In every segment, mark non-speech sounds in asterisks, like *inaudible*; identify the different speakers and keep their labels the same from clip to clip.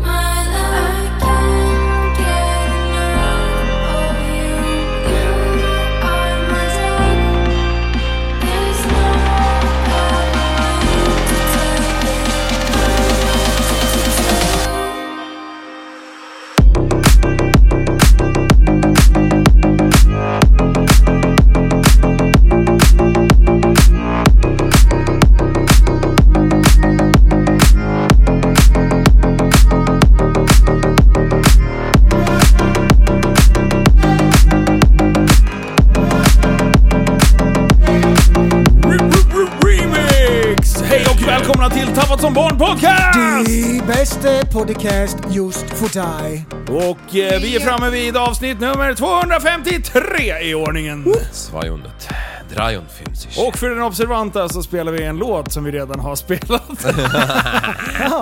Speaker 1: My love, I can't get enough of you. You are my sun. There's no other way to take it. I'm addicted to you.
Speaker 2: Remix! Hej och välkomna till Tappat som barn podcast!
Speaker 3: Die bästa podcast just för dig.
Speaker 2: Och eh, vi är framme vid avsnitt nummer 253 i ordningen.
Speaker 4: 200. 53.
Speaker 2: Och för den observanta så spelar vi en låt som vi redan har *laughs* spelat.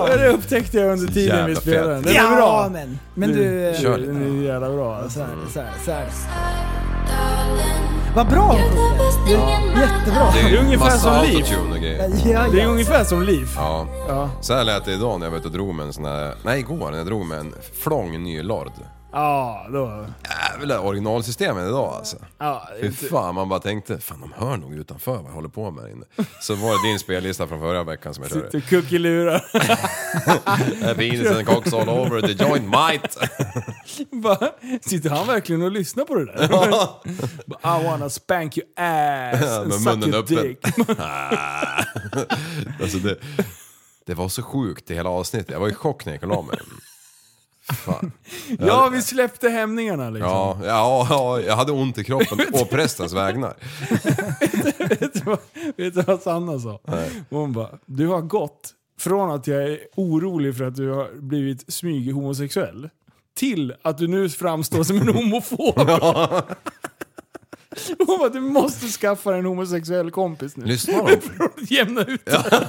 Speaker 2: Och det upptäckte jag under tiden vi
Speaker 4: jävla
Speaker 2: spelade den.
Speaker 4: fett.
Speaker 2: Den är bra.
Speaker 3: men. Men du... eh,
Speaker 4: Kör lite.
Speaker 2: Den är jävla bra alltså.
Speaker 3: Så här, så här, så här.
Speaker 1: Darling,
Speaker 3: Vad bra hon
Speaker 1: you're the best thing in
Speaker 3: sjunger.
Speaker 1: my
Speaker 3: Jättebra.
Speaker 2: Det är ungefär
Speaker 4: massa
Speaker 2: som liv.
Speaker 4: autotune och grejer.
Speaker 3: Ja,
Speaker 2: Det är
Speaker 3: ja.
Speaker 2: ungefär som liv.
Speaker 4: Ja.
Speaker 2: Ja.
Speaker 4: Så här lät det idag när jag var ute och drog med en sån här... Nej, igår när jag drog med en flång ny lord.
Speaker 2: Ja, då.
Speaker 4: Jävlar, originalsystemen idag alltså.
Speaker 2: Ja,
Speaker 4: Fy fan, man bara tänkte, fan de hör nog utanför vad jag håller på med här inne. Så var det din spellista från förra veckan som jag körde.
Speaker 2: sitter och kuckelurar.
Speaker 4: Vinsen, cocks all over, the joint might.
Speaker 2: *laughs* Bara, Sitter han verkligen och lyssnar på det där? Bara, I wanna spank your ass and
Speaker 4: Med
Speaker 2: suck
Speaker 4: munnen
Speaker 2: your
Speaker 4: öppen.
Speaker 2: dick. *laughs*
Speaker 4: alltså det, det var så sjukt i hela avsnittet, jag var i chock när jag kollade mig. Fan.
Speaker 2: Ja, vi släppte hämningarna liksom.
Speaker 4: Ja, ja, ja, jag hade ont
Speaker 2: *laughs*
Speaker 4: i kroppen på prästens vägnar.
Speaker 2: Vet, du vad, *laughs* vet du vad Sanna sa? Hon bara, du har gått från att jag är orolig för att du har blivit smyg homosexuell till att du nu framstår som
Speaker 4: *laughs*
Speaker 2: en homofob. Hon bara, du måste skaffa dig en homosexuell kompis nu.
Speaker 4: Lyssnar *laughs* de?
Speaker 2: Jämna ut det.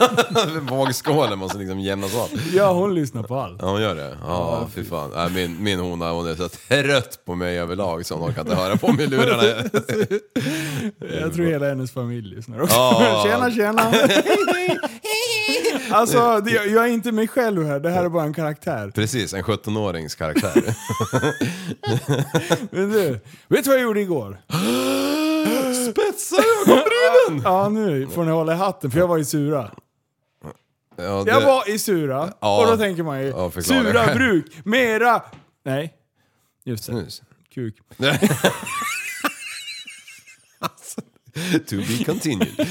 Speaker 4: Vågskålen måste liksom jämnas av.
Speaker 2: Ja, hon lyssnar på allt.
Speaker 4: Ja, hon gör det? Ja, fy fan. Nej, min, min hona hon är så trött på mig överlag så hon orkar inte höra på mig i lurarna.
Speaker 2: Jag tror hela hennes familj lyssnar också.
Speaker 4: Ja.
Speaker 2: *laughs* Tjena,
Speaker 4: *laughs*
Speaker 2: tjena! alltså, det, jag är inte mig själv här. Det här är bara en karaktär.
Speaker 4: *laughs* Precis, en 17-årings karaktär.
Speaker 2: Men du, vet du vad jag gjorde igår?
Speaker 4: *gasps* Spetsar ögonbrynen!
Speaker 2: Ja, nu får ni hålla i hatten för jag var i Sura.
Speaker 4: Ja,
Speaker 2: Jag
Speaker 4: det,
Speaker 2: var i Sura
Speaker 4: Ja.
Speaker 2: och då tänker man ju
Speaker 4: Ja, förklara.
Speaker 2: Sura bruk, mera... Nej. Just det.
Speaker 4: Snus. *laughs*
Speaker 2: Kuk.
Speaker 4: to be continued.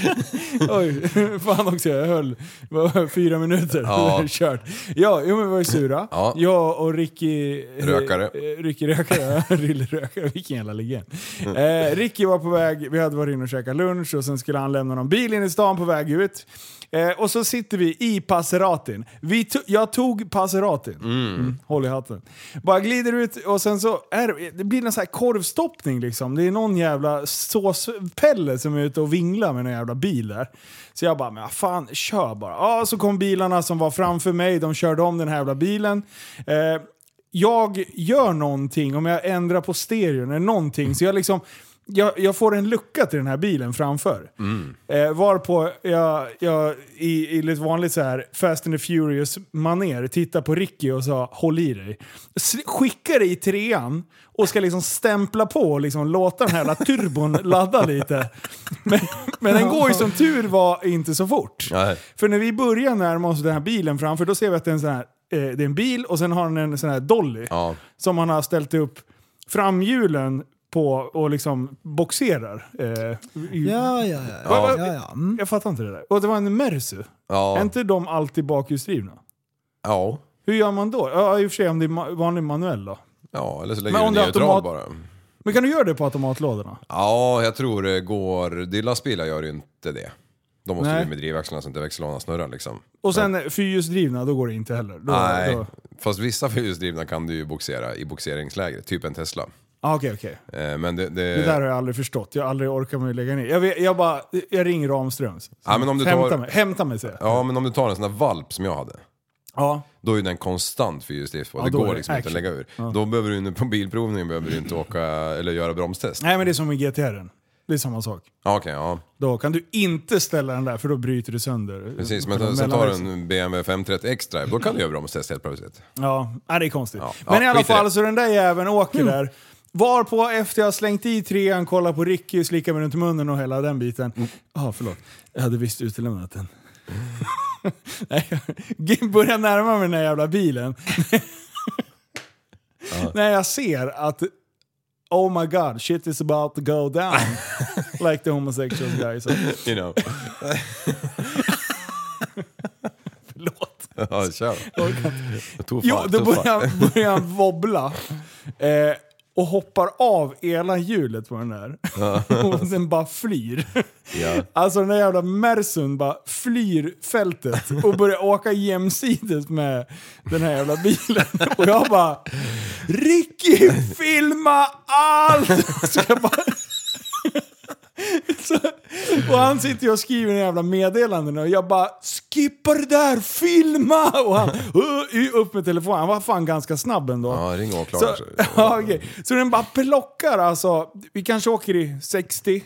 Speaker 2: Oj, *laughs* fan också jag höll. Det var fyra minuter.
Speaker 4: Ja.
Speaker 2: *laughs* Kört. Ja, jo, men vi var i Sura.
Speaker 4: Ja.
Speaker 2: Jag och Ricky...
Speaker 4: Rökare.
Speaker 2: Eh, Ricky Rökare. ja, *laughs* Rille Rökare. Vilken jävla legend. Eh, Ricky var på väg, vi hade varit inne och käkat lunch och sen skulle han lämna någon bil in i stan på väg ut. Eh, och så sitter vi i Passeratin. Vi to- jag tog Passeratin. Mm, håll i hatten. Bara glider ut och sen så är det, det blir det en sån här korvstoppning liksom. Det är någon jävla såspelle som är ute och vinglar med någon jävla bil där. Så jag bara, men vad fan, kör bara. Ja, så kom bilarna som var framför mig, de körde om den här jävla bilen. Eh, jag gör någonting, om jag ändrar på stereon eller någonting, så jag liksom jag, jag får en lucka till den här bilen framför. Eh, varpå jag, jag i, i lite vanligt så här Fast and the furious maner tittar på Ricky och sa “Håll i dig”. S- skickar det i trean och ska liksom stämpla på och liksom låta den här jävla turbon ladda lite. Men, men den går ju som tur var inte så fort.
Speaker 4: Nej.
Speaker 2: För när vi börjar närma oss den här bilen framför, då ser vi att det är en, sån här, eh, det är en bil och sen har den en sån här dolly.
Speaker 4: Ja.
Speaker 2: Som han har ställt upp framhjulen på och liksom boxerar. Eh, i-
Speaker 3: Ja, ja, ja.
Speaker 2: Vad- vad-
Speaker 3: ja, ja. Mm.
Speaker 2: Jag fattar inte det där. Och det var en Mersu. Är
Speaker 4: Ja,
Speaker 2: inte de alltid bakhjulsdrivna?
Speaker 4: Ja.
Speaker 2: Hur gör man då? Ja, i och för sig om det är ma- vanlig manuell då.
Speaker 4: Ja, eller så
Speaker 2: Men
Speaker 4: lägger du
Speaker 2: om det är
Speaker 4: neutral
Speaker 2: automat-
Speaker 4: bara.
Speaker 2: Men kan du göra det på automatlådorna?
Speaker 4: Ja, jag tror det går... Det är lastbilar gör ju inte det. De måste
Speaker 2: Nej.
Speaker 4: ju in med drivväxlarna så inte växellådan snurrar liksom.
Speaker 2: Och sen fyrhjulsdrivna, då går det inte heller. Då,
Speaker 4: Nej,
Speaker 2: då-
Speaker 4: fast vissa fyrhjulsdrivna kan du ju boxera i boxeringslägret, typ en Tesla.
Speaker 2: Ah, Okej, okej.
Speaker 4: Eh, Men det... det,
Speaker 2: Det där har jag aldrig förstått. Jag har aldrig orkat mig lägga ner. Jag, vet, jag bara, jag ringer Ramströms.
Speaker 4: Ja, men om du
Speaker 2: hämta
Speaker 4: tar-
Speaker 2: mig, hämta mig säger jag.
Speaker 4: Ja, men om du tar en sån där valp som jag hade.
Speaker 2: Ja.
Speaker 4: Då är ju den konstant fyrhjulsdrift på.
Speaker 2: Ja,
Speaker 4: det
Speaker 2: då är
Speaker 4: går
Speaker 2: det
Speaker 4: liksom inte att
Speaker 2: action.
Speaker 4: lägga ur. Då behöver du på bilprovningen behöver du inte åka eller göra bromstest.
Speaker 2: Nej men det är som i GTR. Det är samma sak.
Speaker 4: Ja, Okej, ja.
Speaker 2: Då kan du inte ställa den där för då bryter du sönder.
Speaker 4: Precis,
Speaker 2: för
Speaker 4: men
Speaker 2: de
Speaker 4: sen tar du
Speaker 2: mellanväxlarna.
Speaker 4: en BMW 530 X-Drive, då kan du göra bromstest
Speaker 2: *laughs*
Speaker 4: helt plötsligt.
Speaker 2: Ja, nej, det är konstigt.
Speaker 4: Ja.
Speaker 2: Men
Speaker 4: Ja,
Speaker 2: i alla
Speaker 4: skit i det. Mm.
Speaker 2: fall så den där jäveln åker där. Varpå efter jag har slängt i trean, kollar på Ricky, slickar mig runt munnen och hela den biten.
Speaker 4: Mm.
Speaker 2: Ja, förlåt. Jag hade visst utelämnat den. *laughs* Nej, jag börjar närma mig den där jävla bilen. *laughs* När jag ser att Oh my god, shit is about to go
Speaker 4: *laughs*
Speaker 2: down. like the homosexual guys.
Speaker 4: You know.
Speaker 2: *laughs* Förlåt.
Speaker 4: Ja, kör. Jag tog
Speaker 2: Jo,
Speaker 4: fan-
Speaker 2: då
Speaker 4: tog
Speaker 2: börjar
Speaker 4: fan.
Speaker 2: han, börjar han wobbla.
Speaker 4: *laughs*
Speaker 2: Eh, och hoppar av ena hjulet på den där. *laughs* Och sen bara flyr.
Speaker 4: Ja.
Speaker 2: Alltså den där jävla Mersun bara flyr fältet och börjar åka jämsides med den här jävla bilen.
Speaker 4: *laughs*
Speaker 2: Och jag bara Ricky filma allt! Så jag bara, så, och han sitter ju och skriver en jävla meddelanden och jag bara skippa det där, filma! Och han "Uh, upp med telefonen, han var fan ganska snabb ändå.
Speaker 4: Ja, ring åklagaren.
Speaker 2: Så,
Speaker 4: Så...
Speaker 2: *laughs* ja, okej. så den bara plockar alltså. Vi kanske åker i 60.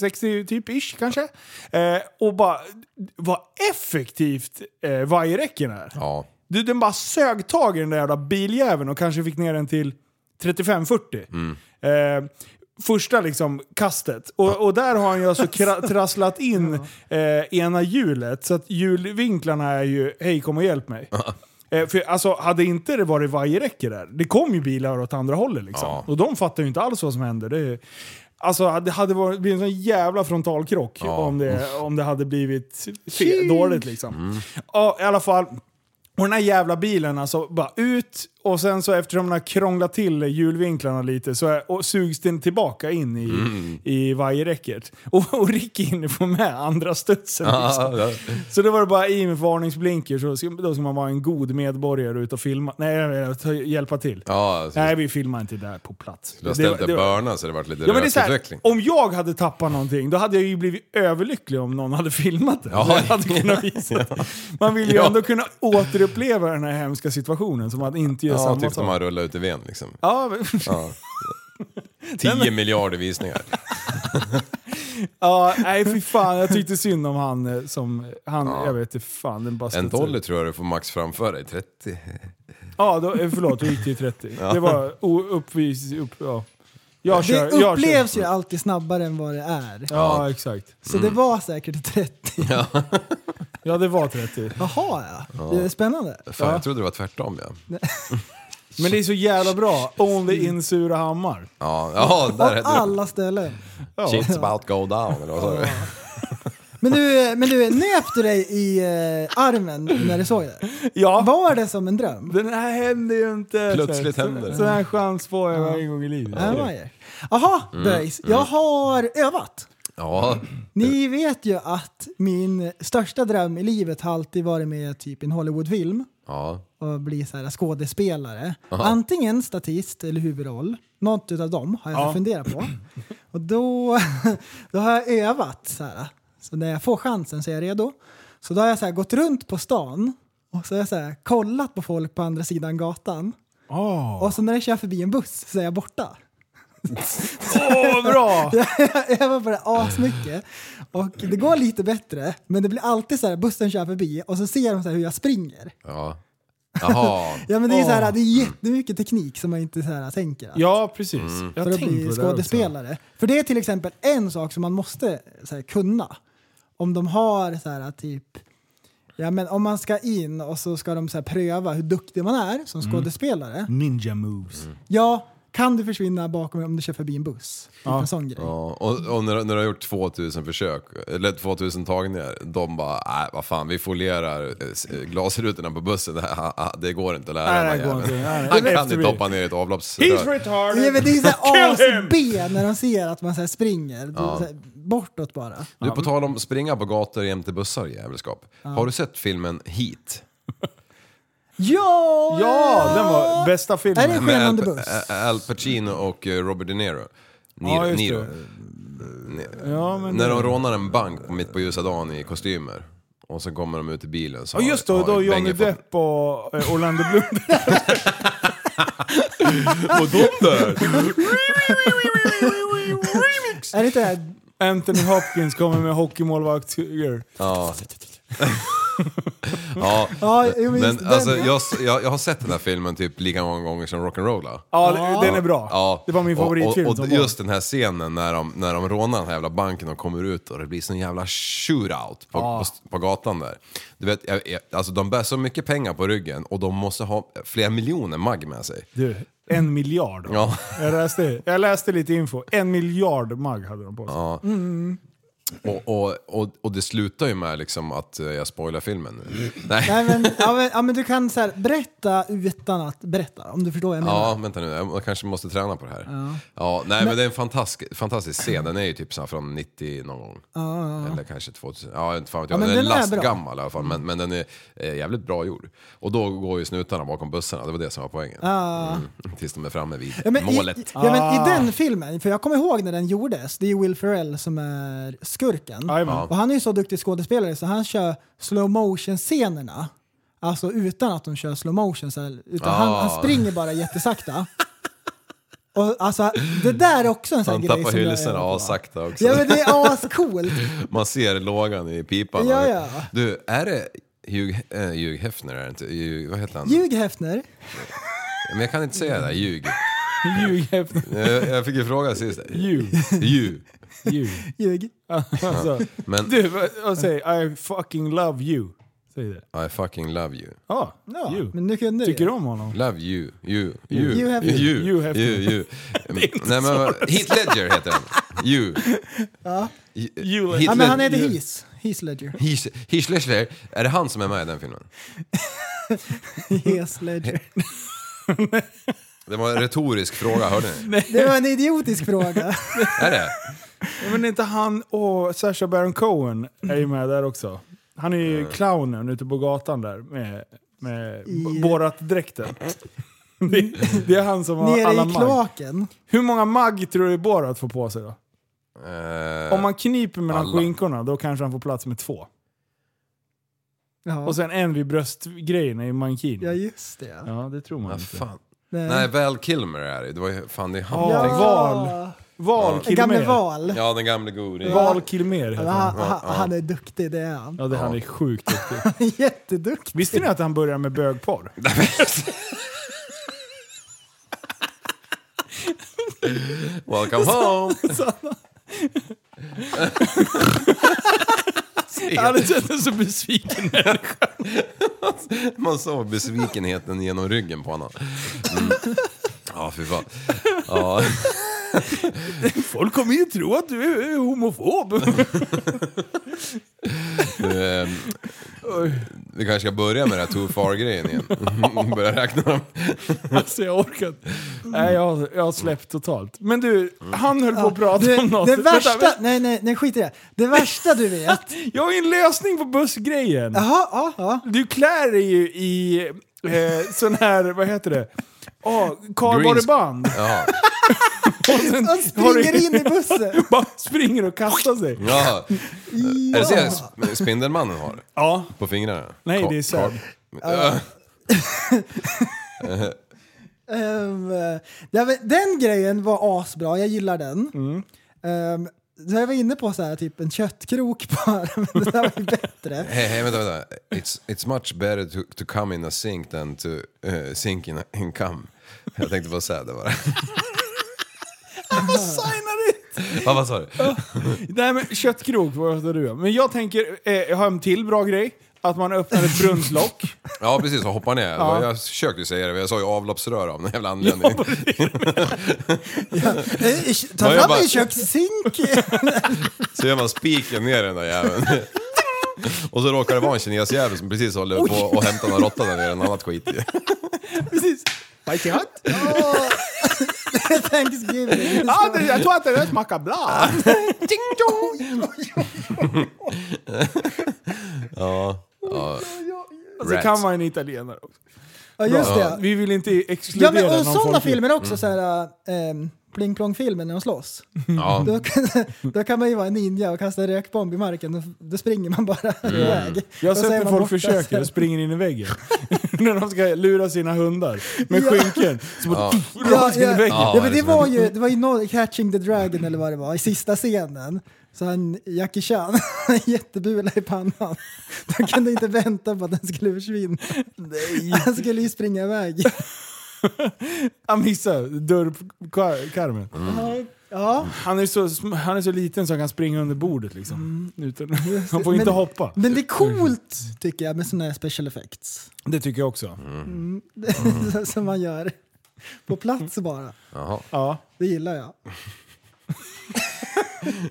Speaker 2: 60 typ ish kanske. Eh, och bara vad effektivt eh, vajerräcken är.
Speaker 4: Ja. *laughs*
Speaker 2: Du, den bara sög tag i den där jävla biljäveln och kanske fick ner den till 35-40. Eh, första liksom kastet. Och, och där har han ju alltså kra- trasslat in eh, ena hjulet. Så att hjulvinklarna är ju hej kom och hjälp mig. Eh, för alltså hade inte det varit vajerräcke där, det kom ju bilar åt andra hållet liksom.
Speaker 4: Ja.
Speaker 2: Och de fattar ju inte alls vad som hände. Det, är- alltså det hade varit, blivit en sån jävla frontalkrock om, det, om det hade blivit fe- dåligt liksom.
Speaker 4: Mm.
Speaker 2: Ja, i alla fall. Och den här jävla bilen alltså, bara ut och sen så eftersom den har krånglat till hjulvinklarna lite så är, och sugs den tillbaka in i,
Speaker 4: Mm.
Speaker 2: i vajerräcket. Och, och Ricky hinner få med andra studsen liksom.
Speaker 4: ja.
Speaker 2: Så då var det bara i med varningsblinkers och så- då ska man vara en god medborgare ut och filma. Nej, jag menar, ta- hjälpa till.
Speaker 4: Ja, så
Speaker 2: Nej, vi filmar inte där på plats.
Speaker 4: Du har
Speaker 2: Det-
Speaker 4: ställt
Speaker 2: det-
Speaker 4: en börna så det varit lite
Speaker 2: Ja, men det är så här,
Speaker 4: rökutveckling.
Speaker 2: om jag hade tappat någonting, då hade jag ju blivit överlycklig om någon hade filmat det.
Speaker 4: Ja.
Speaker 2: Så jag hade kunnat visa det. Man vill ju
Speaker 4: *laughs* Ja.
Speaker 2: ändå kunna återuppleva den här hemska situationen som att inte gör
Speaker 4: Ja,
Speaker 2: samma
Speaker 4: typ som
Speaker 2: sak.
Speaker 4: man rullar ut i ven liksom.
Speaker 2: *laughs* Ja, men-
Speaker 4: Ja. 10
Speaker 2: *laughs*
Speaker 4: miljarder visningar.
Speaker 2: ja, nej fy fan. Jag tyckte synd om han eh, som... Han, Jag vet inte fan. Den bara
Speaker 4: En
Speaker 2: studsade.
Speaker 4: dollar tror jag du får max framför dig. 30.
Speaker 2: Ja, då, eh, förlåt. Då gick det ju 30. Det var o- uppvis... Upp, ja. Jag kör,
Speaker 3: Det
Speaker 2: jag kör.
Speaker 3: upplevs ju alltid snabbare än vad det är.
Speaker 2: Ja, exakt.
Speaker 3: Så det var säkert 30.
Speaker 2: Ja, det var 30.
Speaker 3: Jaha ja. Det är spännande.
Speaker 4: Fan, jag trodde det var tvärtom ja.
Speaker 2: Men det är så jävla bra. Only in Surahammar.
Speaker 4: Ja, ja där
Speaker 3: Av
Speaker 2: *laughs*
Speaker 4: hette det.
Speaker 3: alla ställen.
Speaker 4: Shit's about go down, eller vad sa du?
Speaker 3: Men du, eh, men du nöp du dig i eh, armen när du såg det?
Speaker 2: Ja.
Speaker 3: Var det som en dröm?
Speaker 2: Den här händer ju inte.
Speaker 4: Plötsligt
Speaker 2: Så-
Speaker 4: händer det.
Speaker 2: Sån här chans får jag en gång i livet.
Speaker 3: Här var jag. Jaha,
Speaker 2: Mm.
Speaker 3: böjs. Jag har övat.
Speaker 4: Ja,
Speaker 3: Ni vet ju att min största dröm i livet har alltid varit med typ en Hollywoodfilm
Speaker 4: ja.
Speaker 3: och bli så här skådespelare. Antingen statist eller huvudroll. Något utav dem har jag funderat på. Och då, *laughs* då har jag övat så här. Så när jag får chansen så är jag redo. Så då har jag så här gått runt på stan och så har jag så här kollat på folk på andra sidan gatan. Och så när jag kör förbi en buss så är jag borta.
Speaker 2: Åh, bra!
Speaker 3: *laughs* jag övar på det asmycket. Och det går lite bättre, men det blir alltid så här, bussen kör förbi och så ser de så här hur jag springer.
Speaker 4: ja. Jaha.
Speaker 3: Ja men det är ju så här, det är jättemycket teknik som man inte så här tänker. att-
Speaker 2: Ja, precis. Jag
Speaker 3: för
Speaker 2: har
Speaker 3: att
Speaker 2: tänkt på
Speaker 3: bli
Speaker 2: det där också.
Speaker 3: skådespelare. För det är till exempel en sak som man måste så här, kunna. Om de har så här typ, ja men om man ska in
Speaker 2: Mm.
Speaker 3: och så ska de så här, pröva hur duktig man är som skådespelare.
Speaker 2: Ninja moves.
Speaker 3: Ja, Kan du försvinna bakom mig om du kör förbi en buss? Ja. En sån grej.
Speaker 4: Ja, och, och när, du- när du har gjort 2000 försök, eller 2000 tagningar, de bara, nej vad fan, vi folierar eh, s- eh, glasrutorna på bussen, *laughs* det, här, ah, ah, det går inte att lära
Speaker 2: Nej,
Speaker 4: den här
Speaker 2: det går
Speaker 4: jäveln."
Speaker 2: inte. Nej,
Speaker 4: Han
Speaker 2: det är
Speaker 4: kan
Speaker 2: efterblivet.
Speaker 4: inte hoppa ner i ett
Speaker 2: He's
Speaker 4: avloppsrör.
Speaker 2: retarded!
Speaker 3: Ja, men det är såhär A
Speaker 2: *laughs* Kill him!
Speaker 3: och B när de ser att man så här springer. Det är så här bortåt bara.
Speaker 4: Du, på tal om springa på gator jämte bussar jävelskap. Har du sett filmen Heat?
Speaker 3: Ja!
Speaker 2: Ja, den var bästa
Speaker 3: Är det
Speaker 2: filmen.
Speaker 4: Med
Speaker 3: skenande
Speaker 4: Al,
Speaker 3: buss?
Speaker 4: Ä- Al Pacino och eh, Robert De Niro. Niro,
Speaker 2: Ja, just det.
Speaker 4: Niro.
Speaker 2: Ja, men
Speaker 4: När de rånar en bank på mitt på ljusa dagen i kostymer. Och så kommer de ut i bilen. Så
Speaker 2: Ja just det, och då Johnny Depp och eh, Orlando Bloom. *laughs*
Speaker 4: Och de där!
Speaker 3: Är det inte det här?
Speaker 2: Anthony Hopkins kommer med hockeymålvaktsfigur.
Speaker 4: Ja. ja.
Speaker 3: Ja, jag minns
Speaker 4: Men
Speaker 3: den.
Speaker 4: alltså, jag, jag, jag har sett den här filmen typ lika många gånger som Rock'n'Rolla.
Speaker 2: Ja, den är bra.
Speaker 4: Ja.
Speaker 2: Det var min
Speaker 4: Och-
Speaker 2: favoritfilm
Speaker 4: Och, och,
Speaker 2: som barn.
Speaker 4: just den här scenen när de, när de rånar den här jävla banken och kommer ut och det blir sån jävla shootout på, på, på gatan där. Du vet, jag, jag, alltså de bär så mycket pengar på ryggen och de måste ha flera miljoner mag med sig.
Speaker 2: Du, en miljard.
Speaker 4: Ja.
Speaker 2: Jag, läste, jag läste lite info. En miljard mugg hade de på sig.
Speaker 4: Och, och, och, och det slutar ju med liksom att eh, jag spoilar filmen nu. *laughs*
Speaker 3: Nej, men, ja, men, ja, men du kan så här, berätta utan att berätta, om du förstår vad jag menar.
Speaker 4: Ja, vänta nu. Jag kanske måste träna på det här. Ja. nej, men, det är en fantastisk, fantastisk scen. Den är ju typ så här från 90 någon gång. Eller kanske 2000. Ja, inte fan vet jag.
Speaker 3: Ja, men
Speaker 4: den är
Speaker 3: den är
Speaker 4: lastgammal i alla fall, men, men den är eh, jävligt bra gjord. Och då går ju snutarna bakom bussarna. Det var det som var poängen.
Speaker 3: Ah.
Speaker 4: Mm. Tills de är framme vid
Speaker 3: Ja, men
Speaker 4: målet.
Speaker 3: I, i- ja, men
Speaker 2: Ah.
Speaker 3: I den filmen, för jag kommer ihåg när den gjordes, det är Will Ferrell som är skurken.
Speaker 2: Jajamän.
Speaker 3: Och han är ju så duktig skådespelare så han kör slow motion scenerna Alltså utan att de kör slow motion, så här, utan
Speaker 4: Ah.
Speaker 3: han, han springer bara jättesakta. Och alltså, det där är också en sån här
Speaker 4: Han
Speaker 3: grej
Speaker 4: tappar
Speaker 3: som jag är
Speaker 4: hylsorna
Speaker 3: på.
Speaker 4: assakta också.
Speaker 3: Ja men det är ascoolt!
Speaker 4: Man ser lågan i pipan.
Speaker 3: Ja, ja.
Speaker 4: Du, är det Hugh, eh, Hugh Hefner? Är det inte? Hugh, vad heter han?
Speaker 3: Ljug Hefner.
Speaker 4: Men jag kan inte säga det där, Hugh.
Speaker 2: *laughs* Ljug efter
Speaker 4: Jag, jag fick ju fråga sist.
Speaker 2: ljug.
Speaker 4: Hugh.
Speaker 2: ljug.
Speaker 3: Ljug.
Speaker 2: Alltså,
Speaker 4: Men
Speaker 2: du, vad- vad säger I fucking love you. Säg det.
Speaker 4: I fucking love you.
Speaker 2: Ja,
Speaker 3: Ja,
Speaker 2: you.
Speaker 3: men nu kunde
Speaker 2: Tycker du
Speaker 3: du.
Speaker 2: om honom?
Speaker 4: Love you, you, you,
Speaker 3: You have-
Speaker 4: you,
Speaker 2: You have-
Speaker 4: you,
Speaker 2: *laughs*
Speaker 4: you. Nej, men, vad- Heath Ledger heter han. You. Ja.
Speaker 2: You-
Speaker 3: Ja, men han heter
Speaker 2: Ljug.
Speaker 3: Heath. Heath Ledger. *laughs*
Speaker 4: Heath Ledger, är det han som är med i den filmen?
Speaker 3: Heath Ledger.
Speaker 4: Det var en retorisk fråga, hörde ni?
Speaker 3: Det var en idiotisk fråga.
Speaker 4: Är det?
Speaker 2: Men inte han och Sacha Baron Cohen är ju med där också. Han är ju clownen ute på gatan där med, med b- Borat-dräkten. *laughs* Det, det är han som har alla
Speaker 3: Nere i
Speaker 2: mugg.
Speaker 3: kloaken.
Speaker 2: Hur många mugg tror du Borat får på sig då?
Speaker 4: Eh,
Speaker 2: Om man kniper mellan
Speaker 4: alla.
Speaker 2: skinkorna då kanske han får plats med två.
Speaker 3: Ja.
Speaker 2: Och sen en vid bröstgrejen i mankini.
Speaker 3: Ja just det. Ja.
Speaker 2: Ja, det tror man
Speaker 4: vad
Speaker 2: inte.
Speaker 4: fan.
Speaker 3: Nej.
Speaker 4: Nej, Val Kilmer är det. Det var ju fan det är han.
Speaker 2: Ja,
Speaker 4: jag tänkte-
Speaker 2: Val. Val
Speaker 3: En gamle
Speaker 2: Kilmer.
Speaker 3: Val. Ja.
Speaker 4: Ja, den gamle godingen.
Speaker 2: Val Kilmer heter
Speaker 3: Han,
Speaker 2: han.
Speaker 3: han, han är duktig, det är han.
Speaker 2: Ja, det, han är sjukt duktig.
Speaker 3: *laughs* Jätteduktig.
Speaker 2: Visste ni att han började med bögporr?
Speaker 4: Welcome home! *laughs*
Speaker 2: Jag hade sett en så besviken
Speaker 4: Man såg besvikenheten genom ryggen på honom. Mm. Ja, fy fan. Ja.
Speaker 2: Folk kommer ju tro att du är homofob. *laughs*
Speaker 4: Eh, Vi kanske ska börja med det här too far-grejen igen. *laughs* Börja räkna dem.
Speaker 2: alltså jag orkar inte. Nej, jag, har- jag har släppt totalt. Men du, han höll på att prata
Speaker 3: Det,
Speaker 2: om något.
Speaker 3: det
Speaker 2: Vänta,
Speaker 3: värsta,
Speaker 2: vänta.
Speaker 3: nej, nej, nej skit i det. Det värsta
Speaker 2: *laughs*
Speaker 3: du vet.
Speaker 2: Jag har ju en lösning på bussgrejen.
Speaker 3: Jaha, ja, ja.
Speaker 2: Du klär dig ju i eh, sån här, vad heter det? Oh, Kardborreband.
Speaker 4: Ja.
Speaker 2: Och sen
Speaker 3: Han
Speaker 2: har du-
Speaker 3: springer in i bussen.
Speaker 2: Bara springer och kastar sig.
Speaker 4: Ja. Är det så här sp- Spindelmannen har
Speaker 2: Ja.
Speaker 4: på fingrarna?
Speaker 2: Nej,
Speaker 4: Ka-
Speaker 2: det är Säb.
Speaker 4: ka- Ja.
Speaker 3: Ehm, eh, ja, men den grejen var asbra, jag gillar den.
Speaker 2: Mm.
Speaker 3: Ehm, så jag var inne på så här, typ en köttkrok bara, *laughs* men det där var ju bättre.
Speaker 4: Hej, hej, vänta, vänta. It's, it's much better to, to come in a sink than to eh, sink in a in come. Jag tänkte bara säga det bara.
Speaker 2: Signar in.
Speaker 4: Ja, vad sa du?
Speaker 2: Nej men köttkrok, vad sa du? Men jag tänker, eh, jag har en till bra grej. att man öppnar ett brunnslock.
Speaker 4: Ja precis, och hoppa ner. Jag försökte ju säga det, men jag sa ju avloppsrör av den jävla anledningen.
Speaker 3: Eh, i- Ta
Speaker 4: Ja, jag
Speaker 3: fram
Speaker 4: bara-
Speaker 3: din kökssink! *laughs*
Speaker 4: Så gör man spiken ner i den där jäveln. Och så råkar det vara en kinesjävel som precis håller på att hämta någon råtta där nere, något annat skit i.
Speaker 3: Precis. Mighty Hut? Oh. *laughs* Thanksgiving.
Speaker 2: Ja, det, jag tror att det är mackabla.
Speaker 3: *laughs*
Speaker 2: Och så kan
Speaker 4: Rats.
Speaker 2: man en italienare också.
Speaker 3: Ja, just det.
Speaker 2: Vi vill inte
Speaker 3: Ja,
Speaker 2: exkludera
Speaker 3: men och
Speaker 2: någon Mm.
Speaker 3: sådana
Speaker 2: folkgrupp.
Speaker 3: filmer också, så här, ehm, Pling Plong-filmen när de slåss.
Speaker 4: Ja.
Speaker 3: Då, kan,
Speaker 2: *laughs*
Speaker 3: då kan man ju vara en ninja och kasta en rökbomb i marken, och då springer man bara iväg.
Speaker 2: Mm. Jag har
Speaker 3: Och så är
Speaker 2: sett när
Speaker 3: man
Speaker 2: folk
Speaker 3: borta
Speaker 2: försöker
Speaker 3: *laughs* sen.
Speaker 2: och springer in i väggen. *laughs* när de ska lura sina hundar med
Speaker 3: Ja.
Speaker 2: skynken. Så bara *laughs*
Speaker 3: Ja,
Speaker 2: rakt in i
Speaker 3: ja,
Speaker 2: väggen.
Speaker 3: ja, men
Speaker 4: det
Speaker 3: det
Speaker 4: är som
Speaker 3: var ju, det var ju no, Catching the Dragon eller vad det var, i sista scenen. Så han, Jackie Chan, *laughs* en jättebula i pannan. *laughs* De kunde inte vänta på att den skulle försvinna. Han skulle ju springa iväg.
Speaker 2: Han missar dörrkarmen.
Speaker 3: Mm. Ja,
Speaker 2: Han, är så sm- han är så liten så han kan springa under bordet liksom. Utan, han får inte
Speaker 3: men-
Speaker 2: hoppa.
Speaker 3: men Mm. det är coolt tycker jag med sådana här special effects.
Speaker 2: Det tycker jag också.
Speaker 3: Mm. *laughs* Som man gör på plats bara.
Speaker 2: Ja.
Speaker 3: Det gillar jag.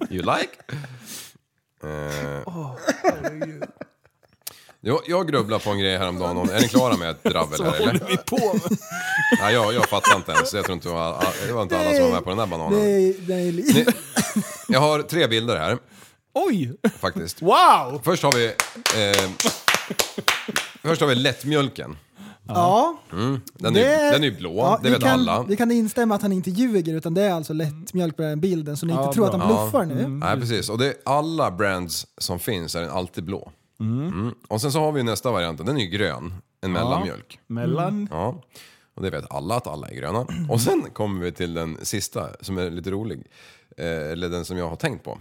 Speaker 4: You like? Eh. Jo, jag grubblar på en grej häromdagen. Är ni klara med ett dravel här eller? Nej, jag, jag fattar inte ens. Jag tror inte det var, det var inte alla som var med på den där
Speaker 3: Det
Speaker 4: bananen.
Speaker 3: är, det är liv. *laughs*
Speaker 4: Ni, jag har tre bilder här
Speaker 2: Oj!
Speaker 4: faktiskt.
Speaker 2: Wow!
Speaker 4: Först har vi... Eh, först har vi lättmjölken. Mm.
Speaker 3: Ja,
Speaker 4: Den, är, ju- den är ju blå,
Speaker 3: ja,
Speaker 4: det
Speaker 3: vi
Speaker 4: vet
Speaker 3: kan,
Speaker 4: alla.
Speaker 3: Vi kan instämma att han inte ljuger utan det är alltså lättmjölk på den här bilden så ni
Speaker 2: Ja,
Speaker 3: inte tror
Speaker 2: bra. Mm.
Speaker 3: att han bluffar nu.
Speaker 4: Nej, precis. Och det är alla brands som finns är den alltid blå. Mm. Och sen så har vi ju nästa varianten, den är ju grön. En mellanmjölk.
Speaker 2: Mellan...
Speaker 4: Ja. Och det vet alla att alla
Speaker 3: *clears throat*
Speaker 4: är gröna. Och sen kommer vi till den sista som är lite rolig. Eh, eller den som jag har tänkt på.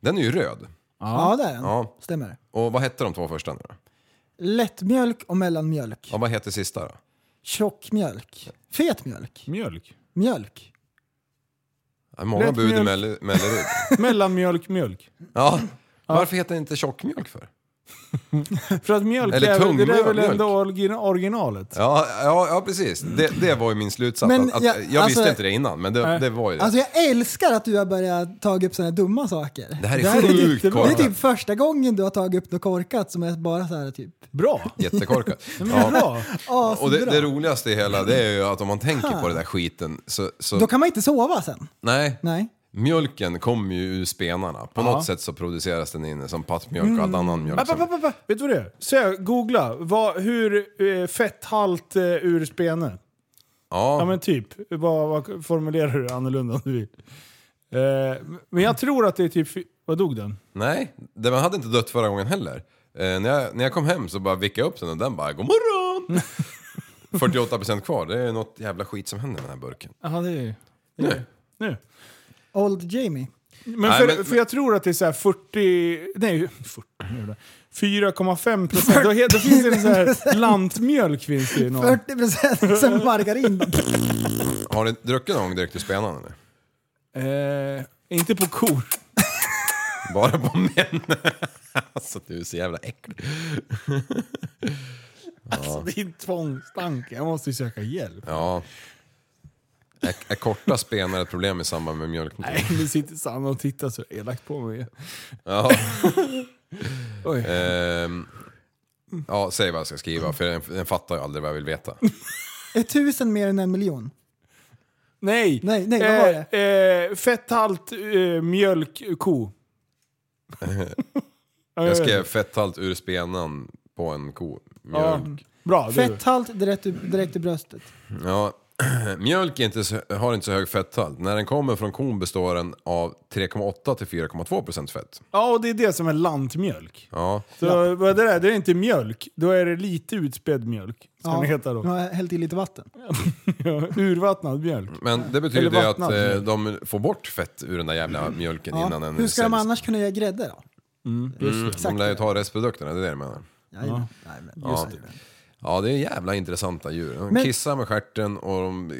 Speaker 4: Den är ju röd.
Speaker 3: Ja, det är den.
Speaker 4: Ja.
Speaker 3: Stämmer.
Speaker 4: Och vad hette de två första nu då?
Speaker 3: Lättmjölk och mellanmjölk.
Speaker 4: Ja, vad hette sista då?
Speaker 3: Tjockmjölk. Fet mjölk.
Speaker 2: Mjölk.
Speaker 3: Mjölk.
Speaker 4: Ja, Många
Speaker 2: Lätt
Speaker 4: bud i
Speaker 2: mjölk.
Speaker 4: Melle- Mellerud.
Speaker 2: Mellanmjölk, mjölk.
Speaker 4: Ja. Varför heter det inte tjockmjölk för?
Speaker 2: För att mjölk
Speaker 4: Eller
Speaker 2: är, väl- det är väl
Speaker 4: tungmjölk.
Speaker 2: ändå origin- originalet?
Speaker 4: Ja, ja, ja precis. Det, det var ju min slutsats.
Speaker 3: Men
Speaker 4: att, att, jag
Speaker 3: jag- alltså-
Speaker 4: visste inte det innan, men det, det var ju det.
Speaker 3: Alltså jag älskar att du har börjat ta upp sådana här dumma saker.
Speaker 4: det här
Speaker 2: det
Speaker 4: är
Speaker 2: här är
Speaker 4: sjukt
Speaker 2: jättebra.
Speaker 3: Det är
Speaker 4: korkat.
Speaker 3: typ första gången du har tagit upp något korkat som är bara så här
Speaker 4: *laughs*
Speaker 3: typ "Ah,
Speaker 2: Bra!
Speaker 3: *laughs*
Speaker 4: Jättekorkat.
Speaker 2: Ja.
Speaker 4: Ja.
Speaker 2: Bra!
Speaker 4: Och det, det roligaste i hela det är ju att om man tänker på den där skiten så... så
Speaker 3: Då kan man inte sova sen.
Speaker 4: nej,
Speaker 3: Nej.
Speaker 4: mjölken kommer ju ur spenarna. På något sätt så produceras den inne som pattmjölk
Speaker 3: Mm.
Speaker 4: och all annan mjölk.
Speaker 2: App, app,
Speaker 4: Som,
Speaker 2: app, app, app. Vet du vad det är? Sö, googla. Vad, hur eh, fetthalt eh, ur spene? Ja
Speaker 4: ja,
Speaker 2: men typ. Vad, vad formulerar du annorlunda om du vill? Eh, men jag tror att det är typ... fy- Vad dog den?
Speaker 4: nej, den hade inte dött förra gången heller. Eh, när, jag, när jag kom hem så bara vickade jag upp den och den bara God morgon!
Speaker 2: *laughs*
Speaker 4: 48% kvar, det är något jävla skit som händer med den här burken.
Speaker 2: Jaha, det är...
Speaker 4: Nu.
Speaker 2: Nu.
Speaker 3: Old Jamie.
Speaker 2: Men,
Speaker 4: Nej,
Speaker 2: för,
Speaker 4: men-
Speaker 2: för jag tror att det är så här 40... Nej, 40 nu är det. 4,5 procent. Då, he- då finns det en så här lantmjölk finns det ju någon.
Speaker 3: 40 procent som margarin.
Speaker 4: Har ni druckit någon gång direkt ur spenarna nu?
Speaker 2: Eh, inte på kor.
Speaker 4: Bara på män. *laughs* Alltså du är så jävla äcklig.
Speaker 2: Alltså, det är en tvångstanke. Jag måste ju söka hjälp.
Speaker 4: Ja. Är, är korta spenar ett problem i samband med mjölkning?
Speaker 2: Nej, nu sitter Sanna och tittar så elakt på mig.
Speaker 4: Ja.
Speaker 2: *laughs* Oj.
Speaker 4: Ehm, ja, säg vad jag ska skriva för den, den fattar ju aldrig vad jag vill veta.
Speaker 3: Är tusen mer än en miljon?
Speaker 2: Nej!
Speaker 3: Nej, nej, vad var
Speaker 2: det? Eh, fetthalt eh, mjölk ko. Ja,
Speaker 4: Jag
Speaker 2: vet
Speaker 4: skrev
Speaker 2: det.
Speaker 4: fetthalt ur spenan på en ko. Mjölk.
Speaker 2: Bra, det är du.
Speaker 3: Fetthalt direkt ur, direkt ur bröstet.
Speaker 4: Ja. *clears throat* Mjölk är inte så, har inte så hög fetthalt. När den kommer från kon består den av 3,8 till 4,2 procent fett.
Speaker 2: Ja, och det är det som är lantmjölk.
Speaker 4: Ja.
Speaker 2: Så vad det, där, det är inte mjölk, då är det lite utspädd mjölk. Ska den heta *laughs*
Speaker 3: Nu
Speaker 2: då.
Speaker 3: har jag hällt i lite vatten.
Speaker 2: Urvattnad mjölk.
Speaker 4: Men det
Speaker 2: Eller
Speaker 4: betyder ju att
Speaker 2: vattnad
Speaker 4: eh, de får bort fett ur den där jävla mjölken
Speaker 3: Mm. Ja.
Speaker 4: innan den
Speaker 3: Hur ska de
Speaker 4: säljs.
Speaker 3: annars kunna göra grädde då?
Speaker 2: Mm,
Speaker 4: Mm, De lär ju ta restprodukterna, det är det jag menar.
Speaker 3: Jajamän. Nej, men just det.
Speaker 4: Ja, det är jävla intressanta djur. De
Speaker 3: Men-
Speaker 4: kissar med stjärten och de eh,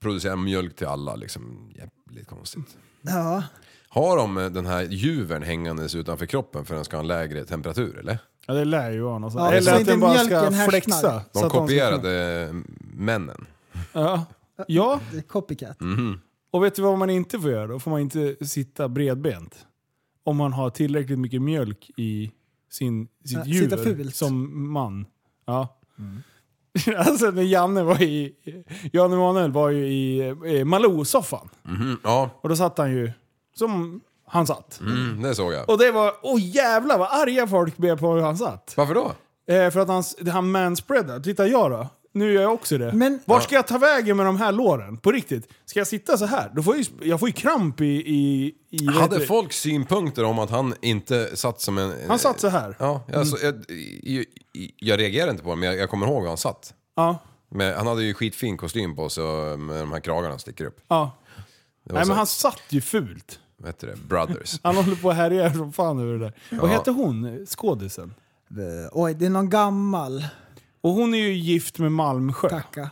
Speaker 4: producerar mjölk till alla. Liksom, jävligt konstigt.
Speaker 3: Ja.
Speaker 4: Har de eh, den här juvern hängandes utanför kroppen för att den ska ha en lägre temperatur, eller?
Speaker 2: Ja, det lär ju vara något sånt.
Speaker 3: Ja, så
Speaker 2: Eller att
Speaker 3: inte
Speaker 2: den bara ska
Speaker 3: mjölken härsknar.
Speaker 2: flexa. så
Speaker 4: De
Speaker 2: att ska kunna-
Speaker 4: kopierade männen.
Speaker 2: Ja. ja,
Speaker 3: Det är Copycat.
Speaker 4: Mm.
Speaker 2: och vet du vad man inte får göra? Då får man inte sitta bredbent. Om man har tillräckligt mycket mjölk i sin, sitt
Speaker 3: Ja, sitta
Speaker 2: djur
Speaker 3: fult.
Speaker 2: som man. Ja. *laughs* Alltså när Janne var i... Janne Emanuel var ju i eh, Malou-soffan.
Speaker 4: Mm, ja,
Speaker 2: Och då satt han ju som han satt.
Speaker 4: mm, det såg jag.
Speaker 2: Och det var... Åh jävlar vad arga folk blev på hur han satt.
Speaker 4: Varför då?
Speaker 2: Eh, för att han, han manspreadar. Titta jag då. Nu gör jag också det.
Speaker 3: Men-
Speaker 2: Var ska jag ta vägen med de här låren? På riktigt. Ska jag sitta så här? Då får jag, ju, jag får ju kramp i... i, i vad heter
Speaker 4: Hade
Speaker 2: det?
Speaker 4: folk synpunkter om att han inte satt som en...
Speaker 2: Han satt så här. Mm. Ja.
Speaker 4: Ja, alltså, jag, jag, jag reagerade inte på det, men jag, jag kommer ihåg hur han satt.
Speaker 2: ja.
Speaker 4: Men han hade ju skitfin kostym på sig och med de här kragarna sticker upp. Det var
Speaker 2: Nej
Speaker 4: så,
Speaker 2: men han satt ju fult.
Speaker 4: Vad heter det? Brothers.
Speaker 2: Han håller på att härja som fan över det där. Vad
Speaker 4: Ja.
Speaker 2: heter hon, skådisen?
Speaker 3: Eh, Oj, det är någon gammal
Speaker 2: Och hon är ju gift med Malmsjö.
Speaker 3: tacka.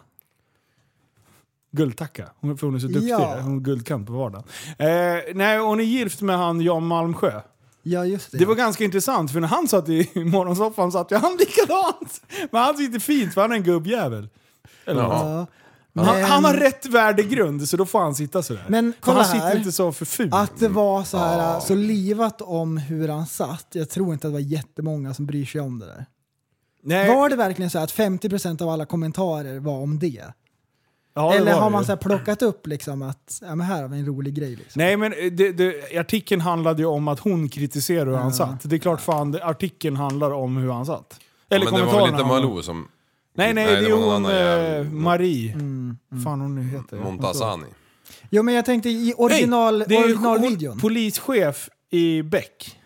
Speaker 2: Guldtacka. Hon, för hon är så duktig.
Speaker 3: Ja.
Speaker 2: Hon har guldkant på vardagen. Eh, nej, hon är gift med han Jan Malmsjö.
Speaker 3: Ja, just det.
Speaker 2: Det var ganska intressant, för när han satt i *laughs* morgonsoffan satt ju han likadant. Men han sitter fint, för han är en gubbjävel. Eller något.
Speaker 3: ja.
Speaker 4: Ja.
Speaker 2: han,
Speaker 3: Men-
Speaker 2: han har rätt värdegrund, så då får han sitta sådär.
Speaker 3: Men
Speaker 2: För
Speaker 3: kolla
Speaker 2: han sitter
Speaker 3: här.
Speaker 2: inte så för ful.
Speaker 3: Att det var så här så livat om hur han satt. Jag tror inte att det var jättemånga som bryr sig om det där.
Speaker 2: Nej,
Speaker 3: Var det verkligen så här att 50% av alla kommentarer var om det?
Speaker 2: ja, det
Speaker 3: Eller
Speaker 2: var
Speaker 3: har
Speaker 2: det
Speaker 3: man
Speaker 2: ju.
Speaker 3: så här plockat upp liksom att ja, men här har vi en rolig grej? Liksom.
Speaker 2: Nej men eh, det, det, artikeln handlade ju om att hon kritiserade hur han satt. Det är klart fan det- artikeln handlar om hur han satt. *laughs* Eller
Speaker 4: men det var väl inte
Speaker 2: kommentarerna.
Speaker 4: Malou som...
Speaker 2: Nej nej,
Speaker 4: Nej,
Speaker 2: det
Speaker 4: det
Speaker 2: är
Speaker 4: var någon
Speaker 2: hon
Speaker 4: annan jävel.
Speaker 2: eh, Marie.
Speaker 3: Mm,
Speaker 2: Fan hon nu heter.
Speaker 4: Montazani.
Speaker 3: Jo men jag tänkte i
Speaker 2: Nej,
Speaker 3: original,
Speaker 2: det är ju
Speaker 3: originalvideon.
Speaker 2: hon- Polischef i Beck.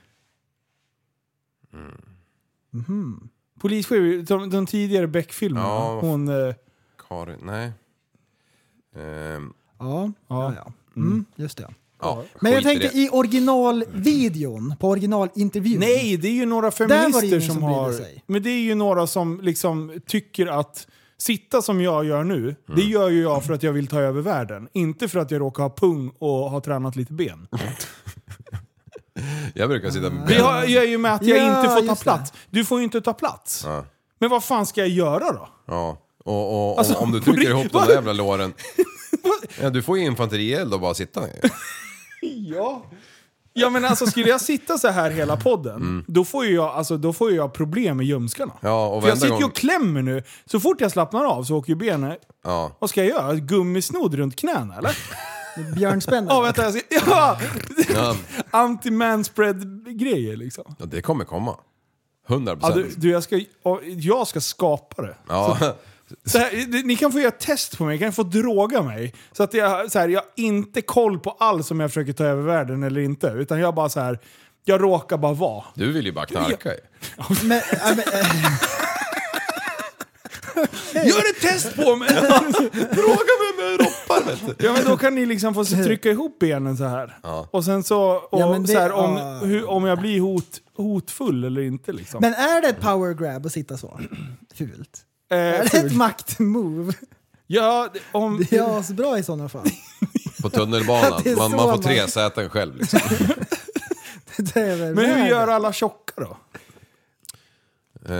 Speaker 3: Mm. Mm-hmm.
Speaker 2: Polischef, i de, de tidigare Beck-filmerna.
Speaker 4: Ja.
Speaker 2: Hon... Eh,
Speaker 4: Karin, nej. Ehm,
Speaker 3: ja, ja, ja. Mm, just det.
Speaker 4: ja,
Speaker 3: Men jag
Speaker 4: skit i
Speaker 3: tänkte
Speaker 4: det.
Speaker 3: i originalvideon, på originalintervjun.
Speaker 2: Nej, det är ju några
Speaker 3: Där var det
Speaker 2: feminister
Speaker 3: ingen
Speaker 2: som,
Speaker 3: som brydde
Speaker 2: har...
Speaker 3: sig.
Speaker 2: Men det är ju några som liksom tycker att sitta som jag gör nu, det
Speaker 4: Mm.
Speaker 2: gör ju jag för att jag vill ta över världen. Inte för att jag råkar ha pung och har tränat lite
Speaker 4: *laughs*
Speaker 2: ben.
Speaker 4: Jag brukar sitta med
Speaker 2: Det har- gör ju med att jag
Speaker 3: Ja,
Speaker 2: inte får ta
Speaker 3: just det.
Speaker 2: plats. Du får ju inte ta plats.
Speaker 4: Ja.
Speaker 2: Men vad fan ska jag göra då?
Speaker 4: Ja. Och, och, om-
Speaker 2: Alltså,
Speaker 4: om du
Speaker 2: på
Speaker 4: trycker
Speaker 2: riktigt,
Speaker 4: ihop de
Speaker 2: vad-
Speaker 4: där
Speaker 2: *laughs*
Speaker 4: jävla låren. ja, du får ju infanterield och bara sitta ner.
Speaker 2: Ja. Ja men alltså skulle jag sitta så här hela podden, då, får ju jag, alltså, då får ju jag problem med ljumskarna.
Speaker 4: Mm. Ja, och
Speaker 2: För jag
Speaker 4: varenda
Speaker 2: sitter ju
Speaker 4: gång-
Speaker 2: och klämmer nu. Så fort jag slappnar av så åker ju benen...
Speaker 4: Ja.
Speaker 2: Vad ska jag göra? Ett Gummisnodd runt knäna
Speaker 4: *laughs*
Speaker 2: eller? *laughs*
Speaker 3: Björnspännare.
Speaker 2: Ja, vänta jag ska... Ja!
Speaker 4: Ja,
Speaker 2: Anti-manspread-grejer liksom.
Speaker 4: ja, det kommer komma. 100
Speaker 2: Ja,
Speaker 4: procent.
Speaker 2: du, du, jag, ska, ja, jag ska skapa det.
Speaker 4: Ja.
Speaker 2: Så här, det- ni kan få göra ett test på mig, ni kan få droga mig. Så att jag, så här, jag har inte koll på alls om jag försöker ta över världen eller inte. Utan jag bara så här, jag råkar bara vara.
Speaker 4: Du vill ju bara knarka ju.
Speaker 3: Men, *laughs* ja, men, eh,
Speaker 2: Gör ett test på
Speaker 4: *laughs*
Speaker 2: mig!
Speaker 4: Fråga mig med roppar vet du.
Speaker 2: Ja men då kan ni liksom få se- trycka ihop benen så här. Och sen så, och
Speaker 3: Ja, men det-
Speaker 2: så här, om,
Speaker 3: ja.
Speaker 2: hur, om jag blir hot, hotfull eller inte liksom.
Speaker 3: men är det ett power grab att sitta så? *clears throat*
Speaker 2: *laughs*
Speaker 3: Fult.
Speaker 2: Eh,
Speaker 3: Är det
Speaker 2: ful.
Speaker 3: ett maktmove?
Speaker 2: ja, det-
Speaker 3: *laughs*
Speaker 2: om,
Speaker 3: Det är asbra i
Speaker 2: *laughs*
Speaker 3: sådana fall.
Speaker 4: På tunnelbanan.
Speaker 3: Det är
Speaker 4: Man,
Speaker 3: så
Speaker 4: man får
Speaker 3: man-
Speaker 4: tre säten själv liksom.
Speaker 3: Det är väl
Speaker 2: men hur
Speaker 3: värre.
Speaker 2: gör alla tjocka då?
Speaker 4: Eh,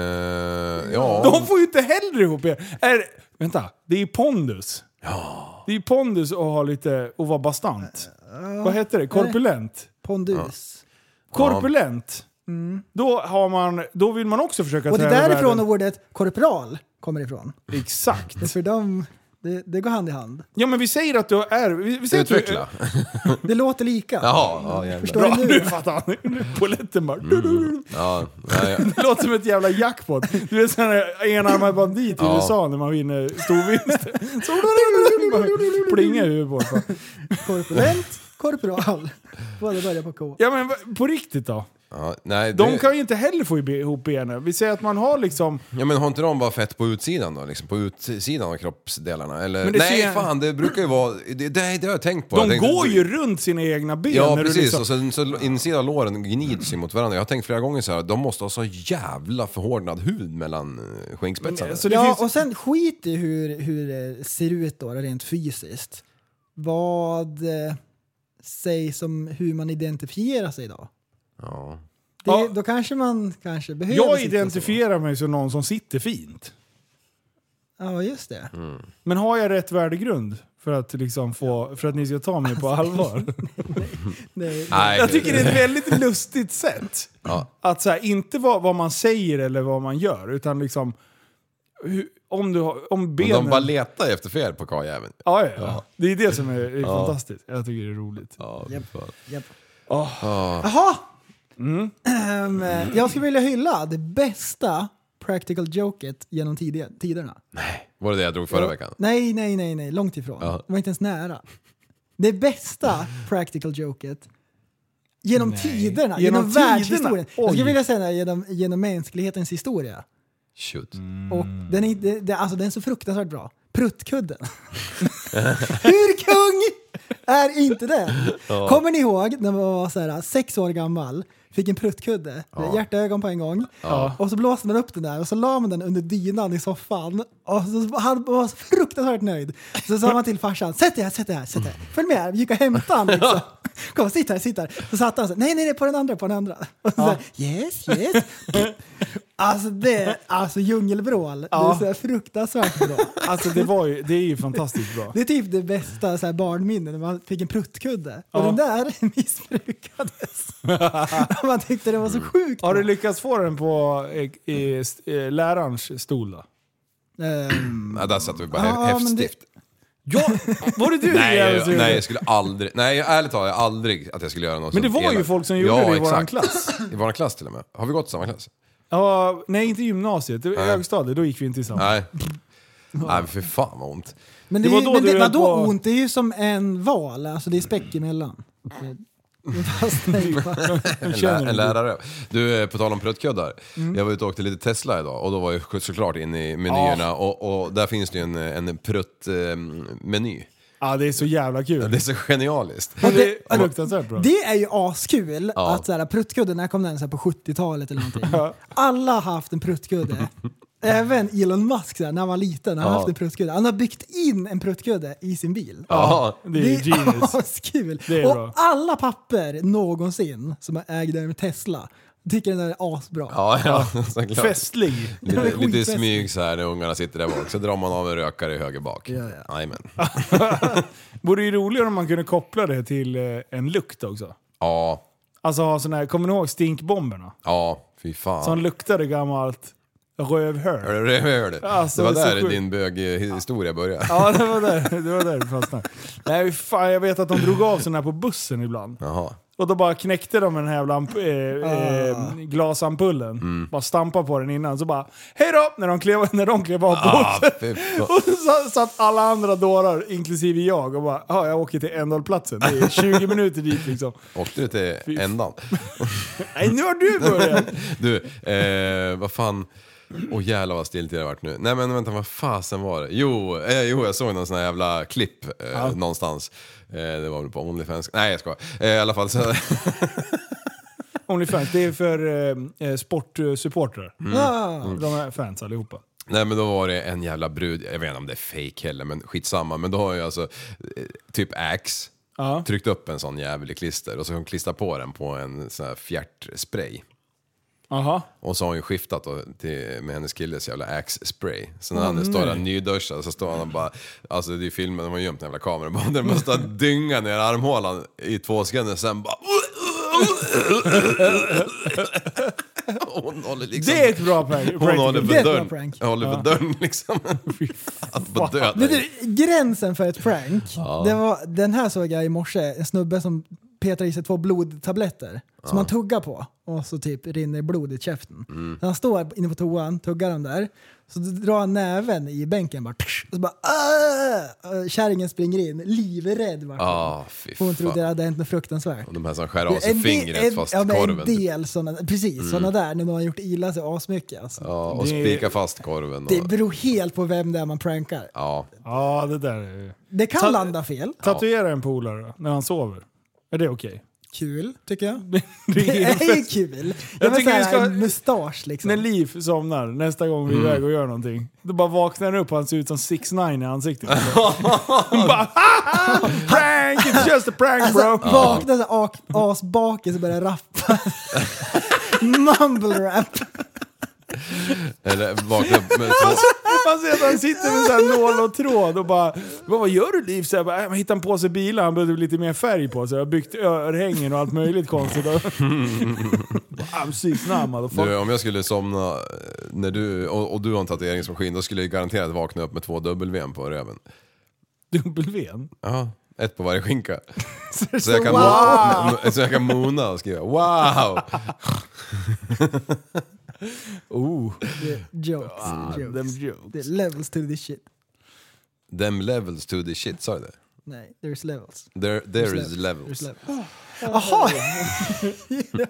Speaker 4: ja.
Speaker 2: *laughs* De får ju inte heller ihop er. Är, vänta, det är ju pondus. Det är ju pondus att ha lite, att vara bastant. Vad heter det? Korpulent?
Speaker 3: Pondus.
Speaker 2: Korpulent. Då, har man, då vill man också försöka
Speaker 3: Mm. Och det är
Speaker 2: över
Speaker 3: därifrån
Speaker 2: världen.
Speaker 3: ordet korpral kommer ifrån.
Speaker 2: Exakt.
Speaker 3: För de, det, det går hand i hand.
Speaker 2: Ja men vi säger att du är... Vi, vi säger Att du,
Speaker 4: Utveckla.
Speaker 3: Det låter lika.
Speaker 4: Jaha, ja Mm. jävlar.
Speaker 3: Förstår
Speaker 2: Bra,
Speaker 3: du
Speaker 2: nu
Speaker 3: nu?
Speaker 2: fattar han. Polletten bara... du, du, du.
Speaker 4: Ja, nej,
Speaker 2: Det låter som ett jävla jackpot. Du vet sån här enarmad bandit i
Speaker 4: Ja.
Speaker 2: USA när man vinner storvinster. Så du, du, du, du, bara Plingar i huvudet på honom.
Speaker 3: Korpulent,
Speaker 2: *laughs*
Speaker 3: korpral. Båda börjar på K.
Speaker 2: Ja men va- på riktigt då?
Speaker 4: ja, nej,
Speaker 2: De
Speaker 4: det-
Speaker 2: kan ju inte heller få ihop benen. Vi säger att man har liksom...
Speaker 4: Ja men har inte de bara fett på utsidan då? Liksom på utsidan av kroppsdelarna? Eller?
Speaker 2: Men det
Speaker 4: Nej
Speaker 2: ser-
Speaker 4: fan, det brukar ju vara... Det, det, det har jag tänkt på.
Speaker 2: De
Speaker 4: jag tänkte,
Speaker 2: går ju runt sina egna ben.
Speaker 4: Ja
Speaker 2: när du
Speaker 4: precis,
Speaker 2: liksom-
Speaker 4: och sen så insidan av låren gnids ju mot varandra. Jag har tänkt flera gånger så här, de måste ha så jävla förhårdnad hud mellan eh, skinkspetsarna.
Speaker 2: så det
Speaker 3: Ja,
Speaker 2: finns...
Speaker 3: och sen skit i hur, hur det ser ut då rent fysiskt. Vad eh, sägs om hur man identifierar sig då?
Speaker 4: Ja.
Speaker 3: Det,
Speaker 2: Ja.
Speaker 3: Då kanske man kanske behöver
Speaker 2: Jag
Speaker 3: sitta så.
Speaker 2: identifierar mig som någon som sitter fint.
Speaker 3: Ja, just det.
Speaker 2: Men har jag rätt värdegrund för att, liksom få, för att ni ska ta mig på allvar?
Speaker 3: det
Speaker 4: Nej,
Speaker 2: Jag tycker det är ett väldigt lustigt
Speaker 4: *laughs*
Speaker 2: sätt. Att så här, inte vad, vad man säger eller vad man gör, utan liksom hur, om, du har, om benen...
Speaker 4: De bara letar efter fel på karljäveln.
Speaker 2: ja, ja, ja. Det är det som är, är fantastiskt. Jag tycker det är roligt.
Speaker 4: Ja, fy fan.
Speaker 3: Japp.
Speaker 2: Ah.
Speaker 3: Jaha!
Speaker 2: Mm.
Speaker 3: Ehm, jag skulle vilja hylla det bästa practical joket genom tidiga, tiderna.
Speaker 4: Var det det jag drog förra veckan?
Speaker 3: Nej, nej, nej, nej. Långt ifrån.
Speaker 4: Ja.
Speaker 3: Det var inte ens nära. Det bästa practical joket genom tiderna, genom,
Speaker 2: Genom tiderna?
Speaker 3: världshistorien. Jag skulle
Speaker 2: Oj.
Speaker 3: vilja säga det här, genom, genom mänsklighetens historia.
Speaker 4: Shoot.
Speaker 2: Mm.
Speaker 3: Och den är, det, det, alltså, den är så fruktansvärt bra. Pruttkudden. Hur kung är inte den? Kommer ni ihåg när man var så här, sex år gammal? Fick en pruttkudde, hjärtögon på en gång. Och så blåste man upp den där och så la man den under dynan i soffan. Och så han var så fruktansvärt nöjd. Så sa man till farsan, sätt dig här, sätt dig här, sätt dig här. Följ med här, gick och hämtade han liksom. Kom, sitt här, sitt här. Så satt han så här, nej, nej, nej, på den andra, på den andra. Och så, yes, yes. Alltså det, alltså djungelvrål. Det är så här fruktansvärt bra.
Speaker 2: Alltså det, var ju, det är ju fantastiskt bra.
Speaker 3: Det är typ det bästa så här barnminnet, när man fick en pruttkudde.
Speaker 2: Ja.
Speaker 3: Och den där *laughs*
Speaker 2: *laughs*
Speaker 3: missbrukades. man tyckte det var så sjukt.
Speaker 2: Har du
Speaker 3: bra.
Speaker 2: lyckats få den på eh, eh, st- eh, lärarens stol då?
Speaker 3: Ehm,
Speaker 4: Ja, där satt vi bara
Speaker 3: Ja, men det-
Speaker 2: Ah,
Speaker 4: ja, häftstift.
Speaker 2: *laughs* Ja, var det du
Speaker 4: Nej,
Speaker 2: jävel
Speaker 4: jag,
Speaker 2: som
Speaker 4: nej,
Speaker 2: gjorde
Speaker 4: jag skulle aldrig, nej jag- ärligt talat, jag aldrig att jag skulle göra något
Speaker 2: Men det
Speaker 4: sånt
Speaker 2: var ju
Speaker 4: elakt.
Speaker 2: folk som gjorde det i våran klass.
Speaker 4: I våran klass till och med. Har vi gått i samma klass?
Speaker 2: Ja, nej, inte gymnasiet. Det var
Speaker 4: Nej.
Speaker 2: högstadiet. Då gick vi inte tillsammans. *laughs*
Speaker 4: Nej. Nej, men fy fan vad ont.
Speaker 3: men
Speaker 2: Det
Speaker 3: det,
Speaker 2: var
Speaker 3: är ju-
Speaker 2: då
Speaker 3: men
Speaker 2: du
Speaker 3: det,
Speaker 2: höll
Speaker 3: vadå
Speaker 2: på-
Speaker 3: ont? Det är ju som en val, alltså det är späck emellan. Det fastnar ju bara.
Speaker 2: *laughs*
Speaker 4: En,
Speaker 2: känner
Speaker 4: lä-
Speaker 2: du?
Speaker 4: en lärare. Du, eh, på tal om pruttkuddar. Jag var ute och åkte lite Tesla idag och då var jag såklart inne i menyerna och, och där finns det ju en, eh, en pruttmeny.
Speaker 2: Ja, det är så jävla kul.
Speaker 4: Det är så genialiskt.
Speaker 2: Ja,
Speaker 3: det-
Speaker 2: det är fruktansvärt bra.
Speaker 3: Det är ju askul
Speaker 4: Ja.
Speaker 3: att så här, pruttkudden, när kom den? Så här, på 70-talet eller någonting. Alla har haft en pruttkudde. Även Elon Musk så här, när han var liten, han har
Speaker 4: Ja.
Speaker 3: haft en pruttkudde. Han har byggt in en pruttkudde i sin bil.
Speaker 4: Ja.
Speaker 2: Det är genius.
Speaker 3: *laughs* askul.
Speaker 2: Det är
Speaker 3: och
Speaker 2: bra.
Speaker 3: alla papper någonsin som ägde en Tesla tycker den där är asbra.
Speaker 4: Ja, *laughs* ja, *laughs* såklart.
Speaker 2: Festlig.
Speaker 3: Det
Speaker 4: Lite,
Speaker 3: är
Speaker 4: lite i
Speaker 3: skitfest.
Speaker 4: smyg så här när ungarna sitter där bak, så drar man av en rökare i höger bak. Jajamän.
Speaker 2: *laughs* Vore ju roligare om man kunde koppla det till eh, en lukt också.
Speaker 4: Ja,
Speaker 2: Alltså ha sån här, kommer ni ihåg stinkbomberna?
Speaker 4: ja, fy fan.
Speaker 2: Som luktade gammalt rövhör.
Speaker 4: Hör du, hör du?
Speaker 2: Alltså,
Speaker 4: det var
Speaker 2: det är så
Speaker 4: där
Speaker 2: sjukt.
Speaker 4: din böghistoria började.
Speaker 2: *laughs* Ja, det var där det var där det fastnade. Nej, fan, jag vet att de drog av såna här på bussen ibland.
Speaker 4: Jaha.
Speaker 2: Och då bara knäckte de den här lamp, eh, eh,
Speaker 4: Ah.
Speaker 2: glasampullen.
Speaker 4: Mm.
Speaker 2: Bara stampade på den innan. Så bara hej då! När de klev, när de klev av
Speaker 4: Ah,
Speaker 2: bussen.
Speaker 4: fy
Speaker 2: *laughs*
Speaker 4: fan.
Speaker 2: Och så sa- satt alla andra dårar, inklusive jag, och bara ja, jag åker till ändhållplatsen. Det är 20 minuter dit liksom.
Speaker 4: Åkte du till
Speaker 2: fan.
Speaker 4: ändan?
Speaker 2: Nej, nu har du börjat!
Speaker 4: Du, eh, vad fan. Åh jävlar vad stilt det har varit nu. Nej men vänta, vad fasen var det? Jo, eh, jo jag såg någon sån här jävla klipp eh, någonstans. Eh, det var väl på Onlyfans. Nej jag skojar. Eh, I alla fall så... *laughs*
Speaker 2: Onlyfans, det är för eh, eh, sportsupportrar. Ah,
Speaker 3: Ja.
Speaker 2: De är fans allihopa.
Speaker 4: Nej men då var det en jävla brud, jag vet inte om det är fake heller men skitsamma. Men då har ju alltså eh, typ Axe
Speaker 2: Ja.
Speaker 4: tryckt upp en sån jävel i klister och så har hon klistrat på den på en sån här fjärtspray.
Speaker 2: Aha.
Speaker 4: Och så har hon ju skiftat då till, med hennes killes jävla axe-spray. Så när han står där nyduschad så står han och bara, alltså det är filmen, de har gömt den jävla kameran, bara, den bara står och dyngar ner armhålan i två sekunder, sen bara... Hon håller liksom...
Speaker 2: Det är ett bra prank.
Speaker 4: hon håller
Speaker 3: Det är
Speaker 4: på
Speaker 3: ett bra
Speaker 4: dörren.
Speaker 3: prank.
Speaker 4: Jag håller på dörren
Speaker 3: *laughs*
Speaker 4: liksom. Att på
Speaker 3: Men
Speaker 4: döden.
Speaker 3: du, gränsen för ett prank, det var, den här såg jag i morse, en snubbe som petar i sig två blodtabletter som han tuggar på och så typ rinner blod i käften.
Speaker 4: Mm.
Speaker 3: Så Han står inne på toan, tuggar dem där, så drar han näven i bänken bara, tsch, och så bara "Ah!" Och Kärringen springer in, livrädd vart hon.
Speaker 4: Ah, fy
Speaker 3: Hon trodde det
Speaker 4: fan.
Speaker 3: hade hänt något fruktansvärt.
Speaker 4: Och De här som skär av
Speaker 3: del-
Speaker 4: sig fingret fast
Speaker 3: ja, men
Speaker 4: korven.
Speaker 3: En
Speaker 4: typ.
Speaker 3: del sådana, precis, sådana där när någon har gjort illa sig asmycket. Alltså.
Speaker 4: Ja, och spika fast korven.
Speaker 3: Det
Speaker 4: Och,
Speaker 3: beror helt på vem det är man prankar.
Speaker 4: ja.
Speaker 2: Ja, det där är ju...
Speaker 3: Det kan
Speaker 2: Ta-
Speaker 3: landa fel.
Speaker 2: Tatuera en polare då, när han sover. Är det okej?
Speaker 3: Kul, tycker jag.
Speaker 2: *laughs* Det
Speaker 3: Det
Speaker 2: är
Speaker 3: är ju
Speaker 2: fest.
Speaker 3: kul.
Speaker 2: Jag
Speaker 3: Jag
Speaker 2: tycker
Speaker 3: vill
Speaker 2: vi
Speaker 3: säga
Speaker 2: ska-
Speaker 3: en mustasch liksom.
Speaker 2: När Liv somnar nästa gång vi är iväg och gör någonting, då bara vaknar han upp och han ser ut som 6 9 i ansiktet. Hon bara "Haha! Prank! It's just a prank
Speaker 3: alltså,
Speaker 2: bro!
Speaker 4: *laughs*
Speaker 3: vaknar så här ak- asbakis och börjar rappa. Mumble rap.
Speaker 4: Eller vakna
Speaker 3: *laughs*
Speaker 4: upp med två...
Speaker 2: Man ser att han sitter med så här nål och tråd och bara Vad, vad gör du Liv? Så jag bara, jag hittade en påse bilar, han behövde lite mer färg på sig. Jag har byggt örhängen och allt möjligt konstigt. *laughs* I'm six now
Speaker 4: Du,
Speaker 2: motherfucker.
Speaker 4: om jag skulle somna eh, när du, och, och du har en tatueringsmaskin, då skulle jag garanterat vakna upp med två W på röven.
Speaker 2: Dubbelven.
Speaker 4: Ja, ett på varje skinka. Så jag kan,
Speaker 3: Wow!
Speaker 4: mo- så jag kan mona och skriva wow!
Speaker 2: Oh,
Speaker 3: Jokes.
Speaker 2: them
Speaker 3: jokes. Det är
Speaker 2: jokes.
Speaker 3: levels to this shit.
Speaker 4: Them levels to the shit, sa du det?
Speaker 3: Nej, there's levels.
Speaker 4: There, there is
Speaker 3: There's
Speaker 2: *laughs*
Speaker 4: levels.
Speaker 3: levels.
Speaker 4: *laughs*
Speaker 3: Jaha! *laughs* ja.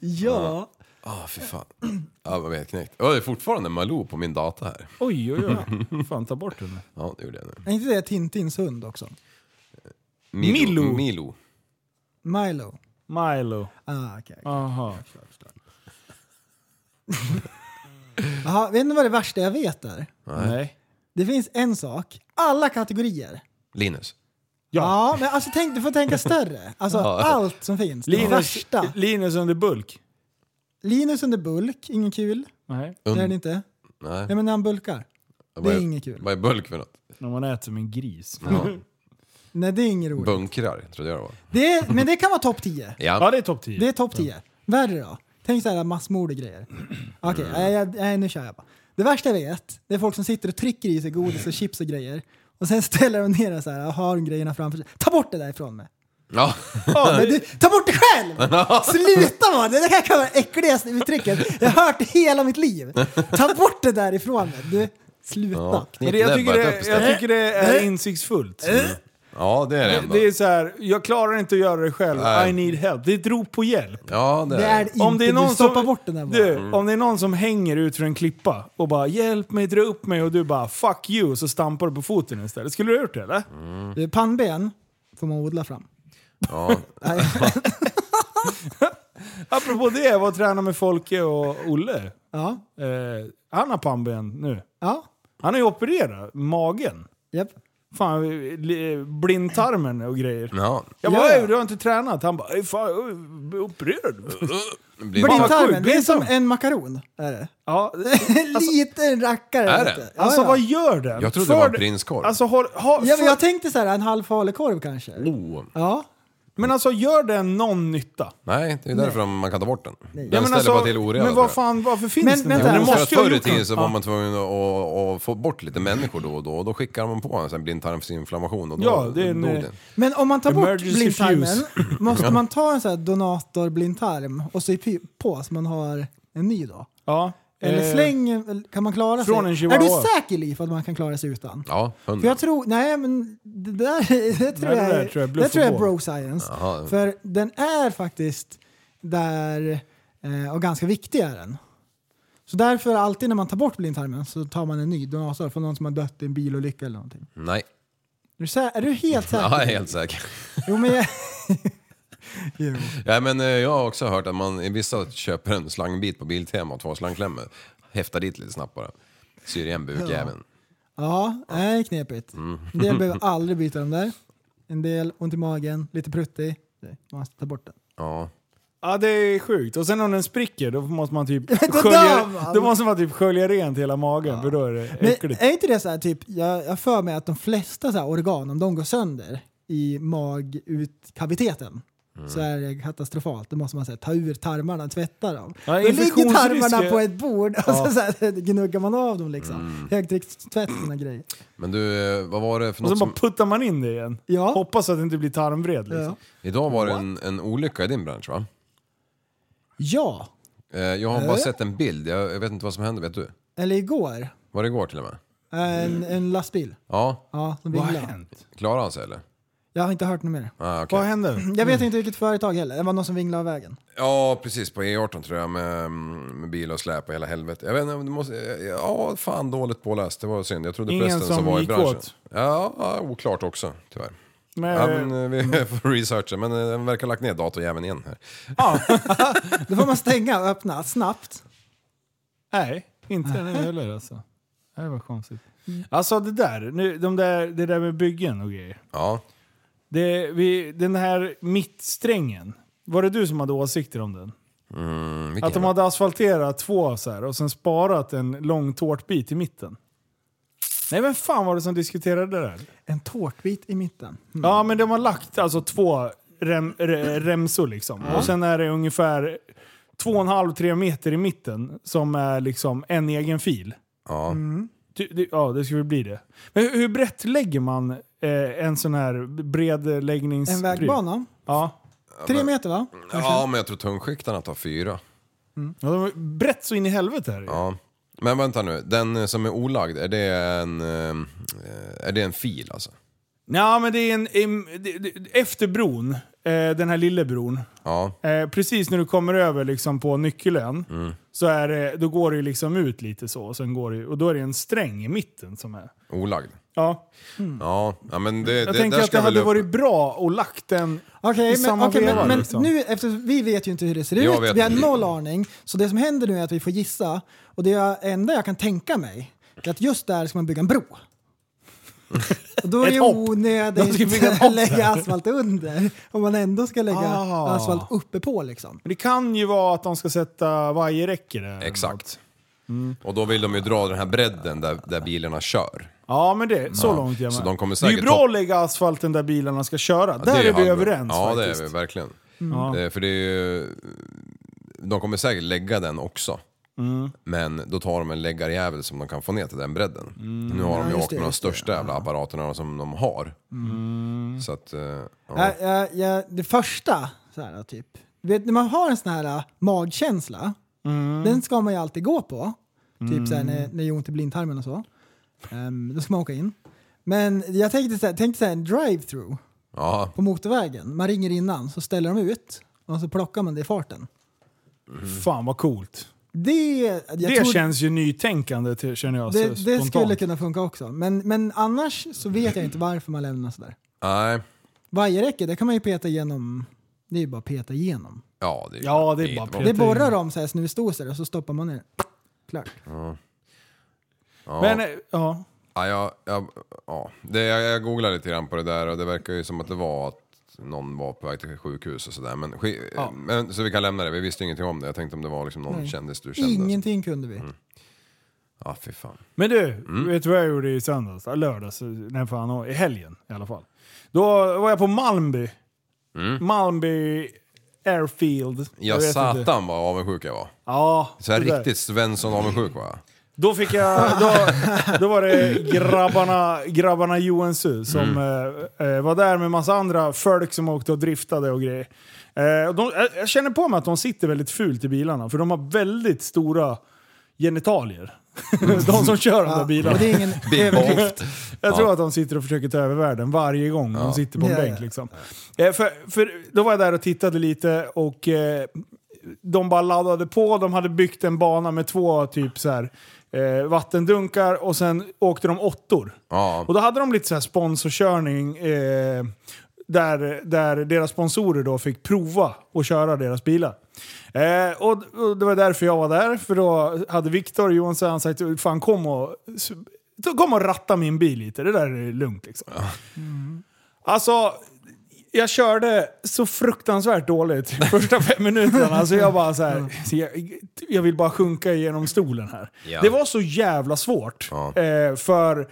Speaker 3: ja.
Speaker 4: Ah, fy fan. Ja, vad jag är knäckt. Ja, det är fortfarande Malou på min data här.
Speaker 2: Oj, oj, oj. Fan, ta bort den.
Speaker 4: Ja, det gjorde jag nu.
Speaker 3: Är inte det Tintins hund också?
Speaker 2: Milo.
Speaker 4: Milo.
Speaker 3: Milo.
Speaker 2: Milo.
Speaker 3: Ah, okay.
Speaker 2: Aha.
Speaker 3: Aha, vet ni vad det värsta jag vet är?
Speaker 2: Nej.
Speaker 3: Det finns en sak, alla kategorier.
Speaker 4: Linus.
Speaker 2: Ja.
Speaker 3: Ja, men alltså tänk, du får tänka större. Alltså allt som finns. Det
Speaker 2: Linus,
Speaker 3: värsta.
Speaker 2: Linus under bulk.
Speaker 3: Linus under bulk, ingen kul.
Speaker 2: Nej.
Speaker 3: Det är det inte.
Speaker 4: Nej.
Speaker 3: Nej men när han bulkar.
Speaker 4: Vad
Speaker 3: inget kul.
Speaker 4: Vad är bulk för något?
Speaker 2: När man äter som en gris.
Speaker 4: Ja.
Speaker 3: Nej det är inget roligt.
Speaker 4: Bunkrar, trodde jag det var.
Speaker 3: Det är, men det kan vara topp 10.
Speaker 2: Ja,
Speaker 4: Ja.
Speaker 2: det är topp 10.
Speaker 3: Det är topp 10. Värre då? Tänk såhär massmord och grejer. Okej, nej, jag- nej, nu kör jag bara. Det värsta jag vet, det är folk som sitter och trycker i sig godis och chips och grejer. Och sen *laughs* ställer de ner det så här och har de grejerna framför sig. Ta bort det därifrån mig.
Speaker 4: ja. *laughs*
Speaker 2: Ja,
Speaker 3: Men du, ta bort det själv! Sluta va! Det där kan vara det äckligaste uttrycket jag har hört i hela mitt liv. Ta bort det därifrån mig. Du, sluta.
Speaker 4: ja.
Speaker 2: Men det, jag, tycker
Speaker 4: Knäppnäbbar,
Speaker 2: det,
Speaker 4: ett
Speaker 2: jag
Speaker 4: uppställ.
Speaker 2: tycker det är insiktsfullt.
Speaker 4: Ja, det är det
Speaker 2: Det,
Speaker 4: ändå.
Speaker 2: det är så här, jag klarar inte att göra det själv.
Speaker 4: Nej.
Speaker 2: I need help. Det är ett rop på hjälp.
Speaker 4: Ja, det
Speaker 3: Det är det
Speaker 4: är det.
Speaker 3: inte. Om det är någon du stoppar bort den där bara.
Speaker 2: du, om det är någon som hänger ut för en klippa och bara “Hjälp mig, dra upp mig” och du bara “Fuck you” och så stampar du på foten istället. Skulle du ha gjort det eller?
Speaker 4: Mm.
Speaker 3: Du, pannben får man odla fram.
Speaker 4: Ja.
Speaker 3: Nej,
Speaker 2: Apropå det, jag var och tränade med Folke och Olle.
Speaker 3: ja,
Speaker 2: Eh, han har pannben nu.
Speaker 3: ja,
Speaker 2: Han har ju opererat magen.
Speaker 3: japp.
Speaker 2: Fan, li- blindtarmen och grejer.
Speaker 4: ja.
Speaker 2: Jag bara
Speaker 3: Ja.
Speaker 2: "Ey, “Du har inte tränat?” Han bara "Ey, “Fan, jag är opererad”.
Speaker 4: Blir
Speaker 2: Fan, vad
Speaker 3: Blindtarmen,
Speaker 2: sjukt.
Speaker 3: det är som
Speaker 2: Blindtarm.
Speaker 3: en makaron.
Speaker 2: *laughs*
Speaker 3: Är det. Alltså,
Speaker 2: Ja,
Speaker 3: En liten rackare.
Speaker 4: Är
Speaker 3: vet du.
Speaker 4: den?
Speaker 3: Ja,
Speaker 2: Alltså
Speaker 3: ja.
Speaker 2: vad gör den?
Speaker 4: Jag trodde det var en
Speaker 2: För-
Speaker 4: prinskorv.
Speaker 2: Alltså, håll, ha,
Speaker 3: ja, men
Speaker 2: för,
Speaker 3: jag tänkte så här, en halv falukorv kanske.
Speaker 4: Oh.
Speaker 3: Ja.
Speaker 2: men alltså gör den någon nytta?
Speaker 4: Nej, det är därför man kan ta bort den. Den
Speaker 2: Ja, men
Speaker 4: ställer
Speaker 2: alltså,
Speaker 4: bara till oreda.
Speaker 2: men
Speaker 4: tror
Speaker 2: vad
Speaker 4: jag.
Speaker 2: fan, varför finns
Speaker 3: Men
Speaker 2: den?
Speaker 3: vänta,
Speaker 2: inte?
Speaker 4: Jo,
Speaker 2: Den
Speaker 3: alltså-
Speaker 4: för att
Speaker 2: måste ju ha
Speaker 4: förr i
Speaker 2: gjort
Speaker 4: tiden
Speaker 2: något.
Speaker 4: så var man tvungen att, att, att få bort lite människor då och då. Och då skickade man på en sån här blindtarmsinflammation och då
Speaker 2: Ja, det är en,
Speaker 4: dog
Speaker 2: eh,
Speaker 4: den.
Speaker 3: Men om man tar bort
Speaker 2: Emergency
Speaker 3: blindtarmen,
Speaker 2: fuse. *laughs*
Speaker 3: måste man ta en sån här donator-blindtarm och sy pi- på så man har en ny då?
Speaker 2: Ja.
Speaker 3: Eller
Speaker 2: Eh,
Speaker 3: släng, kan man klara
Speaker 2: från en
Speaker 3: sig?
Speaker 2: chihuahua.
Speaker 3: är du säker Liv att man kan klara sig utan?
Speaker 4: Ja,
Speaker 3: För
Speaker 4: hundra.
Speaker 3: jag tror, nej men det där *laughs* det tror,
Speaker 2: Mm. det
Speaker 3: jag,
Speaker 2: där
Speaker 3: är-
Speaker 2: tror jag är
Speaker 3: det tror
Speaker 2: bluff och
Speaker 3: jag är
Speaker 2: båg.
Speaker 3: bro science.
Speaker 4: Jaha.
Speaker 3: För den är faktiskt där, eh, och ganska viktig är den. Så därför alltid när man tar bort blindtarmen så tar man en ny donator från någon som har dött i en bilolycka eller någonting.
Speaker 4: Nej,
Speaker 3: Är du, sä- är du
Speaker 2: *laughs*
Speaker 3: helt säker?
Speaker 4: ja, jag är helt säker.
Speaker 3: Jo men jag... *laughs* jo.
Speaker 4: Ja, men eh, jag har också hört att man i vissa köper en slangbit på Biltema och två slangklämmor. Häftar dit lite snabbt bara. Syr igen bukjäveln.
Speaker 3: Ja, det är knepigt.
Speaker 2: Mm.
Speaker 3: En
Speaker 2: *laughs*
Speaker 3: del behöver aldrig byta dem där. En del ont i magen, lite pruttig. Man måste ta bort den.
Speaker 4: Ja.
Speaker 2: Ja, det är sjukt. Och sen om den spricker, då måste man typ
Speaker 3: dör
Speaker 2: skölja, *laughs*
Speaker 3: man.
Speaker 2: då måste man typ skölja rent hela magen, för då är det
Speaker 3: Men
Speaker 2: äckligt.
Speaker 3: är inte det så här, typ, jag jag för mig att de flesta så här organ, om de går sönder i magutkaviteten så
Speaker 2: Mm.
Speaker 3: är det katastrofalt. Då måste man så här, ta ur tarmarna och tvätta dem.
Speaker 2: Ja,
Speaker 3: Då ligger tarmarna
Speaker 2: infektionsrisker-
Speaker 3: på ett bord och så, så här, *laughs* gnuggar man av dem liksom.
Speaker 2: Mm.
Speaker 3: Högtryckstvätt och såna grejer.
Speaker 4: Men du, eh, vad var det för
Speaker 2: Och
Speaker 4: något
Speaker 2: så
Speaker 4: som...
Speaker 2: bara puttar man in det igen.
Speaker 3: Ja.
Speaker 2: Hoppas att det inte blir tarmvred liksom.
Speaker 3: Ja.
Speaker 4: Idag var det en, en olycka i din bransch va?
Speaker 3: ja,
Speaker 4: Eh, Jag har bara sett en bild, jag, jag vet inte vad som hände, vet du?
Speaker 3: eller igår,
Speaker 4: Var det igår till och med?
Speaker 3: en, en lastbil.
Speaker 4: Ja,
Speaker 3: Ja, som
Speaker 2: Mm. Vad har
Speaker 3: vinglade.
Speaker 2: hänt?
Speaker 4: klarade han sig eller?
Speaker 3: Jag har inte hört något mer.
Speaker 4: Ah, okej.
Speaker 2: Vad hände?
Speaker 3: Jag vet inte vilket företag heller. Det var någon som vinglade av vägen.
Speaker 4: Ja, precis. På E18 tror jag med, med bil och släp och hela helvetet. Jag vet inte, om det måste, ja, fan dåligt påläst. Det var synd. Jag trodde
Speaker 2: Ingen
Speaker 4: prästen som,
Speaker 2: som
Speaker 4: var i
Speaker 2: gick
Speaker 4: branschen.
Speaker 2: åt?
Speaker 4: Ja, ja, oklart också tyvärr.
Speaker 2: Men,
Speaker 4: Ja, men, eh, vi *laughs* får researcha, men eh, den verkar ha lagt ner datorjäveln igen här.
Speaker 3: Då får man stänga och öppna snabbt.
Speaker 2: Nej, inte den heller alltså. Det var konstigt. Alltså det där, nu, de där, det där med byggen och grejer.
Speaker 4: Ja,
Speaker 2: Det, vi, den här mittsträngen, var det du som hade åsikter om den?
Speaker 4: Mm, vilken
Speaker 2: Att de
Speaker 4: jävla-
Speaker 2: hade asfalterat två så här och sen sparat en lång tårtbit i mitten. Nej men fan var det som diskuterade det där?
Speaker 3: En tårtbit i mitten. Mm.
Speaker 2: Ja men de har lagt alltså två rem, re, remsor liksom. Och sen är det ungefär 2,5-3 meter i mitten som är liksom en egen fil.
Speaker 4: Ja.
Speaker 2: Mm, Du- du- Ja, det skulle bli det. Men hur, hur brett lägger man eh, en sån här bred läggnings...
Speaker 3: En vägbana.
Speaker 2: Ja.
Speaker 3: Tre meter va?
Speaker 4: ja, men jag tror tungskiktarna tar fyra.
Speaker 2: ja de är brett så in i helvete här.
Speaker 4: Ja. Men vänta nu, den eh, som är olagd, är det en, eh, är det en fil alltså?
Speaker 2: Ja, men det är en... em- det- det- Efter bron, eh, den här lilla bron.
Speaker 4: Ja.
Speaker 2: Eh, precis när du kommer över liksom på nyckelön,
Speaker 4: Mm.
Speaker 2: så är det, då går det ju liksom ut lite så. Och, sen går det, ju- och då är det en sträng i mitten som är...
Speaker 4: Olagd?
Speaker 2: Ja.
Speaker 4: Ja, ja men det,
Speaker 2: Mm. Jag
Speaker 4: det,
Speaker 2: tänker
Speaker 4: där
Speaker 2: att
Speaker 4: ska
Speaker 2: det
Speaker 4: väl
Speaker 2: hade
Speaker 4: upp-
Speaker 2: varit bra att lagt den
Speaker 3: Okej,
Speaker 2: i
Speaker 3: men,
Speaker 2: samma
Speaker 3: okej,
Speaker 2: veva.
Speaker 3: men, men
Speaker 2: liksom.
Speaker 3: nu eftersom vi vet ju inte hur det ser
Speaker 4: Jag
Speaker 3: ut.
Speaker 4: vet
Speaker 3: Vi har
Speaker 4: inte.
Speaker 3: noll aning. Så det som händer nu är att vi får gissa. Och det jag- enda jag kan tänka mig är att just där ska man bygga
Speaker 2: *laughs*
Speaker 3: en bro. Och då är
Speaker 2: Ett
Speaker 3: det
Speaker 2: hopp. De ska
Speaker 3: onödigt
Speaker 2: bygga ett
Speaker 3: att
Speaker 2: hopp
Speaker 3: lägga
Speaker 2: där.
Speaker 3: asfalt under. Om man ändå ska lägga
Speaker 2: Ah.
Speaker 3: asfalt uppe på liksom.
Speaker 2: Men det kan ju vara att de ska sätta vajerräcke där.
Speaker 4: Exakt.
Speaker 2: Mm.
Speaker 4: Och då vill de ju dra den här bredden där, där bilarna kör.
Speaker 2: Ja, men det, så
Speaker 4: Ja,
Speaker 2: långt är jag
Speaker 4: så
Speaker 2: med.
Speaker 4: de kommer
Speaker 2: det är ju
Speaker 4: säkert
Speaker 2: bra
Speaker 4: ta-
Speaker 2: att lägga asfalten där bilarna ska köra.
Speaker 4: Ja,
Speaker 2: där
Speaker 4: det
Speaker 2: är vi
Speaker 4: halvbra.
Speaker 2: överens
Speaker 4: Ja,
Speaker 2: faktiskt. Mm.
Speaker 4: det är vi verkligen.
Speaker 2: Ja.
Speaker 4: Eh, för det är ju, de kommer säkert lägga den också.
Speaker 2: Mm.
Speaker 4: Men då tar de en läggarjävel som de kan få ner till den bredden.
Speaker 2: Mm.
Speaker 4: Nu har de ju
Speaker 3: just
Speaker 4: åkt
Speaker 3: det,
Speaker 4: med de
Speaker 3: just det.
Speaker 4: största jävla apparaterna som de har.
Speaker 2: Mm.
Speaker 4: Så att, eh, ja.
Speaker 2: Äh.
Speaker 3: Ja. Ja, Äh, ja, det första, så här, typ. Du Vet, när man har en sån här äh, magkänsla,
Speaker 2: Mm.
Speaker 3: den ska man ju alltid gå på. Typ så här, när, när det gör ont i blindtarmen och så. Ehm, då ska man åka in. Men jag tänkte så här, tänkte så här en drive-through
Speaker 4: ja.
Speaker 3: på motorvägen. Man ringer innan, så ställer de ut och så plockar man det i farten.
Speaker 2: Fan vad coolt.
Speaker 3: Det, jag
Speaker 2: Det
Speaker 3: tror,
Speaker 2: känns ju nytänkande till, känner jag
Speaker 3: det,
Speaker 2: så
Speaker 3: det
Speaker 2: spontant.
Speaker 3: skulle kunna funka också. Men, men annars så vet jag inte varför man lämnar sådär.
Speaker 4: Nej.
Speaker 3: Vajerräcke, det kan man ju peta igenom. Det är ju bara att peta igenom.
Speaker 4: Ja, det är,
Speaker 2: Ja, det är bara
Speaker 4: bra.
Speaker 2: pet.
Speaker 3: Det
Speaker 2: Peta
Speaker 3: borrar
Speaker 2: igenom.
Speaker 3: om så här snusdosor och så stoppar man ner. Klart.
Speaker 4: Ja.
Speaker 2: Men, eh, ja.
Speaker 4: Ja, jag, jag, ja. Det, jag, jag googlade lite grann på det där och det verkar ju som att det var att någon var på väg till sjukhus och sådär. Men, sk- men, så vi kan lämna det, vi visste ingenting om det. Jag tänkte om det var liksom någon kändis du kände.
Speaker 3: Ingenting kunde vi.
Speaker 4: Ja, fy fan.
Speaker 2: Men du,
Speaker 4: Mm.
Speaker 2: vet du vad jag gjorde i söndags? Ja, Lördags, nej fan, i helgen i alla fall. Då var jag på Malmby. Malmby Airfield. Jag
Speaker 4: Mm. Ja,
Speaker 2: vet inte.
Speaker 4: satan vad avundsjuk jag var.
Speaker 2: Ja,
Speaker 4: Så här
Speaker 2: det där.
Speaker 4: riktigt Svensson avundsjuk
Speaker 2: *laughs*
Speaker 4: var jag.
Speaker 2: Då fick jag... Då, då var det grabbarna, grabbarna Joensuu som eh, eh, var där med massa andra folk som åkte och driftade och grejer. Eh, och de, jag- jag känner på mig att de sitter väldigt fult i bilarna för de har väldigt stora genitalier. *laughs* de som kör de där bilarna.
Speaker 3: Och det är ingen
Speaker 4: Big
Speaker 3: överdrift.
Speaker 4: Bolt.
Speaker 2: Jag tror att de sitter och försöker ta över världen varje gång de sitter på en
Speaker 3: Ja,
Speaker 2: bänk.
Speaker 3: ja.
Speaker 2: Liksom. Eh, För, för då var jag där och tittade lite och eh, de bara laddade på. De hade byggt en bana med två typ så här, eh, vattendunkar och sen åkte de åttor.
Speaker 4: Ja.
Speaker 2: Och då hade de lite så här sponsorkörning. Eh, där, där deras sponsorer då fick prova att köra deras bilar. Eh, och, och det var därför jag var där, för då hade Viktor Johansson sagt fan kom och, så kom och ratta min bil lite, det där är lugnt liksom. Alltså, jag körde så fruktansvärt dåligt första *laughs* fem minuterna. Alltså jag bara så
Speaker 4: Mm.
Speaker 2: här, så jag, jag vill bara sjunka igenom stolen här.
Speaker 4: Ja.
Speaker 2: Det var så jävla svårt.
Speaker 4: Ja.
Speaker 2: Eh, för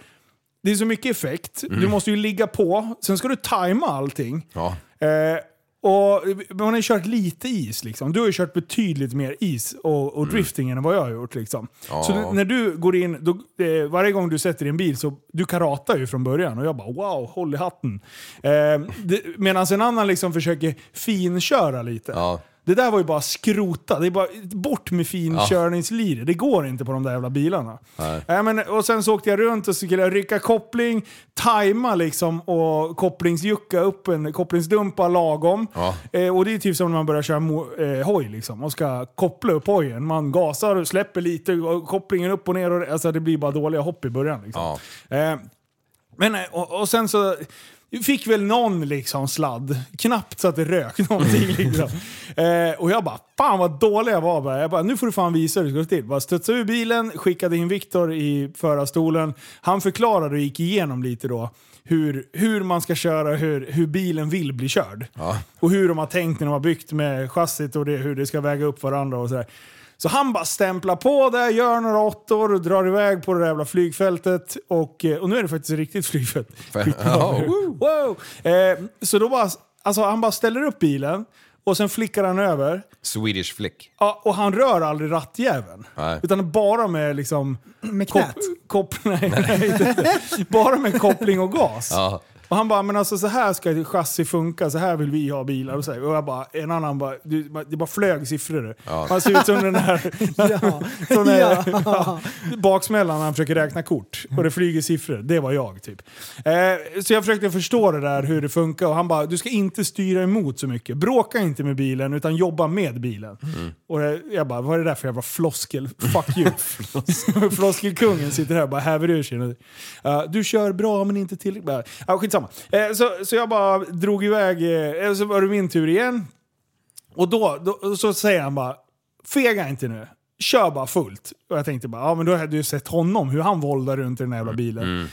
Speaker 2: det är så mycket effekt, du måste ju ligga på, sen ska du tajma allting.
Speaker 4: Ja.
Speaker 2: Eh, och man har ju kört lite is liksom. Du har ju kört betydligt mer is och, och drifting än vad jag har gjort. Liksom.
Speaker 4: Ja.
Speaker 2: Så du, när du går in, då, eh, varje gång du sätter din bil så du karatar ju från början och jag bara wow, håll i hatten. Eh, det- Medan en annan liksom försöker finköra lite.
Speaker 4: Ja.
Speaker 2: Det där var ju bara skrota. Det är bara bort med finkörningslir. Det går inte på de där jävla bilarna.
Speaker 4: Nej.
Speaker 2: Äh, men, och sen så åkte jag runt och så skulle jag rycka koppling, tajma liksom och kopplingsjucka upp en, kopplingsdumpa lagom.
Speaker 4: Ja.
Speaker 2: Eh, och det är typ som när man börjar köra mo- eh, hoj liksom och ska koppla upp hojen. Man gasar och släpper lite och kopplingen upp och ner. Och, alltså det blir bara dåliga hopp i början. Liksom.
Speaker 4: Ja.
Speaker 2: Eh, men, eh, och, och sen så Fick väl någon liksom sladd. Knappt så att det rök *laughs* någonting. Liksom. Eh, och jag bara, fan vad dålig jag var. bara. Jag bara, nu får du fan visa hur det ska gå till. Bara studsade ur bilen, skickade in Viktor i förarstolen. Han förklarade och gick igenom lite då hur, hur man ska köra, hur, hur bilen vill bli körd. Och hur de har tänkt när de har byggt med chassit och det, hur det ska väga upp varandra och sådär. Så han bara stämplar på där, gör några åttor och drar iväg på det där jävla flygfältet. Och, eh, och nu är det faktiskt ett riktigt flygfält. *laughs*
Speaker 4: Ja,
Speaker 2: Wow. Eh, så då bara, alltså han bara ställer upp bilen och sen flickar han över.
Speaker 4: Swedish flick.
Speaker 2: Ja, och han rör aldrig rattjäveln.
Speaker 4: Nej.
Speaker 2: Utan bara med liksom...
Speaker 3: Med knät?
Speaker 2: Kop, kop, *laughs* nej, nej. inte. bara med koppling och gas.
Speaker 4: Ja.
Speaker 2: Och han bara, men alltså så här ska ett chassi funka, så här vill vi ha bilar. Och, så här. och jag bara, en annan bara, du, det bara flög siffror. du. Han ser ut som den här,
Speaker 4: *laughs*
Speaker 3: *laughs* Ja.
Speaker 2: *laughs* som den här
Speaker 3: Ja.
Speaker 2: ja, baksmällan när han försöker räkna kort. Och det flyger siffror. Det var jag typ. Eh, så jag försökte förstå det där, hur det funkar. Och han bara, du ska inte styra emot så mycket. Bråka inte med bilen, utan jobba med bilen. Och jag- jag bara, vad är det där för jävla floskel? Fuck you. *laughs* Floskelkungen sitter här och bara häver ur sig. Eh, du kör bra men inte tillräckligt bra. Ah, skitsamma. Eh, så, så jag bara drog iväg, eh, så var det min tur igen. Och då, då så säger han bara, fega inte nu. Kör bara fullt. Och jag tänkte bara, ja men då hade du sett honom, hur han våldar runt i den här
Speaker 3: Mm.
Speaker 2: jävla bilen.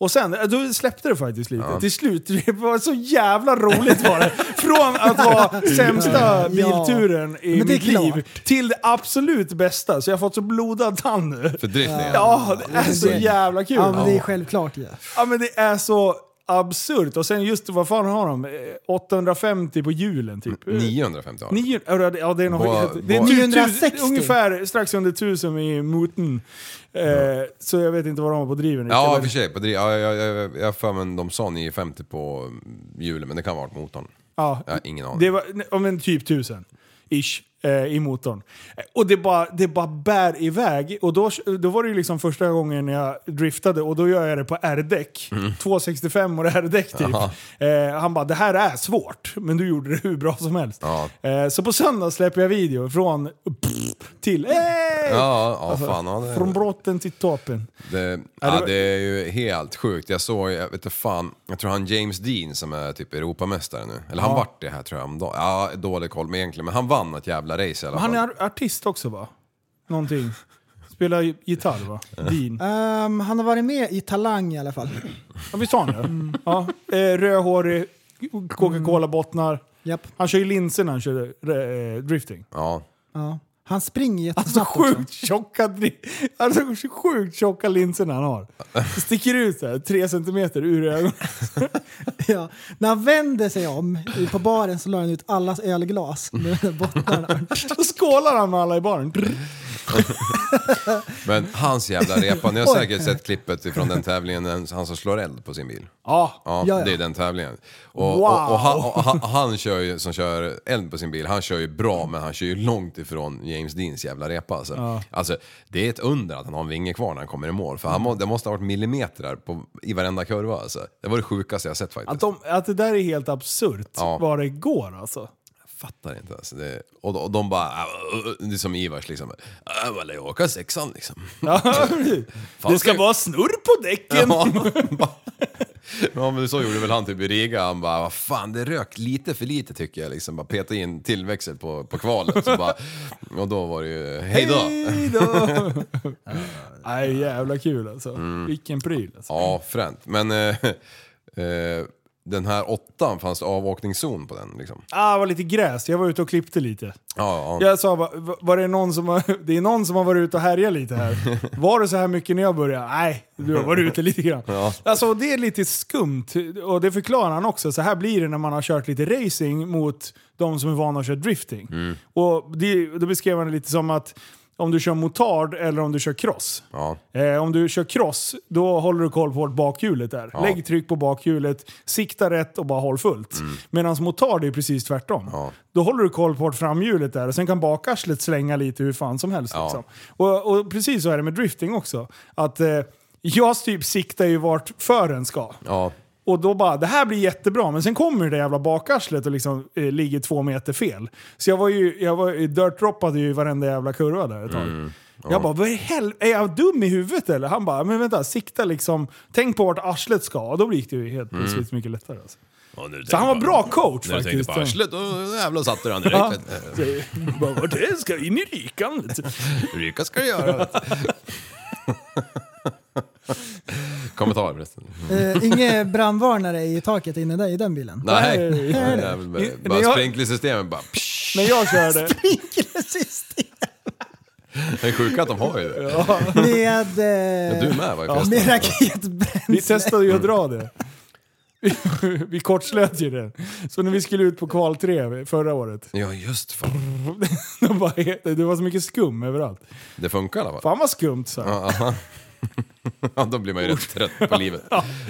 Speaker 2: Och sen, då släppte det faktiskt lite. Till slut, *laughs* det var så jävla roligt var det. Från att
Speaker 3: *laughs*
Speaker 2: vara sämsta bilturen i
Speaker 3: Men det är
Speaker 2: mitt liv
Speaker 3: klart.
Speaker 2: till det absolut bästa. Så jag har fått så blodad tand nu.
Speaker 4: För driftningen.
Speaker 2: Ja, det är så jävla kul.
Speaker 3: Ja, men det är självklart ju.
Speaker 2: Ja men det är så absurt. Och sen just, vad fan har de? Eh, 850 på hjulen typ.
Speaker 4: 950 har
Speaker 2: Nio, ja, det- ja, det är nog...
Speaker 4: Vad-
Speaker 2: det är
Speaker 4: vad-
Speaker 2: 960.
Speaker 3: 960.
Speaker 2: Ungefär strax under 1000 i moten. Eh, Så jag vet inte vad de har på driven.
Speaker 4: Ja, i och
Speaker 2: Eller-
Speaker 4: för sig. På driv, ja, jag, jag, jag, jag har för mig de sa 950 på mm, hjulen, men det kan vara varit motorn.
Speaker 2: ja.
Speaker 4: Jag har ingen aning.
Speaker 2: Det var om en typ 1000 ish eh, i motorn. Eh, Och det bara, det bara bär iväg. Och då, då var det ju liksom första gången jag driftade och då gör jag det på R-däck.
Speaker 4: Mm.
Speaker 2: 265 och R-däck typ. Eh, han bara, det här är svårt, men du gjorde det hur bra som helst.
Speaker 4: Ja.
Speaker 2: Eh, så på söndag släpper jag video från till... Hey!
Speaker 4: Ja, ja, fan. Ja, det,
Speaker 2: Från brotten till toppen.
Speaker 4: Det,
Speaker 2: det
Speaker 4: ja,
Speaker 2: var-
Speaker 4: det är ju helt sjukt. Jag såg, jag vet inte fan, jag tror han James Dean som är typ Europamästare nu. Eller han vart det här tror jag om dagen. Ja, dålig koll men egentligen. Men han vann ett jävla race i alla fall.
Speaker 2: Han är ar- artist också va? Någonting. Spelar gi- gitarr va? Dean.
Speaker 3: Ehm, han har varit med i Talang i alla fall.
Speaker 2: Ja, visst har han det? Ja. Eh, Rödhårig, Coca-Cola-bottnar.
Speaker 3: Japp.
Speaker 2: Han kör ju linser när han kör eh, drifting.
Speaker 4: Ja.
Speaker 3: Ja. Han springer
Speaker 2: Alltså
Speaker 3: jättesnabbt också.
Speaker 2: sjukt tjocka, dri- alltså, sjukt tjocka linser han har. Det sticker ut så här, tre centimeter ur ögonen.
Speaker 3: *laughs*
Speaker 2: *laughs*
Speaker 3: Ja. När han vänder sig om i- på baren så la han ut allas ölglas med *laughs* den där bottnarna.
Speaker 2: Då skålar han med alla i baren.
Speaker 4: Men hans jävla repa. Ni har
Speaker 2: *laughs*
Speaker 3: Oj.
Speaker 4: säkert sett klippet ifrån den tävlingen, den- han som slår eld på sin bil.
Speaker 2: Ja.
Speaker 4: Ja,
Speaker 3: Ja, ja.
Speaker 4: det är den tävlingen. Och,
Speaker 2: Wow.
Speaker 4: och, och, han, och han, han kör ju, som kör eld på sin bil, han kör ju bra men han kör ju långt ifrån James Deans jävla repa. Alltså, alltså, det är ett under att han har en vinge kvar när han kommer i mål. För han må, det måste ha varit millimeter på, i varenda kurva alltså. Det var det sjukaste jag sett faktiskt.
Speaker 2: Att, de, att det där är helt absurt
Speaker 4: Ja.
Speaker 2: vad det går alltså.
Speaker 4: fattar inte alltså. Det, och, och de bara, "Ah, uh, uh," det är som Ivars liksom. "Ah, vad lär jag åka sexan liksom.
Speaker 2: Ja,
Speaker 4: Fan,
Speaker 2: det ska
Speaker 4: ska-
Speaker 2: vara snurr på däcken!
Speaker 4: Ja, *laughs* ja men så gjorde väl han typ i Riga. Han bara, vad fan det rök lite för lite tycker jag. Liksom bara peta in tillväxel på, på kvalet. Så bara, och då var det ju, hej då!
Speaker 2: Hejdå! Nej, jävla kul alltså. Vilken pryl alltså.
Speaker 4: Mm. Ja, fränt. Men eh, eh, den här åttan, fanns det avåkningszon på den liksom?
Speaker 2: Ah, det var lite gräs. Jag var ute och klippte lite.
Speaker 4: Ja, ja.
Speaker 2: Jag sa, va- va- var det, någon som har, det är någon som har varit ute och härjat lite
Speaker 4: *laughs*
Speaker 2: här. Var det så här mycket när jag började? Nej, du har varit ute lite grann. Alltså, det är lite skumt och det förklarar han också. Så här blir det när man har kört lite racing mot de som är vana att köra drifting.
Speaker 4: Mm.
Speaker 2: Och det, då beskrev han det lite som att om du kör motard eller om du kör cross.
Speaker 4: ja.
Speaker 2: Eh, om du kör cross, då håller du koll på vart bakhjulet är. Lägg tryck på bakhjulet, sikta rätt och bara håll fullt.
Speaker 4: Mm.
Speaker 2: Medan motard är precis tvärtom. Då håller du koll på vart framhjulet är och sen kan bakarslet slänga lite hur fan som helst.
Speaker 4: Ja.
Speaker 2: Liksom. Och, och precis så är det med drifting också. Att eh, jag typ siktar ju vart fören ska.
Speaker 4: ja.
Speaker 2: Och då bara, det här blir jättebra. Men sen kommer ju det jävla bakarslet och liksom eh, ligger två meter fel. Så jag var ju, jag var, dirt-droppade ju i varenda jävla kurva där ett tag.
Speaker 4: Mm,
Speaker 2: Jag bara, vad i hel- är jag dum i huvudet eller? Han bara, men vänta, sikta liksom, tänk på vart arslet ska. Och då gick det ju
Speaker 4: Mm.
Speaker 2: helt plötsligt mycket lättare. Alltså. Så han var bra coach
Speaker 4: När du
Speaker 2: faktiskt.
Speaker 4: tänkte på arslet, då jävlar satte du Eh, han
Speaker 2: Ja.
Speaker 4: direkt.
Speaker 2: Så jag bara, Vart är det? Ska in i rikan?
Speaker 4: *laughs*
Speaker 2: vet du."
Speaker 4: Ryka ska du göra. vet du. *laughs* Kommentar förresten.
Speaker 3: Eh, Inga brandvarnare i taket inne där i den
Speaker 4: *laughs*
Speaker 3: bilen.
Speaker 4: Nej,
Speaker 2: Nej, nej,
Speaker 4: Nej, det är väl
Speaker 2: nej.
Speaker 4: bara
Speaker 2: Men jag-
Speaker 4: sprinklersystemet bara... Psh,
Speaker 2: När jag körde...
Speaker 3: Sprinklersystem.
Speaker 4: det är sjuka att de har ju det.
Speaker 3: Med... Eh,
Speaker 4: Du med va?
Speaker 3: Ja, med
Speaker 4: Christer?
Speaker 2: Vi
Speaker 3: raketbränsle.
Speaker 2: testade ju att dra det. *laughs* Vi- Vi kortslöt ju det. Så när vi skulle ut på kval 3 förra året,
Speaker 4: Ja just fan.
Speaker 2: *laughs* då bara, det var så mycket skum överallt.
Speaker 4: Det funkar i alla fall.
Speaker 2: Fan vad skumt så. här.
Speaker 4: Ja, *laughs* då blir man ju rätt trött på livet.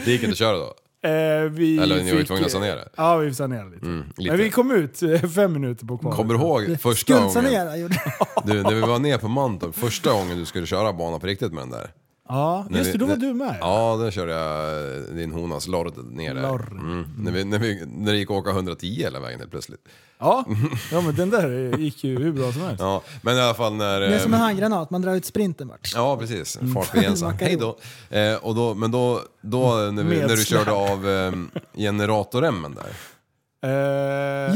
Speaker 4: Det gick inte att köra då.
Speaker 2: Eh, vi
Speaker 4: Eller ni var ju
Speaker 2: fick-
Speaker 4: tvungna att sanera. Mm,
Speaker 2: Ja, vi sanerade lite.
Speaker 4: lite.
Speaker 2: Men vi kom ut eh, fem minuter på kvalet.
Speaker 4: Kommer du ihåg första gången?
Speaker 3: Skuldsanera gjorde
Speaker 4: Du, när vi var ner på Mantorp, första gången du skulle köra bana på riktigt med den där.
Speaker 2: Ja,
Speaker 4: När
Speaker 2: just det.
Speaker 4: vi-
Speaker 2: Då var
Speaker 4: när-
Speaker 2: du med.
Speaker 4: Ja, då körde jag din honas lord ner där.
Speaker 2: Lord.
Speaker 4: Mm. När, vi, när, vi, när det gick att åka 110 hela vägen helt plötsligt. *laughs*
Speaker 2: Ja. ja, men den där eh, gick ju hur bra som helst.
Speaker 4: Ja, men i alla fall när...
Speaker 3: Det är som en
Speaker 4: eh,
Speaker 3: handgranat, man drar ut sprinten bara.
Speaker 4: Ja, precis.
Speaker 2: Mm. *laughs*
Speaker 4: Fartbegränsaren.
Speaker 3: Mackan
Speaker 4: Hej då. Eh, och då. Men då, då när, vi,
Speaker 2: Med
Speaker 4: när du
Speaker 2: släp.
Speaker 4: körde av eh, generatorremmen där,
Speaker 2: Eh,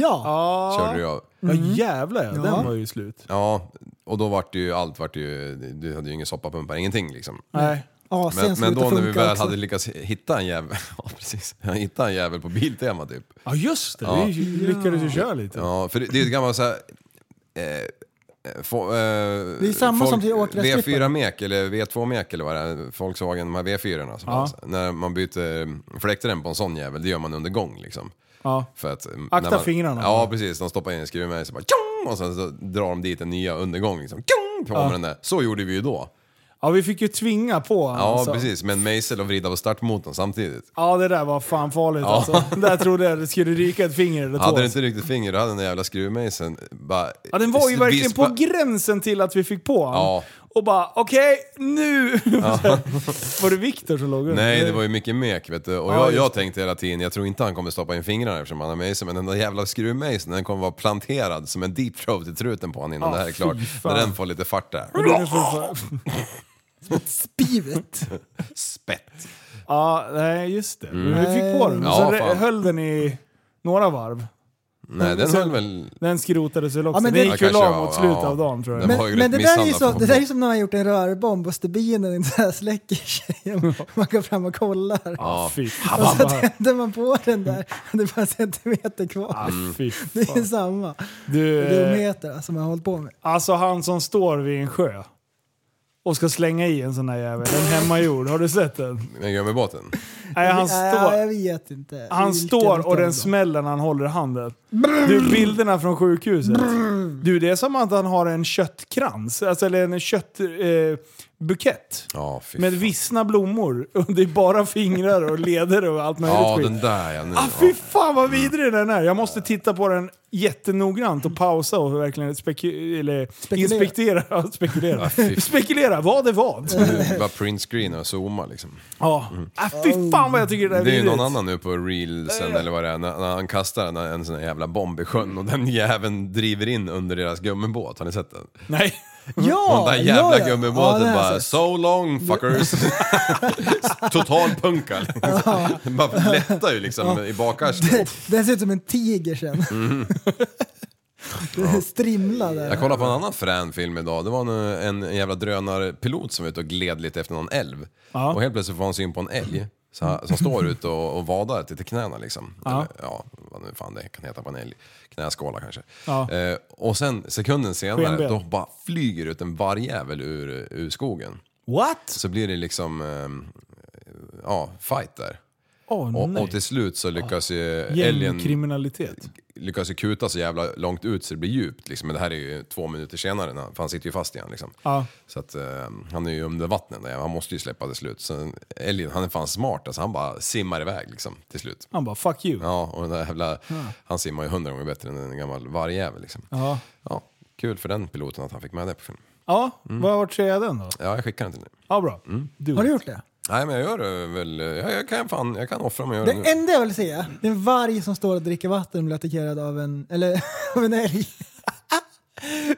Speaker 3: Ja.
Speaker 2: ja.
Speaker 4: körde du av.
Speaker 2: Ja, jävlar ja.
Speaker 3: Ja.
Speaker 2: Den var ju slut.
Speaker 4: Ja, och då vart det ju allt, vart det ju, du hade ju ingen soppapumpar, ingenting liksom.
Speaker 2: Nej.
Speaker 3: Asen
Speaker 4: Men, men
Speaker 3: slutar
Speaker 4: då när vi
Speaker 3: funka
Speaker 4: väl
Speaker 3: också.
Speaker 4: hade lyckats hitta en jävel, *laughs* ja precis, hitta en jävel på Biltema typ.
Speaker 2: Ja, just det. Vi lyckades ju köra lite.
Speaker 4: Ja, för det, det är ju ett gammalt såhär... Eh, få, eh,
Speaker 3: är samma som till åkgräsklippare.
Speaker 4: V4-mek eller V2-mek eller vad det är, Volkswagen, de här V4-orna som fanns. När man byter fläktrem på en sån jävel, det gör man under gång liksom.
Speaker 2: Ja.
Speaker 4: För att, eh,
Speaker 2: Akta
Speaker 4: när man,
Speaker 2: fingrarna.
Speaker 4: Ja, precis. De stoppar in en skruvmejsel bara tjong! och sen så drar de dit en nya undergång liksom. Tjong! På med den där. Så gjorde vi ju då.
Speaker 2: Ja, vi fick ju tvinga på
Speaker 4: Ja,
Speaker 2: alltså.
Speaker 4: precis. Med en mejsel och vrida på startmotorn samtidigt.
Speaker 2: Ja, det där var fan farligt alltså. Där trodde jag det skulle ryka ett finger eller två.
Speaker 4: Hade du inte riktigt finger, då hade den där jävla skruvmejseln bara...
Speaker 2: Ja, den var ju verkligen
Speaker 4: vispa-
Speaker 2: på gränsen till att vi fick på han.
Speaker 4: Ja.
Speaker 2: Och bara, okej, nu! *laughs* var det Viktor som låg under?
Speaker 4: Nej, det var ju mycket mek vet du. Och
Speaker 2: Ja,
Speaker 4: jag,
Speaker 2: just
Speaker 4: jag tänkte hela tiden, jag tror inte han kommer stoppa in fingrarna eftersom han har mejsel. Men den där jävla skruvmejseln, den kommer vara planterad som en deep throat i truten på honom innan
Speaker 2: Ja,
Speaker 4: det här är
Speaker 2: Ah, fy
Speaker 4: klart.
Speaker 2: fan.
Speaker 4: När den får lite fart där.
Speaker 2: Det är för- för-
Speaker 3: Spivet.
Speaker 4: *laughs* Spett.
Speaker 2: Ja, nej just det. Men vi fick på den.
Speaker 4: Mm. Ja,
Speaker 2: Sen re-
Speaker 4: fan.
Speaker 2: höll den i några varv.
Speaker 4: Nej, den
Speaker 2: Så-
Speaker 4: höll väl...
Speaker 2: Den skrotades väl också.
Speaker 3: Ja, men
Speaker 2: den
Speaker 3: det-
Speaker 2: gick ju
Speaker 4: Ja, kanske,
Speaker 2: lag
Speaker 4: ja,
Speaker 2: mot slutet
Speaker 4: ja.
Speaker 2: av dagen tror jag.
Speaker 4: Den
Speaker 2: Men,
Speaker 3: Men,
Speaker 4: var ju
Speaker 3: men det,
Speaker 4: rätt
Speaker 3: där är ju så,
Speaker 4: misshandlad på-
Speaker 3: det där är ju som när man har gjort en rörbomb och stubinen inte ens släcker
Speaker 4: *laughs*
Speaker 3: sig. Man går fram och kollar.
Speaker 2: ja. Fy
Speaker 3: Och
Speaker 2: fan. *laughs*
Speaker 3: så tänder man på den där och det är bara en centimeter kvar.
Speaker 4: Mm.
Speaker 2: Ah, fy
Speaker 3: Det är
Speaker 2: fan.
Speaker 3: samma
Speaker 2: Du, eh,
Speaker 3: dumheter alltså, man har hållit på med.
Speaker 2: alltså han som står vid en sjö och ska slänga i en sån där jävel. En hemmagjord. Har du sett den?
Speaker 4: Den gör med båten.
Speaker 2: Nej, han
Speaker 3: Ja, jag
Speaker 2: står...
Speaker 3: vet inte.
Speaker 2: Han
Speaker 3: Vilken
Speaker 2: står och
Speaker 3: utav dem.
Speaker 2: den smäller när han håller i handen. Du, bilderna från sjukhuset. Du, det är som att han har en köttkrans, alltså, eller en köttbukett. Eh, bukett.
Speaker 4: Ja, fy
Speaker 2: med
Speaker 4: fan.
Speaker 2: vissna blommor. *laughs* Och det är bara fingrar och leder och allt möjligt
Speaker 4: Ja,
Speaker 2: skit.
Speaker 4: den där ja. Nu,
Speaker 2: Ah,
Speaker 4: ja.
Speaker 2: fy fan vad vidrig den är! Jag måste titta på den jättenoggrant och pausa och verkligen speku- eller
Speaker 3: Spekulera.
Speaker 2: inspektera. Ja, spekulera.
Speaker 4: Ah, fy- Mm.
Speaker 2: spekulera, vad är vad?
Speaker 4: Nu bara printscreena och zooma liksom.
Speaker 2: Ja. Ah, fy fan vad jag tycker det där är
Speaker 4: Det är ju
Speaker 2: vidrigt.
Speaker 4: någon annan nu på reelsen eller vad det är, när, när han kastar en, en sån här jävla bomb i sjön och den *laughs* jäveln driver in under deras gummibåt. Har ni sett den?
Speaker 2: Nej.
Speaker 3: Ja!
Speaker 4: Mm. Den där
Speaker 3: ja, ja.
Speaker 4: jävla
Speaker 3: Ja, den
Speaker 4: gummibåten
Speaker 3: har jag
Speaker 4: bara
Speaker 3: sett.
Speaker 4: so long fuckers. Total punka. liksom. Den bara lättar ju liksom i bakarslet.
Speaker 3: Den ser ut som en tiger sen. *laughs* Den strimlar där.
Speaker 4: Mm. Jag kollade på en annan frän film idag. Det var en, en jävla drönarpilot som var ute och gled lite efter någon älv. Och helt plötsligt får han syn på en älg. Så han, som står ute och, och vadar till till knäna liksom. Eller, ja, vad nu fan det kan heta på en älg. Knäskålar kanske.
Speaker 2: Ja.
Speaker 4: Eh, och sen sekunden senare,
Speaker 2: Skenben.
Speaker 4: då bara flyger ut en vargjävel ur, ur skogen.
Speaker 2: What?
Speaker 4: Så blir det liksom, ehm, ja, fight där.
Speaker 2: Åh
Speaker 4: Och,
Speaker 2: nej. Ah,
Speaker 4: och till slut så lyckas ju älgen
Speaker 2: Gängkriminalitet.
Speaker 4: lyckas ju kuta så jävla långt ut så det blir djupt. Liksom. Men det här är ju två minuter senare, när han, för han sitter ju fast igen. Liksom.
Speaker 2: Ja.
Speaker 4: Så att, eh, han är ju under vattnet, där. han måste ju släppa till slut. Så älgen, han är fan smart, alltså, han bara simmar iväg liksom, till slut.
Speaker 2: Han bara fuck you.
Speaker 4: Ja, och den där jävla, han simmar ju hundra gånger bättre än en gammal vargjävel. Liksom.
Speaker 2: Ja.
Speaker 4: Ja, kul för den piloten att han fick med det på film.
Speaker 2: Ja, var vart ser jag den då?
Speaker 4: Ja, jag skickar den till dig.
Speaker 2: Ja, bra.
Speaker 3: Har du gjort det?
Speaker 4: Nej men jag gör det väl, jag, jag kan fan, jag kan offra mig och göra det
Speaker 3: Det
Speaker 4: nu.
Speaker 3: enda jag vill se, det är en varg som står och dricker vatten och blir attackerad av en, eller, *laughs* av en älg.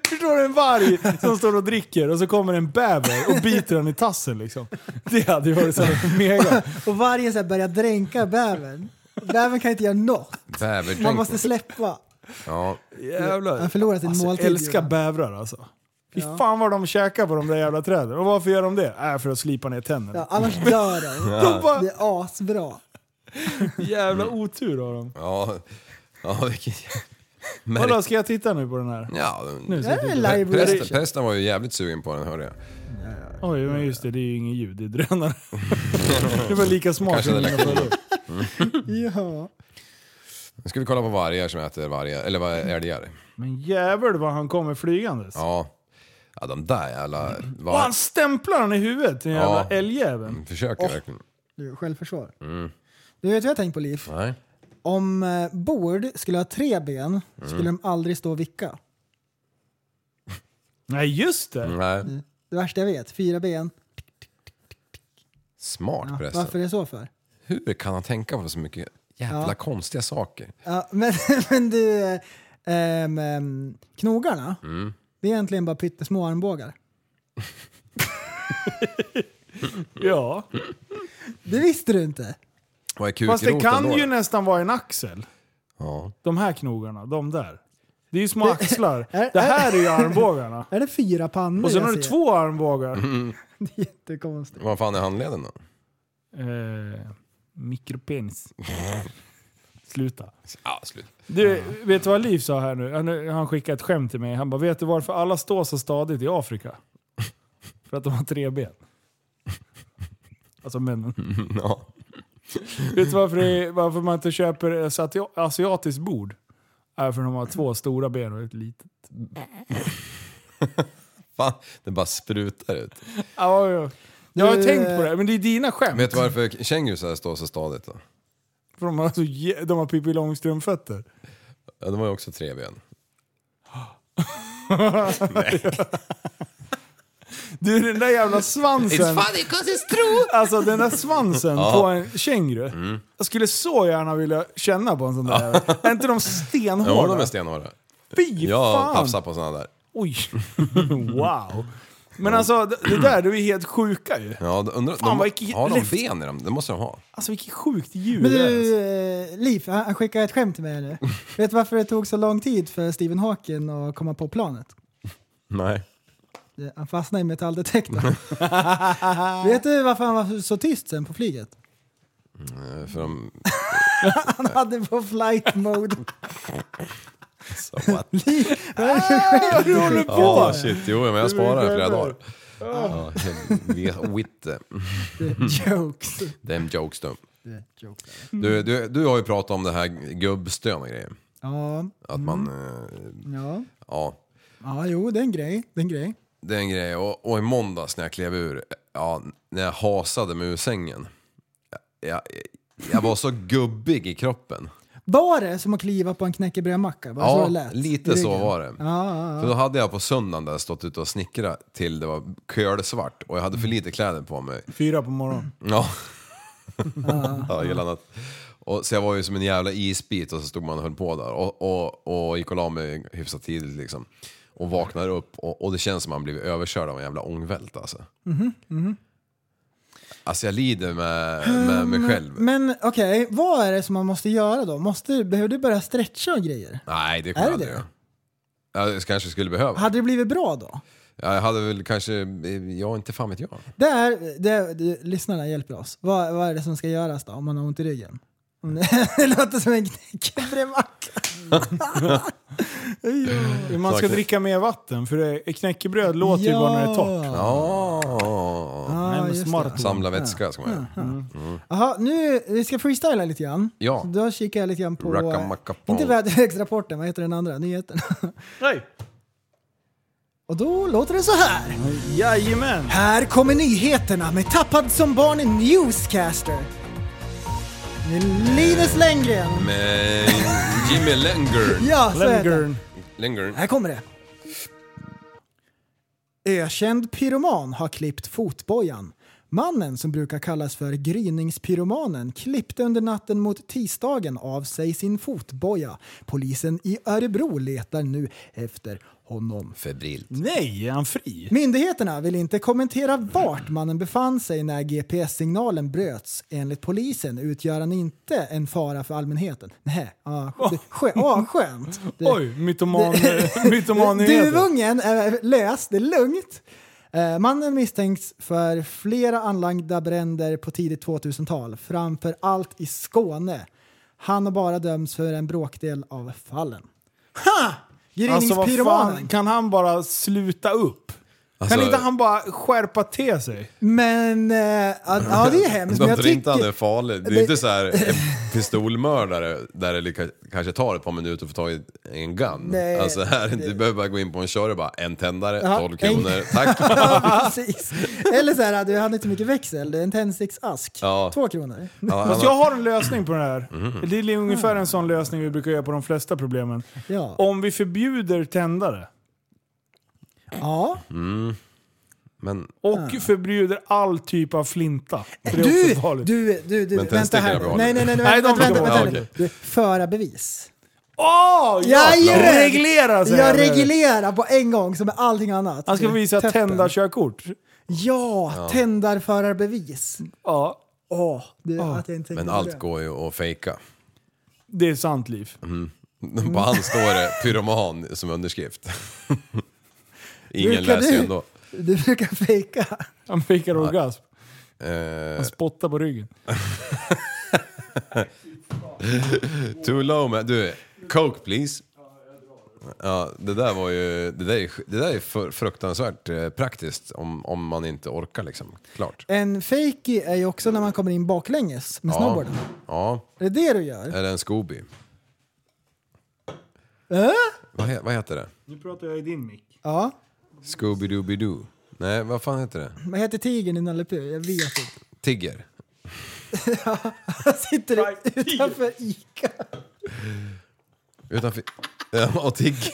Speaker 2: Förstår du? En varg som står och dricker och så kommer en bäver och biter den i tassen liksom. Det hade ju varit så här
Speaker 4: *laughs*
Speaker 2: mega.
Speaker 3: *laughs* Och vargen så här börjar dränka bävern. Bävern kan inte göra något. Man
Speaker 4: Bäverdrink.
Speaker 3: måste släppa.
Speaker 4: Ja.
Speaker 2: Jävlar.
Speaker 3: Han förlorar sin
Speaker 2: alltså,
Speaker 3: måltid.
Speaker 2: älskar
Speaker 3: ju.
Speaker 2: bävrar alltså. Fy fan vad de käkar på de där jävla träden. Och varför gör de det? Äh, för att slipa ner tänderna.
Speaker 3: ja, Alltså, annars dör den.
Speaker 2: De bara,
Speaker 3: Det är asbra.
Speaker 4: Mm.
Speaker 2: jävla otur har de.
Speaker 4: Ja, ja vilket
Speaker 2: Vadå, ska jag titta nu på den här?
Speaker 4: Ja,
Speaker 3: Det här är en
Speaker 4: Pä-
Speaker 3: library.
Speaker 4: prästen, prästen var ju jävligt sugen på den hörde jag.
Speaker 2: Oj, men just det, det är ju inget ljud, det är
Speaker 4: *laughs*
Speaker 2: drönare. Det var lika smart
Speaker 4: Kanske
Speaker 2: som
Speaker 4: hade
Speaker 2: mina förut.
Speaker 3: Ja.
Speaker 4: Nu ska vi kolla på vargar som äter vargar, eller vad älgar.
Speaker 2: Men jävel vad han kommer flygandes.
Speaker 4: Ja. ja, de där jävla...
Speaker 2: Och
Speaker 4: Var...
Speaker 2: han stämplar den i huvudet, den jävla
Speaker 4: Ja. Mm.
Speaker 2: älgjäveln.
Speaker 4: Försöker verkligen.
Speaker 3: Du, självförsvar. Du vet vad jag tänkt på Liv?
Speaker 4: Nej.
Speaker 3: Om eh, bord skulle ha tre ben skulle de aldrig stå och vicka.
Speaker 2: Nej, just det.
Speaker 4: Nej.
Speaker 3: Det värsta jag vet, fyra ben.
Speaker 4: Smart
Speaker 3: Ja,
Speaker 4: prästen.
Speaker 3: varför är det så för?
Speaker 4: Hur kan han tänka på så mycket jävla
Speaker 3: Ja.
Speaker 4: konstiga saker?
Speaker 3: Ja, *laughs* men, men du, eh, ehm, ehm, knogarna,
Speaker 2: Mm.
Speaker 3: det är egentligen bara pyttesmå armbågar.
Speaker 2: Ja.
Speaker 3: Det visste du inte.
Speaker 4: Vad är kukroten
Speaker 2: Fast det kan
Speaker 4: då?
Speaker 2: ju nästan vara en axel.
Speaker 4: Ja.
Speaker 2: De här knogarna, de där. Det är ju små axlar.
Speaker 3: är-
Speaker 2: Det här är ju armbågarna.
Speaker 3: Är det fyra pannor
Speaker 2: Och sen
Speaker 3: jag
Speaker 2: har du
Speaker 3: ser?
Speaker 2: två armbågar.
Speaker 3: *laughs* Det är jättekonstigt.
Speaker 4: Vad fan är handleden då?
Speaker 2: Eh, mikropenis. Sluta.
Speaker 4: Ja, slut. *laughs*
Speaker 2: Du, vet du vad Liv sa här nu? Han, han skickade ett skämt till mig. Han bara, vet du varför alla står så stadigt i Afrika? För att de har tre ben. Alltså männen.
Speaker 4: Ja.
Speaker 2: Vet du varför, det, varför man inte köper ett asiati- asiatiskt bord? Är för att de har två stora ben och ett litet.
Speaker 4: Fan, det bara sprutar ut.
Speaker 2: Ja, ja. Jag har
Speaker 3: Du,
Speaker 2: tänkt på det, men det är dina skämt.
Speaker 4: Vet du varför kängurusar står så stadigt då?
Speaker 2: För de har, så, jä- de har Pippi Långstrump-fötter.
Speaker 4: Ja, de har ju också tre ben.
Speaker 2: Du, den där jävla svansen.
Speaker 4: because it's true!
Speaker 2: Alltså den där svansen på en känguru. Jag skulle så gärna vilja känna på en sån där jävel. Är inte de
Speaker 4: Mm. Ja,
Speaker 2: stenhårda?
Speaker 4: de är stenhårda.
Speaker 2: Fy
Speaker 4: Jag har
Speaker 2: fan!
Speaker 4: tafsat på såna där.
Speaker 2: Oj! *laughs* wow! Men alltså det, det där, det är ju helt sjuka ju.
Speaker 4: Ja, de- undrar,
Speaker 2: Fan,
Speaker 4: de,
Speaker 2: vad gick-
Speaker 4: har de
Speaker 2: left-
Speaker 4: ben i dem? Det måste de ha.
Speaker 2: Alltså vilket sjukt djur
Speaker 3: Men
Speaker 2: det är.
Speaker 3: du,
Speaker 2: alltså.
Speaker 3: eh, Liv, han han skickade ett skämt till mig
Speaker 2: *laughs*
Speaker 3: nu. Vet du varför det tog så lång tid för Stephen Hawking att komma på planet?
Speaker 4: Nej.
Speaker 3: Det- Han fastnade
Speaker 2: *laughs*
Speaker 3: i metalldetektorn. Vet du varför han var så tyst sen på flyget?
Speaker 4: Eh, För de...
Speaker 3: Han hade på flight mode.
Speaker 4: Så, alltså, what?
Speaker 2: *laughs*
Speaker 3: Liv, *laughs* vad är det för
Speaker 2: Alltså,
Speaker 3: skämt du håller
Speaker 4: Ja, shit. Jo, men jag sparar den i flera dagar. Ja, helt- Witte.
Speaker 3: Jokes.
Speaker 4: Dem jokes du. Du, du. du har ju pratat om det här gubbstön och grejer.
Speaker 3: Ja,
Speaker 2: Mm.
Speaker 4: Att man... eh,
Speaker 3: ja.
Speaker 4: Ja.
Speaker 3: Ja, jo, det är en grej. Det är en grej.
Speaker 4: Det är en grej. Och, och i måndags när jag klev ur, ja, när jag hasade mig ur sängen. Jag, jag, jag var så gubbig i kroppen.
Speaker 3: Var det som att kliva på en knäckebrödmacka? Var det så Alltså, det
Speaker 4: Ja,
Speaker 3: lät? I
Speaker 4: lite
Speaker 3: ryggen?
Speaker 4: så var det.
Speaker 3: Ja, ja,
Speaker 4: För då hade jag på söndagen där stått ute och snickrat till det var kölsvart och jag hade för lite kläder på mig.
Speaker 2: Fyra på morgonen.
Speaker 4: Ja. *laughs* ja, hela natt. Och, så jag var ju som en jävla isbit och så stod man och höll på där och, och, och gick och la mig hyfsat tidigt liksom. Och vaknar upp och, och det känns som man blivit överkörd av en jävla ångvält alltså.
Speaker 3: Mm-hmm,
Speaker 4: Alltså jag lider med, med mig själv.
Speaker 3: Mm, Men okej, vad är det som man måste göra då? Måste, du- behöver du börja stretcha och grejer?
Speaker 4: Nej, det kommer
Speaker 3: Är
Speaker 4: jag
Speaker 3: det
Speaker 4: aldrig
Speaker 3: det?
Speaker 4: göra. Jag kanske skulle behöva.
Speaker 3: Hade det blivit bra då?
Speaker 4: Jag hade väl kanske, ja inte fan vet jag.
Speaker 3: Det är, det är, det, lyssnarna hjälper oss. Vad, vad är det som ska göras då om man har ont i ryggen? Om Det *laughs* det låter som en
Speaker 4: *laughs*
Speaker 3: knäckebrödmacka. Mm.
Speaker 2: Man ska
Speaker 4: Säkert.
Speaker 2: dricka mer vatten för det, knäckebröd låter ju bara när det är torrt.
Speaker 3: Ah.
Speaker 4: Ja.
Speaker 3: Ja,
Speaker 2: Men
Speaker 3: just det.
Speaker 2: smart.
Speaker 4: Ah. Samla vätska ska man göra.
Speaker 3: Ah, Jaha, nu vi ska freestyla lite grann.
Speaker 4: Ja.
Speaker 3: Så då kikar jag lite grann på...
Speaker 4: Rackamackapo.
Speaker 3: Inte *laughs* väderleksrapporten, vad heter den andra? Nyheten. *laughs*
Speaker 2: Nej.
Speaker 3: Och då låter det så här.
Speaker 2: Jajamän!
Speaker 3: Här kommer nyheterna med Tappad som barn i Newscaster. Med Linus Lenngren.
Speaker 4: Med Jimmy Lengern.
Speaker 3: Ja, så heter han.
Speaker 2: Lengern.
Speaker 4: Lengern.
Speaker 3: Här kommer det. Ökänd pyroman har klippt fotbojan. Mannen som brukar kallas för gryningspyromanen klippte under natten mot tisdagen av sig sin fotboja. Polisen i Örebro letar nu efter honom.
Speaker 4: Febrilt.
Speaker 2: Nej, är han fri?
Speaker 3: Myndigheterna vill inte kommentera vart mannen befann sig när GPS-signalen bröts. Enligt polisen utgör han inte en fara för allmänheten. Nej, ah,
Speaker 2: *laughs*
Speaker 3: det, skö, ah, skönt. Det,
Speaker 2: Oj, mytoman, *laughs* mytoman
Speaker 3: Duvungen är lös, det är lugnt. Eh, Mannen misstänks för flera anlagda bränder på tidigt 2000-tal, framför allt i Skåne. Han har bara dömts för en bråkdel av fallen. Ha!
Speaker 2: Alltså vad fan,
Speaker 3: Gryningspyromanen.
Speaker 2: kan han bara sluta upp?
Speaker 4: Alltså-
Speaker 2: kan inte han bara skärpa till sig?
Speaker 3: Men, eh, ja, ja det är hemskt. Men
Speaker 4: De
Speaker 3: jag
Speaker 4: tror inte han är
Speaker 3: tycker,
Speaker 4: farlig. Det är
Speaker 3: Det-
Speaker 4: inte så här en pistolmördare där det lika- kanske tar ett par minuter att få tag i en gun.
Speaker 3: Nej.
Speaker 4: Alltså här, du behöver bara gå in på en köre och bara en tändare,
Speaker 3: Ja,
Speaker 4: 12
Speaker 3: en- *laughs*
Speaker 4: kronor, tack.
Speaker 3: Ja, precis. Eller så här, du hade inte mycket växel, det är en tändsticksask.
Speaker 4: Ja.
Speaker 3: Två kronor.
Speaker 4: Ja, han
Speaker 2: Fast
Speaker 4: har-
Speaker 2: Alltså,
Speaker 4: Mm.
Speaker 2: jag har en lösning på det här. Det är ungefär en sån lösning vi brukar göra på de flesta problemen.
Speaker 3: Ja.
Speaker 2: Om vi förbjuder tändare
Speaker 3: Ja.
Speaker 4: Men
Speaker 2: och förbjuder all typ av flinta. För det är
Speaker 3: Du,
Speaker 2: också farligt.
Speaker 3: du, du, du, vänta
Speaker 4: tändstickorna
Speaker 3: här.
Speaker 4: behåller
Speaker 3: Nej,
Speaker 4: vi.
Speaker 3: nej, nej,
Speaker 2: Nej,
Speaker 3: vänta,
Speaker 2: de
Speaker 3: vänta,
Speaker 2: behåller
Speaker 3: vänta.
Speaker 4: vi.
Speaker 3: vänta. Du, Förarbevis.
Speaker 2: Åh! Ah, ja!
Speaker 3: Jajamän!
Speaker 2: Reglera säger
Speaker 3: Jag
Speaker 2: jag nu.
Speaker 3: reglerar på en gång som med allting annat.
Speaker 2: Han ska visa
Speaker 3: Töppen.
Speaker 2: tändarkörkort.
Speaker 3: Ja, tändarförarbevis.
Speaker 2: Ja,
Speaker 3: Åh, det, att jag inte tänkte
Speaker 4: Men
Speaker 3: på
Speaker 4: allt
Speaker 3: det.
Speaker 4: går ju att fejka.
Speaker 2: det är sant liv.
Speaker 4: På han står det pyroman som underskrift. Ingen
Speaker 3: Brukar
Speaker 4: läser ju
Speaker 3: du-
Speaker 4: ändå.
Speaker 3: Du brukar fejka.
Speaker 2: Han fick en orgasm.
Speaker 4: Eh,
Speaker 2: Han spottar på ryggen.
Speaker 4: too low man. Du, coke please. Ja, det där var ju... Det där är, det där är för, fruktansvärt eh, praktiskt om, om man inte orkar liksom. Klart.
Speaker 3: En fejki är ju också när man kommer in baklänges med
Speaker 4: Ja, Eh.
Speaker 3: snowboarden.
Speaker 4: ja,
Speaker 3: Är det det du gör?
Speaker 4: eller en Scooby.
Speaker 3: Äh?
Speaker 4: Vad, he, vad heter det?
Speaker 2: Nu pratar jag i din mick.
Speaker 3: Ja.
Speaker 4: Scooby-Dooby-Doo. Nej, vad fan heter det?
Speaker 3: Vad heter tigern i Nalle Puh? Jag vet inte.
Speaker 4: Tigger.
Speaker 3: Han sitter utanför Ica.
Speaker 4: Utanför... *laughs* Ja, och tigger.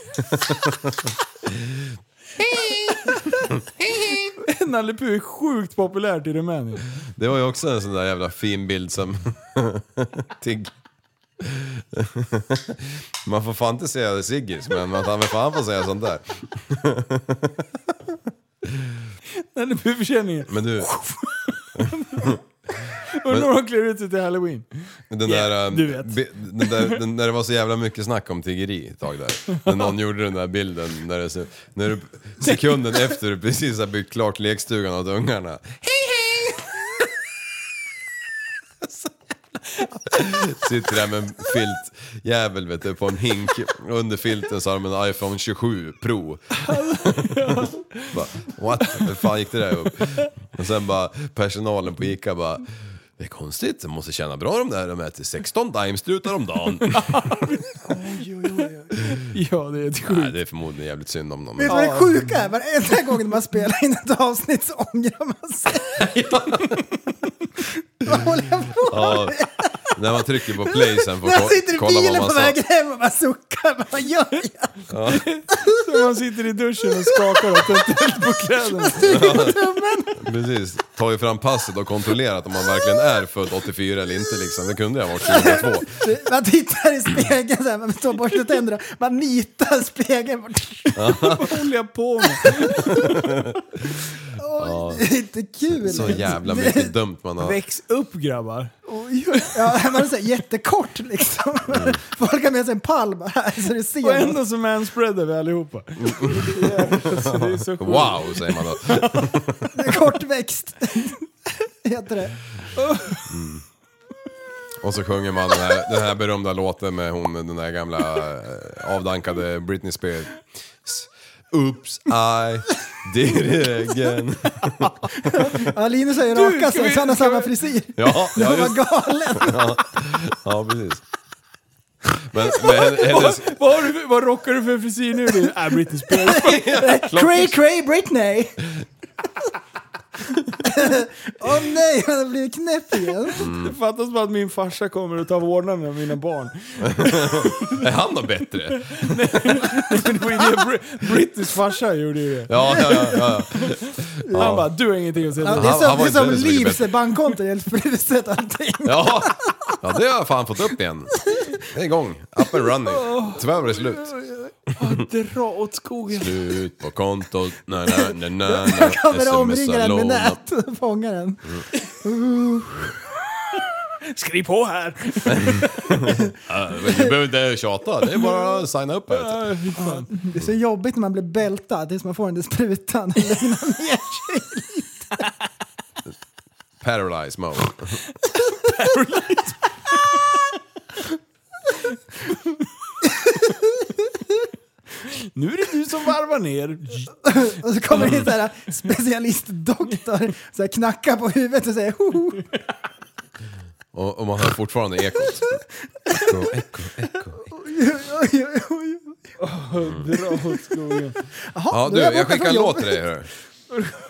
Speaker 2: Nalle Puh är sjukt populärt i Rumänien.
Speaker 4: Det var ju också en sån där jävla fin bild som... *laughs* Tigg. *laughs* man får fan inte säga Siggis, men man kan väl fan få säga sånt där.
Speaker 2: Nalle Puh-försäljningen.
Speaker 4: Men du,
Speaker 2: Undrar om de klär ut sig till halloween.
Speaker 4: den
Speaker 2: Ja,
Speaker 4: där... ähm,
Speaker 2: du vet.
Speaker 4: bi- Den där, den, när det var så jävla mycket snack om tiggeri ett tag där. När någon gjorde den där bilden. När, det, så- när du, sekunden efter du precis har byggt klart lekstugan åt ungarna. *laughs* Sitter där med en filt jävel vet du, på en hink. Under filten så har de en iPhone 27 Pro. bara, what? Hur fan gick det där upp? Och sen bara personalen på Ica bara det är konstigt, de måste känna bra de där, de äter 16 daimstrutar
Speaker 3: *laughs*
Speaker 4: om dagen.
Speaker 2: Ja, det är ett sjukt.
Speaker 4: Nej, det är förmodligen jävligt synd om dem.
Speaker 3: Vet du vad det sjuka är? Varenda gång man spelar in ett avsnitt så ångrar man sig. Vad håller jag på
Speaker 4: Ja, när man trycker på play sen får
Speaker 3: När jag sitter
Speaker 4: ko-
Speaker 3: i
Speaker 4: kolla vad
Speaker 3: bilen
Speaker 4: man
Speaker 3: på
Speaker 4: sa.
Speaker 3: vägen hem och bara suckar. Bara, Vad gör jag?
Speaker 2: Så man sitter i duschen och skakar och tar till på *laughs* kläderna.
Speaker 4: Precis, tar ju fram passet och kontrollerar att om man verkligen är född 84 eller inte liksom. Det kunde jag ha varit 2002.
Speaker 3: Man tittar i spegeln så här, man står och borstar tänderna. Man nitar spegeln.
Speaker 2: Vad håller jag på med?
Speaker 3: Oj, det är inte kul.
Speaker 4: Så jävla mycket dumt man har.
Speaker 2: Väx upp grabbar.
Speaker 3: Oj, oj. Ja, man är så här jättekort liksom.
Speaker 4: Mm.
Speaker 3: Folk har med sig en pall bara här så det
Speaker 2: Och
Speaker 3: ser.
Speaker 2: ändå så manspreadar vi *laughs* allihopa. Alltså, det är så sjukt.
Speaker 4: Wow, säger man då.
Speaker 3: *laughs* Kortväxt. Heter det.
Speaker 4: Och så sjunger man den här, den här berömda låten med hon, den där gamla eh, avdankade Britney Spears. Oops, I did it again.
Speaker 3: Ja, Linus har ju
Speaker 2: Du,
Speaker 3: rakat
Speaker 2: ska
Speaker 3: sig
Speaker 2: vi-
Speaker 3: så han har
Speaker 2: ska
Speaker 3: samma
Speaker 2: vi-
Speaker 3: frisyr.
Speaker 4: Ja, ja
Speaker 3: Han
Speaker 4: just
Speaker 3: var galen.
Speaker 4: Ja, precis. Men, men
Speaker 3: Oh,
Speaker 4: hennes...
Speaker 2: Vad, har du, vad rockar du för frisyr nu? äh, Det
Speaker 3: *laughs*
Speaker 2: är Britney Spears.
Speaker 3: Cray cray Britney!
Speaker 4: *laughs*
Speaker 3: Åh nej, han har blivit knäpp igen.
Speaker 4: Mm,
Speaker 2: Det *laughs* fattas bara att min farsa kommer och tar vårdnaden om mina barn. *laughs*
Speaker 4: Är han då bättre?
Speaker 2: Men det var ju det Br- Brittis farsa gjorde ju det.
Speaker 4: Ja, ja, ja. ja.
Speaker 2: Han bara, du har ingenting att säga
Speaker 3: Ja,
Speaker 2: till
Speaker 3: det är
Speaker 4: Han-
Speaker 3: som,
Speaker 4: han var
Speaker 3: det
Speaker 4: inte
Speaker 3: är som
Speaker 4: så mycket bättre.
Speaker 3: Livs bankkonto, det är helt fruset
Speaker 4: *laughs*
Speaker 3: allting.
Speaker 4: Ja. ja, det har jag fan fått upp igen. Det är igång. Up and running. Tyvärr var det slut.
Speaker 2: om. Dra åt skogen.
Speaker 4: Slut på kontot. Na, na,
Speaker 3: *laughs*
Speaker 4: na, na, na.
Speaker 3: Kommer omringa den med
Speaker 4: lånat. Mm.
Speaker 3: nät och fångar den.
Speaker 2: Skriv på här!
Speaker 4: Äh, Men Du behöver inte tjata, det är bara att signa upp. Här. typ. vet
Speaker 3: Det är så jobbigt när man blir bältad tills man får den där sprutan. *laughs*
Speaker 4: du. Paralyze mode.
Speaker 2: Nu är det du som varvar
Speaker 3: *laughs*
Speaker 2: ner.
Speaker 3: och så kommer det in så här
Speaker 4: Mm.
Speaker 3: specialistdoktor så här knackar på huvudet och säger hoho.
Speaker 4: Och, och man hör fortfarande ekot. Eko, eko, eko.
Speaker 3: Oj, oj, oj.
Speaker 2: Dra åt skogen.
Speaker 4: Ja
Speaker 3: nu
Speaker 4: du,
Speaker 3: är jag
Speaker 4: jag
Speaker 3: borta
Speaker 4: skickar en
Speaker 3: från
Speaker 4: låt till dig. hörru.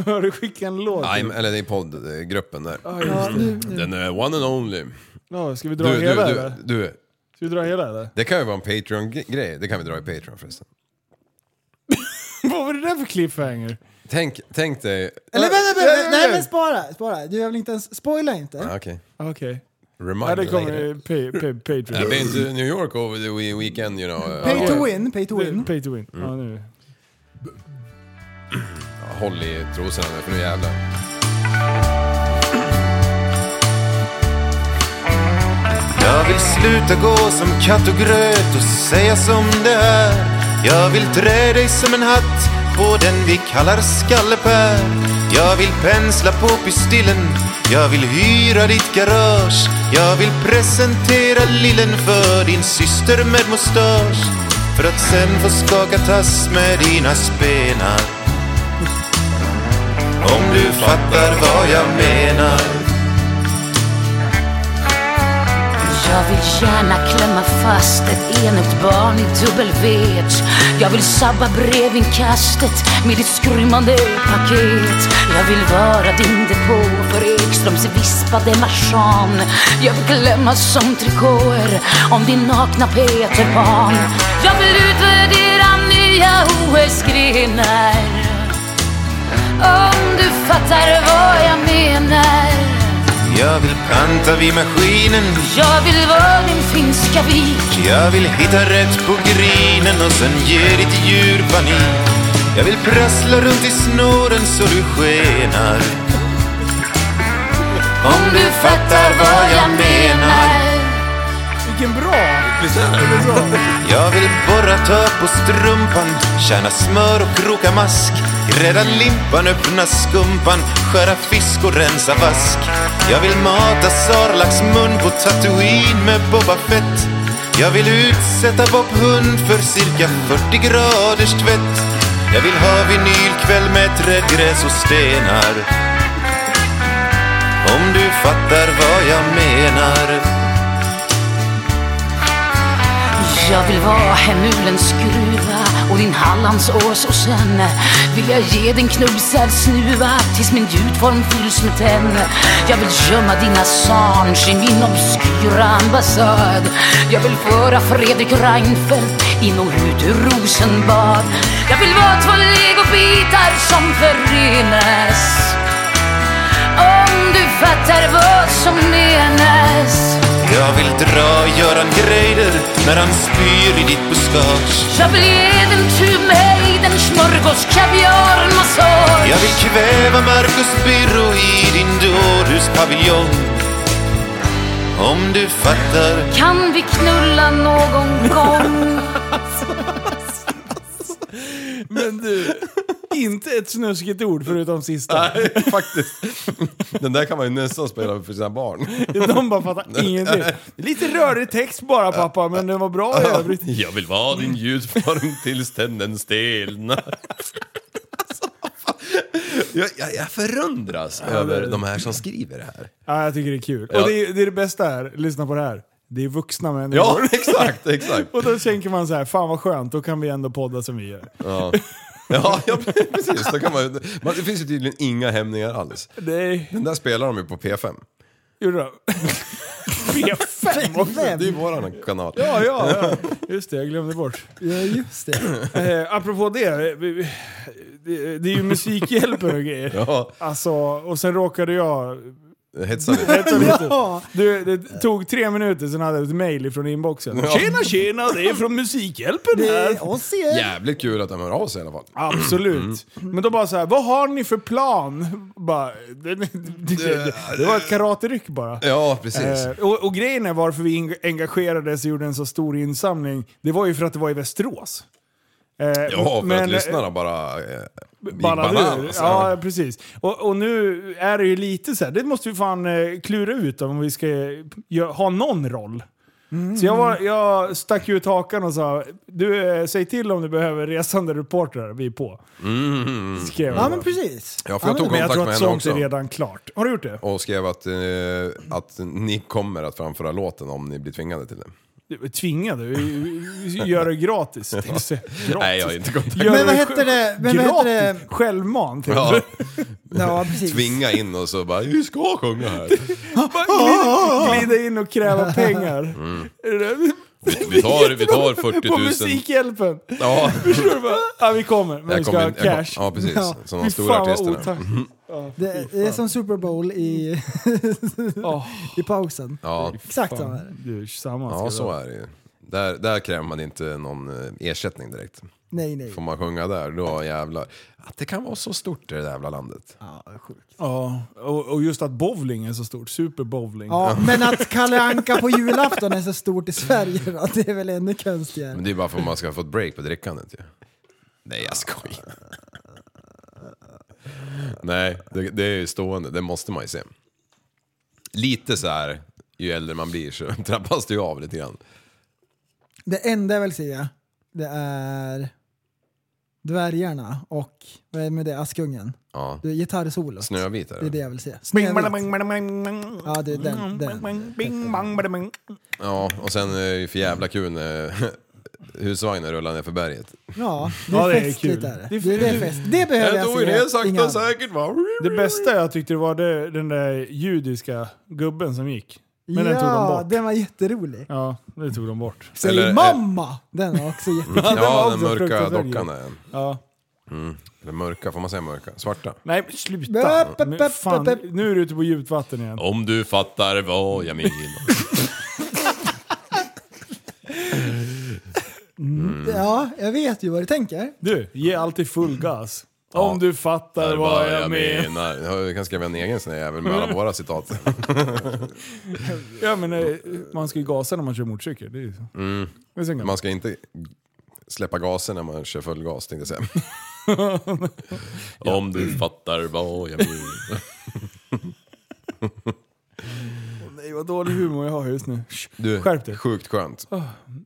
Speaker 2: Har du skickat en låt?
Speaker 4: Nej, men- Eller i poddgruppen där.
Speaker 3: Ja, nu,
Speaker 4: Den är one and only.
Speaker 2: Ja, ska vi dra
Speaker 4: Du, du,
Speaker 2: hela
Speaker 4: du,
Speaker 2: eller?
Speaker 4: du.
Speaker 2: Ska vi dra hela
Speaker 3: *laughs*
Speaker 2: eller?
Speaker 4: Det kan ju vara en Patreon-grej. Det kan vi dra i Patreon förresten.
Speaker 2: Vad var det där för cliffhanger?
Speaker 4: Tänk, tänk dig...
Speaker 3: Eller vänta,
Speaker 2: Ja,
Speaker 3: vänta,
Speaker 2: ja, ja.
Speaker 3: vänta. Nej men spara, spara. Du jag vill inte ens, spoila inte.
Speaker 4: Ah, Okej.
Speaker 2: Okej.
Speaker 4: Remind
Speaker 2: Ja,
Speaker 4: me
Speaker 2: det kommer
Speaker 4: later.
Speaker 2: i pay, pay,
Speaker 4: Jag
Speaker 2: Patreon.
Speaker 4: blir inte i New York over the we- weekend you know.
Speaker 3: Pay
Speaker 4: Ja,
Speaker 3: to win, pay to win. Mm.
Speaker 2: Pay to win. Ja, nu.
Speaker 4: Håll i trosorna nu för nu jävlar.
Speaker 5: Jag vill sluta gå som katt och gröt och säga som det är. Jag vill trä dig som en hatt på den vi kallar skallepär. Jag vill pensla på pistillen, jag vill hyra ditt garage. Jag vill presentera lillen för din syster med mustasch. För att sen få skaka tass med dina spenar. Om du fattar vad jag menar.
Speaker 6: Jag vill gärna klämma fast ett enigt barn i dubbelvet Jag vill sabba brevinkastet med ditt skrymmande paket Jag vill vara din depå för Ekströms vispade marsan Jag vill glömma som trikåer om din nakna Peter Pan Jag vill utvärdera nya OS-grenar Om du fattar vad jag menar
Speaker 5: Jag vill panta vid maskinen
Speaker 6: Jag vill vara din finska vik
Speaker 5: Jag vill hitta rätt på grinen och sen ge ditt djur panik Jag vill prassla runt i snåren så du skenar Om du fattar vad jag menar
Speaker 2: Vilken bra!
Speaker 5: Jag vill borra tag på strumpan, tjäna smör och kroka mask. Grädda limpan, öppna skumpan, skära fisk och rensa vask. Jag vill mata Sarlacks mun på Tatooine med Boba Fett. Jag vill utsätta Bob Hund för cirka 40 graders tvätt. Jag vill ha vinylkväll med trädgräs och stenar. Om du fattar vad jag menar.
Speaker 6: Jag vill vara hemulens skruva och din Hallandsås och sen vill jag ge din knusad snuva tills min ljudform fylls med tenn. Jag vill gömma din Assange i min obskyra ambassad. Jag vill föra Fredrik Reinfeldt in och ut ur Rosenbad. Jag vill vara två legobitar som förenas. Om du fattar vad som menas.
Speaker 5: Jag vill dra Göran Greider när han spyr i ditt buskage.
Speaker 6: Jag vill ge den Tubehejden smörgås, kaviar, massage
Speaker 5: Jag vill kväva Marcus Birro i din dårhuspaviljong. Om du fattar.
Speaker 6: Kan vi knulla någon gång?
Speaker 2: Men du, inte ett snuskigt ord förutom sista.
Speaker 4: Faktiskt. Den där kan man ju nästan spela för sina barn.
Speaker 2: De bara fattar ingenting. Lite rörig text bara pappa, men den var bra i övrigt.
Speaker 4: Jag vill vara din ljusform tills tänden stelnar. Alltså, vad fan. Jag, jag, jag förundras över de här som skriver det här.
Speaker 2: Ja, jag tycker det är kul.
Speaker 4: Ja.
Speaker 2: Och det är, det är det bästa här, lyssna på det här. Det är vuxna människor.
Speaker 4: Ja, *laughs* exakt, exakt.
Speaker 2: *laughs* Och då tänker man så här, fan vad skönt, då kan vi ändå podda som vi gör.
Speaker 4: Ja. Ja, ja precis. Då kan man, man, det finns ju tydligen inga hämningar alls.
Speaker 2: Nej,
Speaker 4: Den där spelar de ju på P5.
Speaker 2: gjorde de? B5 också.
Speaker 4: Det är ju våran kanal.
Speaker 2: Ja, ja, ja. Just det, jag glömde bort.
Speaker 3: Ja, just det.
Speaker 2: Eh, apropå det, eh, vi- det, det är ju Musikhjälpen och grejer.
Speaker 4: *laughs* Ja,
Speaker 2: Alltså, och sen råkade jag...
Speaker 4: hetsa lite.
Speaker 3: Ja,
Speaker 2: Du, det tog tre minuter, sen hade jag ett mail från inboxen. Tjena tjena, det är från Musikhjälpen
Speaker 3: det
Speaker 2: här!
Speaker 3: är oss igen.
Speaker 4: Jävligt kul att de hör av sig i alla fall.
Speaker 2: Absolut.
Speaker 4: Mm.
Speaker 2: Men då bara så här, vad har ni för plan? Bara, *laughs* det, det, det, det var ett karateryck bara.
Speaker 4: Ja, precis.
Speaker 2: Eh, och, och grejen är varför vi eng- engagerades och gjorde en så stor insamling, det var ju för att det var i Västerås. Eh,
Speaker 4: Ja, för
Speaker 2: men-
Speaker 4: att lyssnarna bara eh, gick
Speaker 2: ballade ur.
Speaker 4: bananas.
Speaker 2: Ja, precis. Och, och nu är det ju lite så här, det måste vi fan eh, klura ut om vi ska eh, gö- ha någon roll.
Speaker 3: Mm.
Speaker 2: Så jag, var, jag stack ut hakan och sa, du eh, säg till om du behöver resande reportrar, vi är på. Skrev jag
Speaker 3: Ja,
Speaker 2: bara.
Speaker 3: men precis.
Speaker 4: Mm. Ja, för jag tog
Speaker 2: men jag
Speaker 4: kontakt
Speaker 2: tror
Speaker 4: med
Speaker 2: att
Speaker 4: henne
Speaker 2: sånt är
Speaker 4: också.
Speaker 2: redan klart. Har du gjort det?
Speaker 4: Och skrev att, eh, att ni kommer att framföra låten om ni blir tvingade till det.
Speaker 2: Du är Tvingad? Vi- vi- vi Gör det gratis. tänkte jag säga. gratis.
Speaker 4: Nej, jag har inte kontakt.
Speaker 2: Gör
Speaker 3: Men vad
Speaker 2: det
Speaker 3: hette det? Men vad hette det?
Speaker 2: Gratis? typ. Självmant? tänkte
Speaker 4: Ja,
Speaker 2: jag.
Speaker 3: Ja, precis.
Speaker 4: tvinga in och så bara, vi ska sjunga här.
Speaker 2: Bara glida, glida in och kräva pengar.
Speaker 4: Mm.
Speaker 2: Är det det?
Speaker 4: Vi tar, vi tar 40
Speaker 2: På
Speaker 4: 000.
Speaker 2: Musikhjälpen!
Speaker 4: Ja,
Speaker 2: Förstår du vad? Ja, vi kommer, men
Speaker 4: jag
Speaker 2: vi ska
Speaker 4: kommer
Speaker 2: ha
Speaker 4: in- jag kom-
Speaker 2: cash.
Speaker 4: Ja, precis.
Speaker 3: Ja.
Speaker 4: Som de
Speaker 2: Fy
Speaker 4: stora
Speaker 2: fan vad
Speaker 4: artisterna. Mm.
Speaker 2: otack-
Speaker 3: Det, det är som Super Bowl i,
Speaker 2: Åh,
Speaker 3: i pausen.
Speaker 4: Ja,
Speaker 3: Exakt så är det.
Speaker 2: fan. Du, samma ska
Speaker 4: ja, så är det ju. Där, där kräver man inte någon eh, ersättning direkt.
Speaker 3: Nej, nej.
Speaker 4: Får man sjunga där, då jävlar. Att det kan vara så stort i det där jävla landet.
Speaker 3: Ja, sjukt.
Speaker 2: Ja, och, och just att bowling är så stort. Superbowling.
Speaker 3: Ja, men att Kalle Anka på julafton är så stort i Sverige då, det är väl ännu
Speaker 4: Men
Speaker 3: konstigare.
Speaker 4: det är bara för att man ska få ett break på drickandet ju. Nej, jag skojar. Nej, det, det är ju stående. Det måste man ju se. Lite så här, ju äldre man blir så *laughs* trappas det ju av lite grann.
Speaker 3: Det enda jag vill se, det är dvärgarna och, vad är det med det, Askungen?
Speaker 4: Ja.
Speaker 3: Du, gitarrsolo.
Speaker 4: Snövit är
Speaker 3: Det är det
Speaker 4: det.
Speaker 3: jag vill se.
Speaker 2: Bing, bada, bing,
Speaker 3: Snövit.
Speaker 2: bada, bing, bing.
Speaker 3: Ja, det är den. den.
Speaker 2: Bing, bing, bang, bada, bing.
Speaker 4: Ja, och sen är det ju för jävla kul när *laughs* husvagnen rullar ner för berget.
Speaker 3: Ja, det är,
Speaker 2: Ja, det är
Speaker 3: festligt
Speaker 2: kul.
Speaker 3: där. Det,
Speaker 2: Det är-
Speaker 3: är det, är fest. det behöver jag se. Inga andra.
Speaker 4: va?
Speaker 2: Det bästa jag tyckte var det, den där judiska gubben som gick. Men den tog de
Speaker 3: ja,
Speaker 2: bort.
Speaker 3: den var jätterolig.
Speaker 2: Ja, det tog de bort.
Speaker 3: Säg
Speaker 4: Eller, eh,
Speaker 3: mamma! Den var också jätterolig.
Speaker 4: Ja, den
Speaker 2: också
Speaker 4: mörka
Speaker 2: fruktansvärt
Speaker 4: dockan är en.
Speaker 2: Ja.
Speaker 4: Eller mörka, får man säga mörka? Svarta?
Speaker 2: Nej, men sluta!
Speaker 3: Böp, böp,
Speaker 2: Men
Speaker 3: böp,
Speaker 2: Fan,
Speaker 3: böp.
Speaker 2: nu är du ute på djupt vatten igen.
Speaker 4: Om du fattar vad jag menar. Mm.
Speaker 3: Ja, jag vet ju vad du tänker.
Speaker 2: Du, ge alltid full gas. Om du fattar vad jag menar.
Speaker 4: menar. Jag kan skriva en egen sån här jävel med alla våra citat. *laughs*
Speaker 2: Ja, men eh, man ska ju gasa när man kör motorcykel. Det är ju så. Det är så gammalt.
Speaker 4: Mm. Man ska inte släppa gasen när man kör full gas tänkte jag säga. *laughs* Om du fattar vad jag menar.
Speaker 2: Nej, vad dålig humor jag har just nu.
Speaker 4: Du,
Speaker 2: Skärp dig.
Speaker 4: sjukt skönt.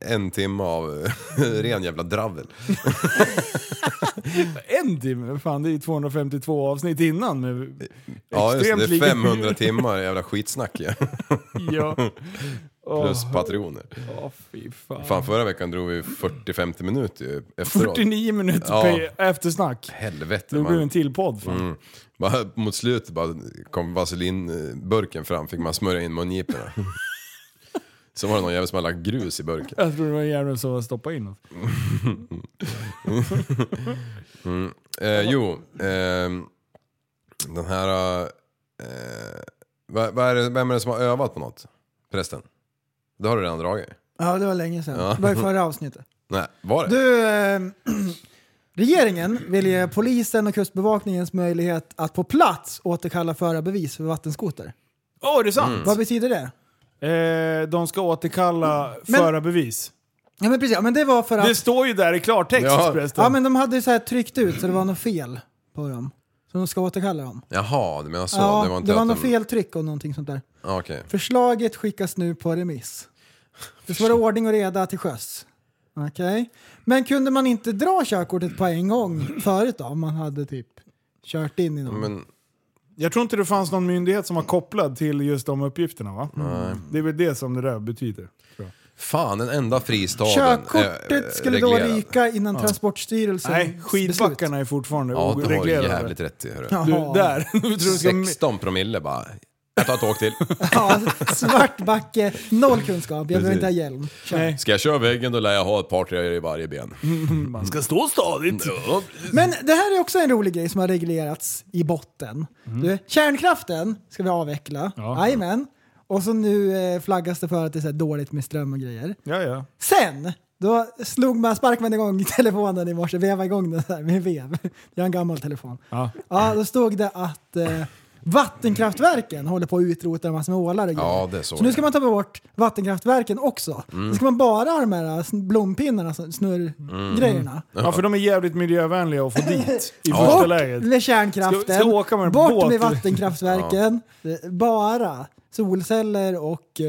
Speaker 4: En timme av *laughs* ren jävla dravel.
Speaker 2: En timme? Fan, det är ju 252 avsnitt innan. Med
Speaker 4: Ja just det, det
Speaker 2: lika-
Speaker 4: är 500 timmar jävla skitsnack *laughs* ja.
Speaker 2: *laughs* Ja.
Speaker 4: *laughs* Plus patroner.
Speaker 2: Åh, fy fan.
Speaker 4: Fan förra veckan drog vi 40-50 minuter ju efteråt.
Speaker 2: 49 minuter
Speaker 4: Ja. Mm.
Speaker 2: pe- eftersnack.
Speaker 4: Helvete.
Speaker 2: Det
Speaker 4: man-
Speaker 2: blev en till podd. Fan.
Speaker 4: Bara, mot slutet bara kom vaselinburken fram, fick man smörja
Speaker 3: *laughs*
Speaker 4: in mungiporna. Så var det någon jävel som hade lagt grus i burken.
Speaker 2: Jag tror det var en jävel som stoppade in något.
Speaker 4: Eh, jo, ehm, den här... Eh, vad, vad är det, vem är det som har övat på något? Prästen? Det har du redan dragit?
Speaker 3: Ja, det var länge sedan.
Speaker 4: Ja.
Speaker 3: Det var i förra avsnittet.
Speaker 4: Nej, var det?
Speaker 3: Du, eh, *clears throat* regeringen vill ge polisen och kustbevakningens möjlighet att på plats återkalla förarbevis för vattenskoter.
Speaker 2: Åh, är det
Speaker 4: Mm.
Speaker 2: sant?
Speaker 3: Vad betyder det?
Speaker 2: Eh, de ska återkalla
Speaker 3: Men-
Speaker 2: förarbevis.
Speaker 3: Ja men precis, ja, men det var för
Speaker 2: Det
Speaker 3: att...
Speaker 2: står ju där i klartext
Speaker 4: Ja.
Speaker 2: förresten.
Speaker 3: Ja men de hade ju så här tryckt ut så det var något fel på dem. Så de ska återkalla dem.
Speaker 4: Jaha, du menar så?
Speaker 3: ja,
Speaker 4: det var inte att
Speaker 3: något
Speaker 4: de-
Speaker 3: fel tryck och någonting sånt där.
Speaker 4: Ja, Okej.
Speaker 3: Förslaget skickas nu på remiss. Det ska vara ordning och reda till sjöss. Okej. Men kunde man inte dra körkortet på en gång förut då? Om man hade typ kört in i någon?
Speaker 4: Men
Speaker 2: Jag tror inte det fanns någon myndighet som var kopplad till just de uppgifterna va? Det är väl det som det där betyder. tror jag.
Speaker 4: Fan, den enda fristaden eh,
Speaker 3: Körkortet skulle då
Speaker 4: reglerad.
Speaker 3: ryka innan Transportstyrelsen
Speaker 2: Nej, skidbackarna är fortfarande
Speaker 4: Ja, du har ju
Speaker 2: oreglerade.
Speaker 4: jävligt rätt i, hörru.
Speaker 2: Du, där. *laughs* Du tror du ska...
Speaker 4: 16 promille bara. Jag tar ett åk till.
Speaker 3: *laughs* Ja, svart backe, noll kunskap. Jag behöver inte ha hjälm. Kör.
Speaker 2: Nej.
Speaker 4: Ska jag köra väggen då lär jag ha ett par tröjor i varje ben.
Speaker 2: Mm. Man ska stå stadigt.
Speaker 4: Ja,
Speaker 3: Men det här är också en rolig grej som har reglerats i botten. Du, kärnkraften ska vi avveckla.
Speaker 2: Mm. Ja.
Speaker 3: Jajamän. Och så nu eh, flaggas det för att det är så här dåligt med ström och grejer.
Speaker 2: Ja, ja.
Speaker 3: Sen, då slog man, sparkade man igång telefonen i morse, vevade igång den där med vev. Jag har en gammal telefon.
Speaker 2: Ja.
Speaker 3: Ja, då stod det att eh, vattenkraftverken håller på att utrota massor med ålar och grejer.
Speaker 4: Ja, det Mm. såg
Speaker 3: Så nu
Speaker 4: jag.
Speaker 3: ska man ta bort vattenkraftverken också. Då ska man bara ha de här eh, sn- blompinnarna, sn-
Speaker 4: Mm.
Speaker 3: snurrgrejerna.
Speaker 2: ja, för de är jävligt miljövänliga *laughs* att få dit i första
Speaker 3: Bort
Speaker 2: läget.
Speaker 3: med kärnkraften,
Speaker 2: Ska- ska åka med en
Speaker 3: bort
Speaker 2: båt.
Speaker 3: med vattenkraftverken. Eh, Bara solceller och eh,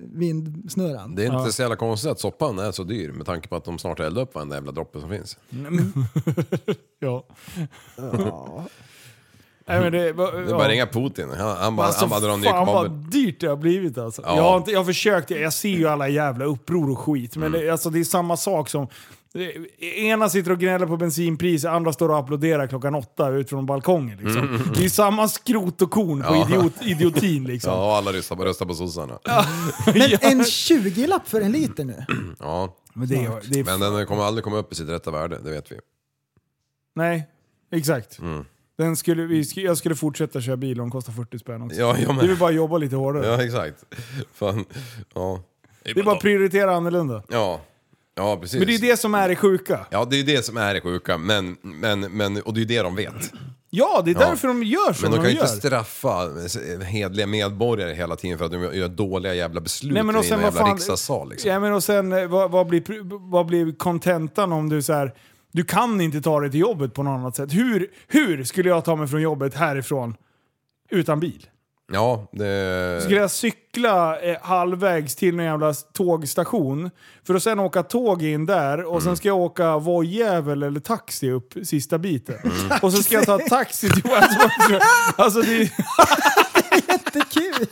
Speaker 2: *laughs*
Speaker 3: vindsnurran.
Speaker 4: Det är inte så jävla konstigt att soppan är så dyr med tanke på att de snart eldar upp varenda jävla droppe som finns.
Speaker 2: Mm. *laughs*
Speaker 4: *laughs*
Speaker 2: Ja. Nej, men det, va,
Speaker 4: Det är bara ringa Putin. Han, han bara,
Speaker 2: Alltså,
Speaker 4: han bara drar en ny
Speaker 2: fan vad
Speaker 4: kabel.
Speaker 2: dyrt det har blivit alltså.
Speaker 4: Ja.
Speaker 2: Jag, har inte, jag har försökt, jag ser ju alla jävla uppror och skit, men
Speaker 4: Mm.
Speaker 2: det, alltså, det är samma sak som... eh, Ena sitter och gnäller på bensinpris, andra står och applåderar klockan åtta ut från balkongen. Liksom. Det är samma skrot och korn på
Speaker 4: Mm. Ja.
Speaker 2: idiot,
Speaker 4: *laughs*
Speaker 2: idiotin liksom.
Speaker 4: Ja, och alla röstar på, röstar på sossarna. Ja.
Speaker 3: Men en 20-lapp för en liter nu?
Speaker 2: Men, det, är- det är,
Speaker 4: Men den kommer aldrig komma upp i sitt rätta värde, det vet vi.
Speaker 2: Nej, exakt.
Speaker 4: Mm.
Speaker 2: Den skulle, vi, sk- jag skulle fortsätta köra bil om den kostar 40 spänn också.
Speaker 4: Ja, ja,
Speaker 2: Du vill
Speaker 4: men,
Speaker 2: bara jobba lite hårdare.
Speaker 4: ja exakt. Fan. Ja.
Speaker 2: Det är bara att prioritera annorlunda.
Speaker 4: Ja. ja, precis.
Speaker 2: Men det är ju det som är det sjuka.
Speaker 4: Ja, det är ju det som är det sjuka, men, men, men, och det är ju det de vet.
Speaker 2: Ja, det är
Speaker 4: Ja.
Speaker 2: därför de gör som
Speaker 4: Men de kan
Speaker 2: de
Speaker 4: ju
Speaker 2: gör.
Speaker 4: inte straffa hedliga medborgare hela tiden för att de gör dåliga jävla beslut
Speaker 2: Nej, men och
Speaker 4: i
Speaker 2: sen
Speaker 4: en
Speaker 2: vad
Speaker 4: jävla
Speaker 2: fan-
Speaker 4: riksdagssal. Liksom.
Speaker 2: Ja, men och sen, eh, vad, vad, blir, pr- vad blir kontentan om du så här, du kan inte ta dig till jobbet på något annat sätt. Hur, hur skulle jag ta mig från jobbet härifrån utan bil?
Speaker 4: Ja, det...
Speaker 2: Skulle jag cykla eh, halvvägs till någon jävla s- tågstation för att sen åka tåg in där och
Speaker 4: Mm.
Speaker 2: sen ska jag åka vojjävel eller taxi upp sista biten.
Speaker 4: Mm.
Speaker 2: *laughs* Och så ska jag ta taxi till Westminster. Alltså det
Speaker 4: *laughs*
Speaker 2: är...
Speaker 3: Jättekul!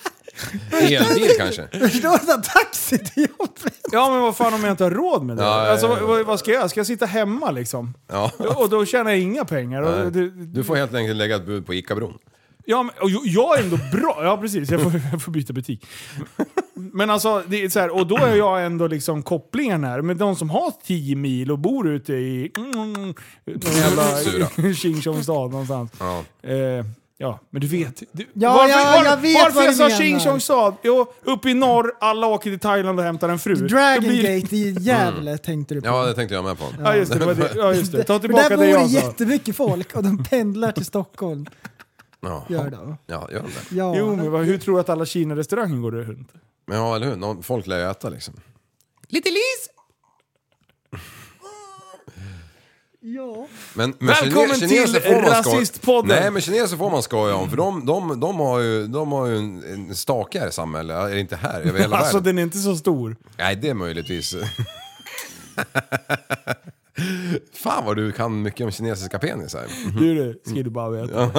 Speaker 4: Elbil kanske?
Speaker 3: *laughs* Förstår du? att Taxi till jobbet!
Speaker 2: Ja men vad fan om jag inte har råd med det?
Speaker 4: Ja, ja, ja.
Speaker 2: alltså, Vad, vad ska jag göra? Ska jag sitta hemma liksom? *laughs*
Speaker 4: Ja.
Speaker 2: Och då tjänar jag inga pengar. Och, det,
Speaker 4: Du får helt enkelt lägga ett bud på ICA-bron.
Speaker 2: ja, men, och jag- jag är ändå bra. Ja precis, jag får, *laughs* jag får byta butik. Men alltså, det är så här, och då är jag ändå liksom kopplingen här. Men de som har 10 mil och bor ute i mm, någon jävla
Speaker 4: *laughs*
Speaker 2: *laughs*
Speaker 4: Sura.
Speaker 2: tjing stad någonstans.
Speaker 4: Ja.
Speaker 2: Eh, ja, men du vet. Du,
Speaker 3: Ja, ja, jag vet
Speaker 2: varför
Speaker 3: vad
Speaker 2: jag
Speaker 3: du
Speaker 2: sa
Speaker 3: menar.
Speaker 2: tjing tjong stad? Jo, uppe i norr, alla åker till Thailand och hämtar en fru. Då
Speaker 3: Dragon
Speaker 2: blir-
Speaker 3: Gate i Gävle tänkte du på.
Speaker 4: Ja, det tänkte jag med på.
Speaker 2: Ja just det, det, var det. Ja, just det. ta
Speaker 3: För där
Speaker 2: tillbaka
Speaker 3: bor
Speaker 2: det
Speaker 3: det
Speaker 2: jag sa.
Speaker 3: jättemycket folk och de pendlar till Stockholm.
Speaker 4: Ja,
Speaker 3: Gör de.
Speaker 4: ja gör de det?
Speaker 3: Ja.
Speaker 2: Jo, men vad, hur tror du att alla Kina-restauranger går runt?
Speaker 4: Men Ja, eller hur? Någon, folk lär ju äta liksom.
Speaker 3: ja.
Speaker 4: Men, men
Speaker 2: Välkommen
Speaker 4: kine- kineser
Speaker 2: till
Speaker 4: får man skoj-
Speaker 2: Rasistpodden.
Speaker 4: Nej, men kineser får man skoja om för de, de, de har ju, de har ju en, en stakare samhälle, eller inte här, över
Speaker 2: *laughs*
Speaker 4: hela
Speaker 2: Alltså
Speaker 4: världen.
Speaker 2: den är inte så stor.
Speaker 4: Nej, det är möjligtvis... *laughs* Fan vad du kan mycket om kinesiska penisar.
Speaker 2: Du det, ska du bara veta.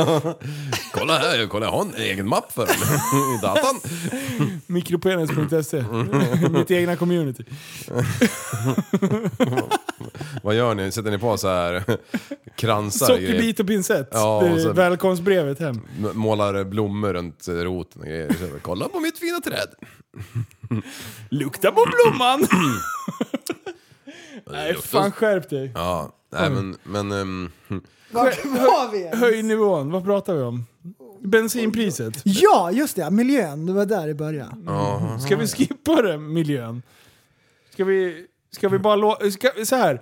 Speaker 4: Kolla här, kolla jag har en egen mapp för dem *laughs* i datan.
Speaker 2: Mikropenis.se.
Speaker 4: Mm.
Speaker 2: Mitt egna community.
Speaker 4: Vad gör ni? Sätter ni på så här *laughs* kransar? och grejer?
Speaker 2: Sockerbit och pincett.
Speaker 4: Ja,
Speaker 2: Det är
Speaker 4: och så-
Speaker 2: Välkomstbrevet hem.
Speaker 4: M- Målar blommor runt roten och grejer. Så, här, Kolla på mitt fina träd.
Speaker 2: Lukta på blomman!
Speaker 4: Nej,
Speaker 2: Fan skärp dig.
Speaker 4: Ja, nej men... men ehm,
Speaker 3: Vart var vi?
Speaker 2: Höj nivån, vad pratar vi om? Bensinpriset.
Speaker 3: Ja, just det. Miljön. Det var där i början.
Speaker 2: Ska vi skippa den miljön? Ska vi, ska vi bara låta... Så här.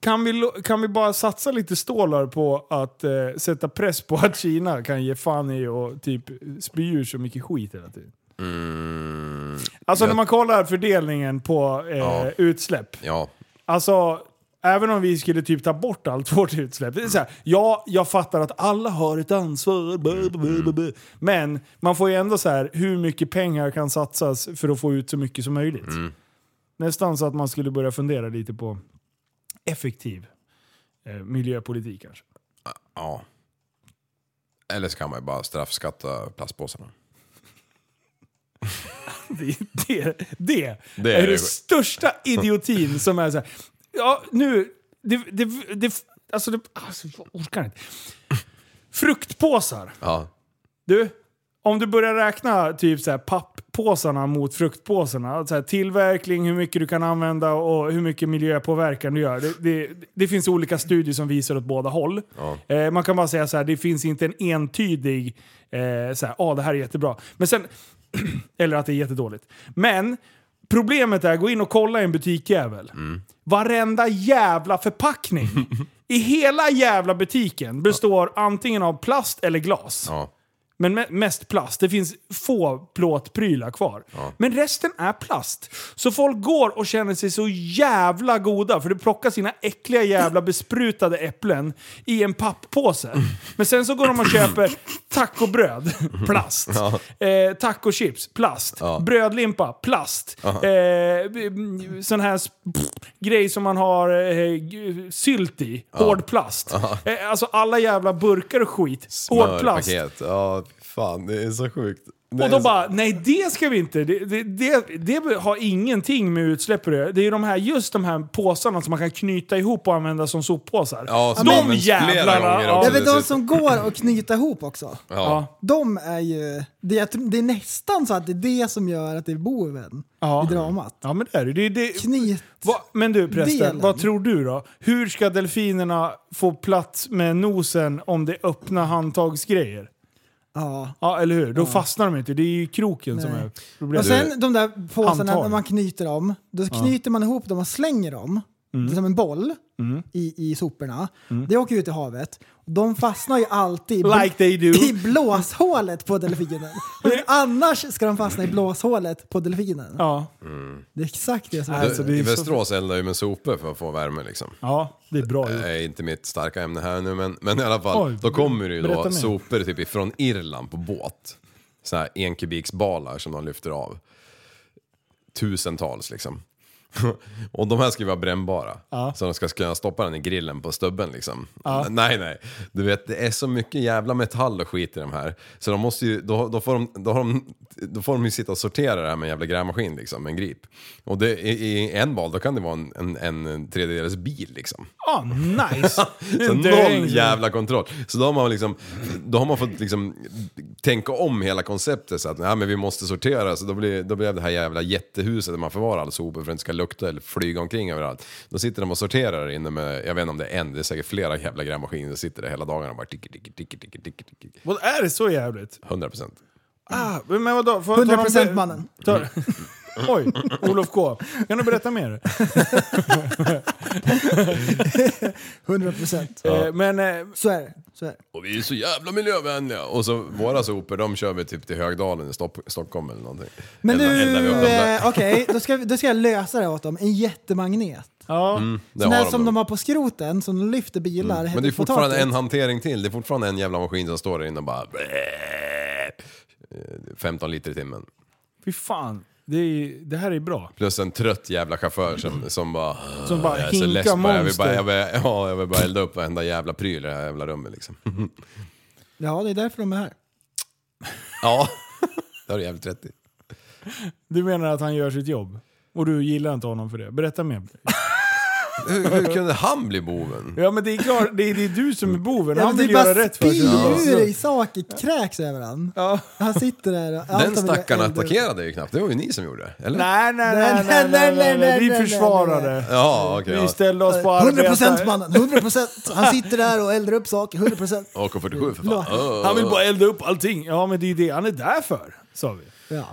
Speaker 2: Kan vi, lo- kan vi bara satsa lite stålar på att eh, sätta press på att Kina kan ge fan i och typ spy ur så mycket skit hela tiden?
Speaker 4: mm,
Speaker 2: Alltså när man kollar fördelningen på eh,
Speaker 4: Ja.
Speaker 2: utsläpp.
Speaker 4: ja.
Speaker 2: Alltså, även om vi skulle typ ta bort allt *laughs* vårt utsläpp. Det är så här, ja, jag fattar att alla har ett ansvar. bla, bla, bla, bla, bla. Men man får ju ändå så här, hur mycket pengar kan satsas för att få ut så mycket som möjligt? Nästan så att man skulle börja fundera lite på effektiv eh, miljöpolitik kanske.
Speaker 4: ja. Eller så kan man ju bara straffskatta plastpåsarna.
Speaker 2: Det, det, det,
Speaker 4: Det är
Speaker 2: är
Speaker 4: det.
Speaker 2: det största idiotin som är så här. Ja, nu... Det, det, det, alltså, det, alltså, jag orkar inte. Fruktpåsar.
Speaker 4: Ja.
Speaker 2: Du, om du börjar räkna typ så här papppåsarna mot fruktpåsarna. Så här, tillverkning, hur mycket du kan använda och hur mycket miljöpåverkan du gör. Det, det, det finns olika studier som visar åt båda håll. Eh, man kan bara säga så här, det finns inte en entydig, eh, så här, ah, det här är jättebra. Men sen, *clears throat* eller att det är jättedåligt. Men problemet är, gå in och kolla i en butikjävel. Varenda jävla förpackning i hela jävla butiken består antingen av plast eller glas.
Speaker 4: ja.
Speaker 2: Men me- mest plast. Det finns få plåtprylar kvar. Men resten är plast. Så folk går och känner sig så jävla goda för du plockar sina äckliga jävla besprutade äpplen i en papppåse. Men sen så går de och köper tacobröd, plast. Eh, tacochips, plast. Brödlimpa, plast. Eh, b- m- sån här s- pff, grej som man har eh, g- sylt i, hård plast. Eh, alltså alla jävla burkar och skit, hård plast.
Speaker 4: Smörpaket. Ja, fy fan det är så sjukt. Det
Speaker 2: Och
Speaker 4: är
Speaker 2: då
Speaker 4: så-
Speaker 2: bara, nej det ska vi inte. Det, det, det, det har ingenting med utsläpp att göra. Det är ju de här, just de här påsarna som man kan knyta ihop och använda som soppåsar.
Speaker 4: Ja, som
Speaker 2: de
Speaker 4: används flera
Speaker 2: jävlarna!
Speaker 4: gånger
Speaker 2: Ja,
Speaker 4: också.
Speaker 3: Det är väl
Speaker 4: det ser-
Speaker 3: de som går och knyta ihop också.
Speaker 4: Ja.
Speaker 3: De är ju... Det är, det är nästan så att det är det som gör att det är boven
Speaker 2: Ja.
Speaker 3: i dramat.
Speaker 2: ja, men det är det. det, det
Speaker 3: Knit.
Speaker 2: Va, men du prästen,
Speaker 3: Delen.
Speaker 2: vad tror du då? Hur ska delfinerna få plats med nosen om det är öppna handtagsgrejer?
Speaker 3: Ja.
Speaker 2: Ja, eller hur? Då fastnar de inte. Det är ju kroken som
Speaker 3: Nej.
Speaker 2: är problemet.
Speaker 3: Och sen de där påsarna
Speaker 2: Handtag.
Speaker 3: när man knyter dem, då knyter man ihop dem och slänger dem det är
Speaker 4: Mm.
Speaker 3: som en boll i, i soporna. Det åker ut i havet. De fastnar ju alltid i bl-
Speaker 2: Like they do.
Speaker 3: i blåshålet på
Speaker 4: *laughs*
Speaker 3: delfinen. Hur annars ska de fastna i blåshålet på delfinen?
Speaker 2: Ja.
Speaker 3: Det är exakt det som
Speaker 2: Äh,
Speaker 3: händer.
Speaker 2: alltså, det är
Speaker 4: I
Speaker 2: så-
Speaker 4: Västerås eldar ju med sopor för att få värme liksom.
Speaker 2: ja, det är bra gjort.
Speaker 4: Det är Eh, inte mitt starka ämne här nu men, men i alla fall,
Speaker 2: Oj,
Speaker 4: då kommer det ju
Speaker 2: berätta
Speaker 4: då
Speaker 2: mer.
Speaker 4: sopor typ ifrån Irland på båt. Så här enkubiksbalar som de lyfter av. Tusentals liksom. *laughs* Och de här ska ju vara brännbara. Så de ska kunna stoppa den i grillen på stubben liksom. Nej, nej. Du vet, det är så mycket jävla metall och skit i de här. Så de måste ju, då, då, får, de, då, har de, då får de ju sitta och sortera det här med en jävla grävmaskin liksom, med en grip. Och det, i, i en bal, då kan det vara en, en, en tredjedels bil liksom.
Speaker 2: Ah,
Speaker 4: *laughs*
Speaker 2: nice!
Speaker 4: Så
Speaker 2: *laughs* Det är
Speaker 4: noll
Speaker 2: inget-
Speaker 4: jävla kontroll. Så då har man, liksom, då har man fått liksom tänka om hela konceptet. Så att nej, men vi måste sortera. Så då blev, då blev det här jävla jättehuset där man förvarar all sopor för att det inte ska lukta eller flyga omkring överallt. Då sitter de och sorterar där inne med, jag vet inte om det är en, det är säkert flera jävla grävmaskiner. som sitter där hela dagarna och bara tick, tick, tick, tick, tick, tick.
Speaker 2: Vad är det så jävligt?
Speaker 4: 100 procent.
Speaker 2: Ah, men vadå? Får jag ta någon-
Speaker 3: 100% mannen.
Speaker 2: Ta... *laughs* Oj, Olof K. Kan du berätta mer?
Speaker 3: 100%.
Speaker 2: Eh, men eh,
Speaker 3: Så är det. Så är det.
Speaker 4: Och vi är så jävla miljövänliga! Och så våra sopor, de kör vi typ till Högdalen i Stopp- Stockholm eller någonting.
Speaker 3: Men
Speaker 4: Eldar-
Speaker 3: nu,
Speaker 4: eldar vi upp dem där.
Speaker 3: eh, okej, då, ska, vi- då ska jag lösa det åt dem. En jättemagnet.
Speaker 2: ja.
Speaker 4: Det
Speaker 3: Sån
Speaker 4: har
Speaker 3: där
Speaker 4: de
Speaker 3: som
Speaker 4: nog. Mm.
Speaker 3: de har på skroten, som de lyfter bilar. häller
Speaker 4: Men det är fortfarande
Speaker 3: potatis.
Speaker 4: en hantering till. Det är fortfarande en jävla maskin som står där inne och bara... 15 liter i timmen.
Speaker 2: fy fan. Det, är, det här är bra.
Speaker 4: Plus en trött jävla chaufför som, som bara...
Speaker 2: Som bara
Speaker 4: jag är så
Speaker 2: hinkar
Speaker 4: less på det här. jag vill bara,
Speaker 2: monster."
Speaker 4: jag vill, ja, jag vill bara elda upp varenda jävla pryl i det här jävla rummet liksom. *laughs*
Speaker 3: Ja, det är därför de är här.
Speaker 4: Ja, det har du jävligt rätt i.
Speaker 2: Du menar att han gör sitt jobb? Och du gillar inte honom för det? Berätta mer.
Speaker 4: Hur, hur kunde han bli boven?
Speaker 2: Ja men det är klart, det är, det är du som är boven.
Speaker 3: Ja,
Speaker 2: Han
Speaker 3: men det
Speaker 2: vill
Speaker 3: är bara
Speaker 2: göra rätt för sig.
Speaker 3: spyr ur
Speaker 2: Ja.
Speaker 3: dig saker, kräks över han. Han sitter där och... allt han
Speaker 4: Den
Speaker 3: vill
Speaker 4: stackaren
Speaker 3: elda upp.
Speaker 4: attackerade ju knappt, det var ju ni som gjorde det. Eller?
Speaker 2: Nej nej nej, nej, nej, nej, nej. Vi försvarade.
Speaker 4: Ja, okej.
Speaker 2: Vi
Speaker 4: ja.
Speaker 2: ställde oss på
Speaker 3: 100%
Speaker 2: arbete.
Speaker 3: mannen, 100%! Han sitter där och eldar upp saker, 100%!
Speaker 4: AK47 för fan. Öh.
Speaker 2: Han vill bara elda upp allting. Ja men det är ju det han är där för. Sa vi.
Speaker 3: Ja,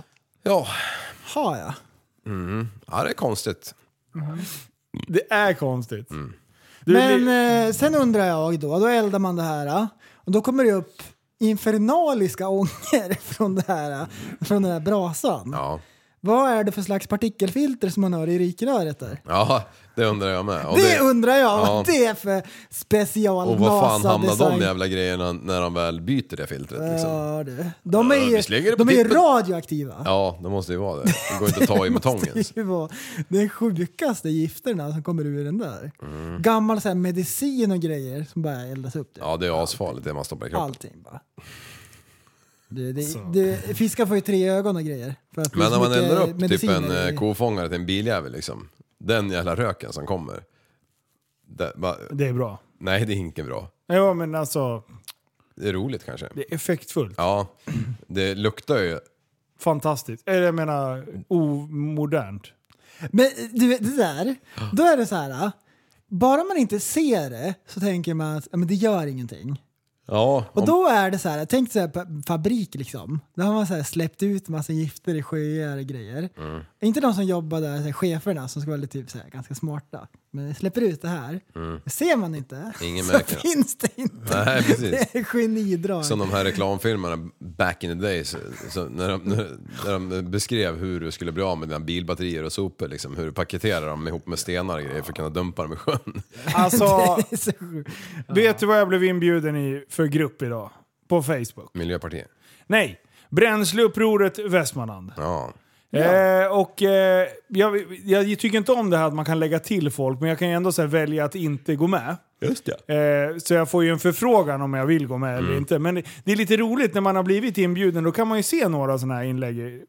Speaker 4: Ja.
Speaker 3: har jag.
Speaker 4: ja, det är konstigt.
Speaker 2: Det är konstigt. Du,
Speaker 3: Men
Speaker 2: vi-
Speaker 3: eh, sen undrar jag då, då eldar man det här eh, och då kommer det upp infernaliska ånger *laughs* från, det här, eh, från den här brasan.
Speaker 4: Ja.
Speaker 3: Vad är det för slags partikelfilter som man har i rikröret där?
Speaker 4: ja, det undrar jag med. Och
Speaker 3: det, undrar jag
Speaker 4: Ja.
Speaker 3: vad det är för special
Speaker 4: Och vad fan
Speaker 3: NASA
Speaker 4: hamnar
Speaker 3: design.
Speaker 4: de jävla grejerna när de väl byter det filtret liksom?
Speaker 3: Ja, du. De är
Speaker 4: vi slänger
Speaker 3: ju,
Speaker 4: det på
Speaker 3: de är ju
Speaker 4: tippen.
Speaker 3: radioaktiva.
Speaker 4: Ja, det måste ju vara det. Det går inte att
Speaker 3: *laughs*
Speaker 4: ta i med tång ens.
Speaker 3: Det var den sjukaste gifterna som kommer ur den där.
Speaker 4: Mm.
Speaker 3: Gammal så här medicin och grejer som bara eldas upp. typ. Det.
Speaker 4: Ja, det är asfarligt det man stoppar i kroppen.
Speaker 3: Allting bara. Det, det, det, fiskar får ju tre ögon och grejer. För att det är
Speaker 4: Men
Speaker 3: så
Speaker 4: om man
Speaker 3: mycket
Speaker 4: eldar upp typ
Speaker 3: mediciner
Speaker 4: en
Speaker 3: i-
Speaker 4: eh, kofångare till en biljävel liksom. Den jävla röken som kommer. Det, va,
Speaker 2: Det är bra.
Speaker 4: nej, det är inte bra.
Speaker 2: Ja men alltså,
Speaker 4: Det är roligt kanske.
Speaker 2: det är effektfullt.
Speaker 4: Ja, det luktar ju.
Speaker 2: Fantastiskt. Eller jag menar omodernt.
Speaker 3: Men du vet, det där, då är det så här. Bara man inte ser det så tänker man att ja, men det gör ingenting.
Speaker 4: Ja,
Speaker 3: Och
Speaker 4: om-
Speaker 3: då är det så här, tänk så här på fabrik liksom. Där har man så här släppt ut massa gifter i sjöar och grejer.
Speaker 4: Mm.
Speaker 3: Inte de som jobbar där, så här, cheferna som ska vara lite typ så här, ganska smarta. Men släpper ut det här, det ser man inte.
Speaker 4: Mm. Ingen
Speaker 3: så
Speaker 4: märker det.
Speaker 3: finns det inte.
Speaker 4: Nej, precis.
Speaker 3: Det är genidrag.
Speaker 4: Som de här reklamfilmerna back in the days, så när, de, när- när de beskrev hur du skulle bli av med dina bilbatterier och sopor, liksom, hur du paketerar dem ihop med stenar och grejer för att kunna dumpa dem i sjön. *laughs*
Speaker 2: Alltså,
Speaker 3: *laughs* Det är så sjukt.
Speaker 2: vet du vad jag blev inbjuden i för grupp idag? På Facebook.
Speaker 4: Miljöpartiet.
Speaker 2: Nej! Bränsleupproret Västmanland.
Speaker 4: Ja.
Speaker 2: Eh, och, eh, jag, jag tycker inte om det här att man kan lägga till folk, men jag kan ju ändå så här, välja att inte gå med.
Speaker 4: Just ja.
Speaker 2: Eh, så jag får ju en förfrågan om jag vill gå med
Speaker 3: Mm.
Speaker 2: eller inte. Men det, det är lite roligt när man har blivit inbjuden, då kan man ju se några sådana här inlägg. i-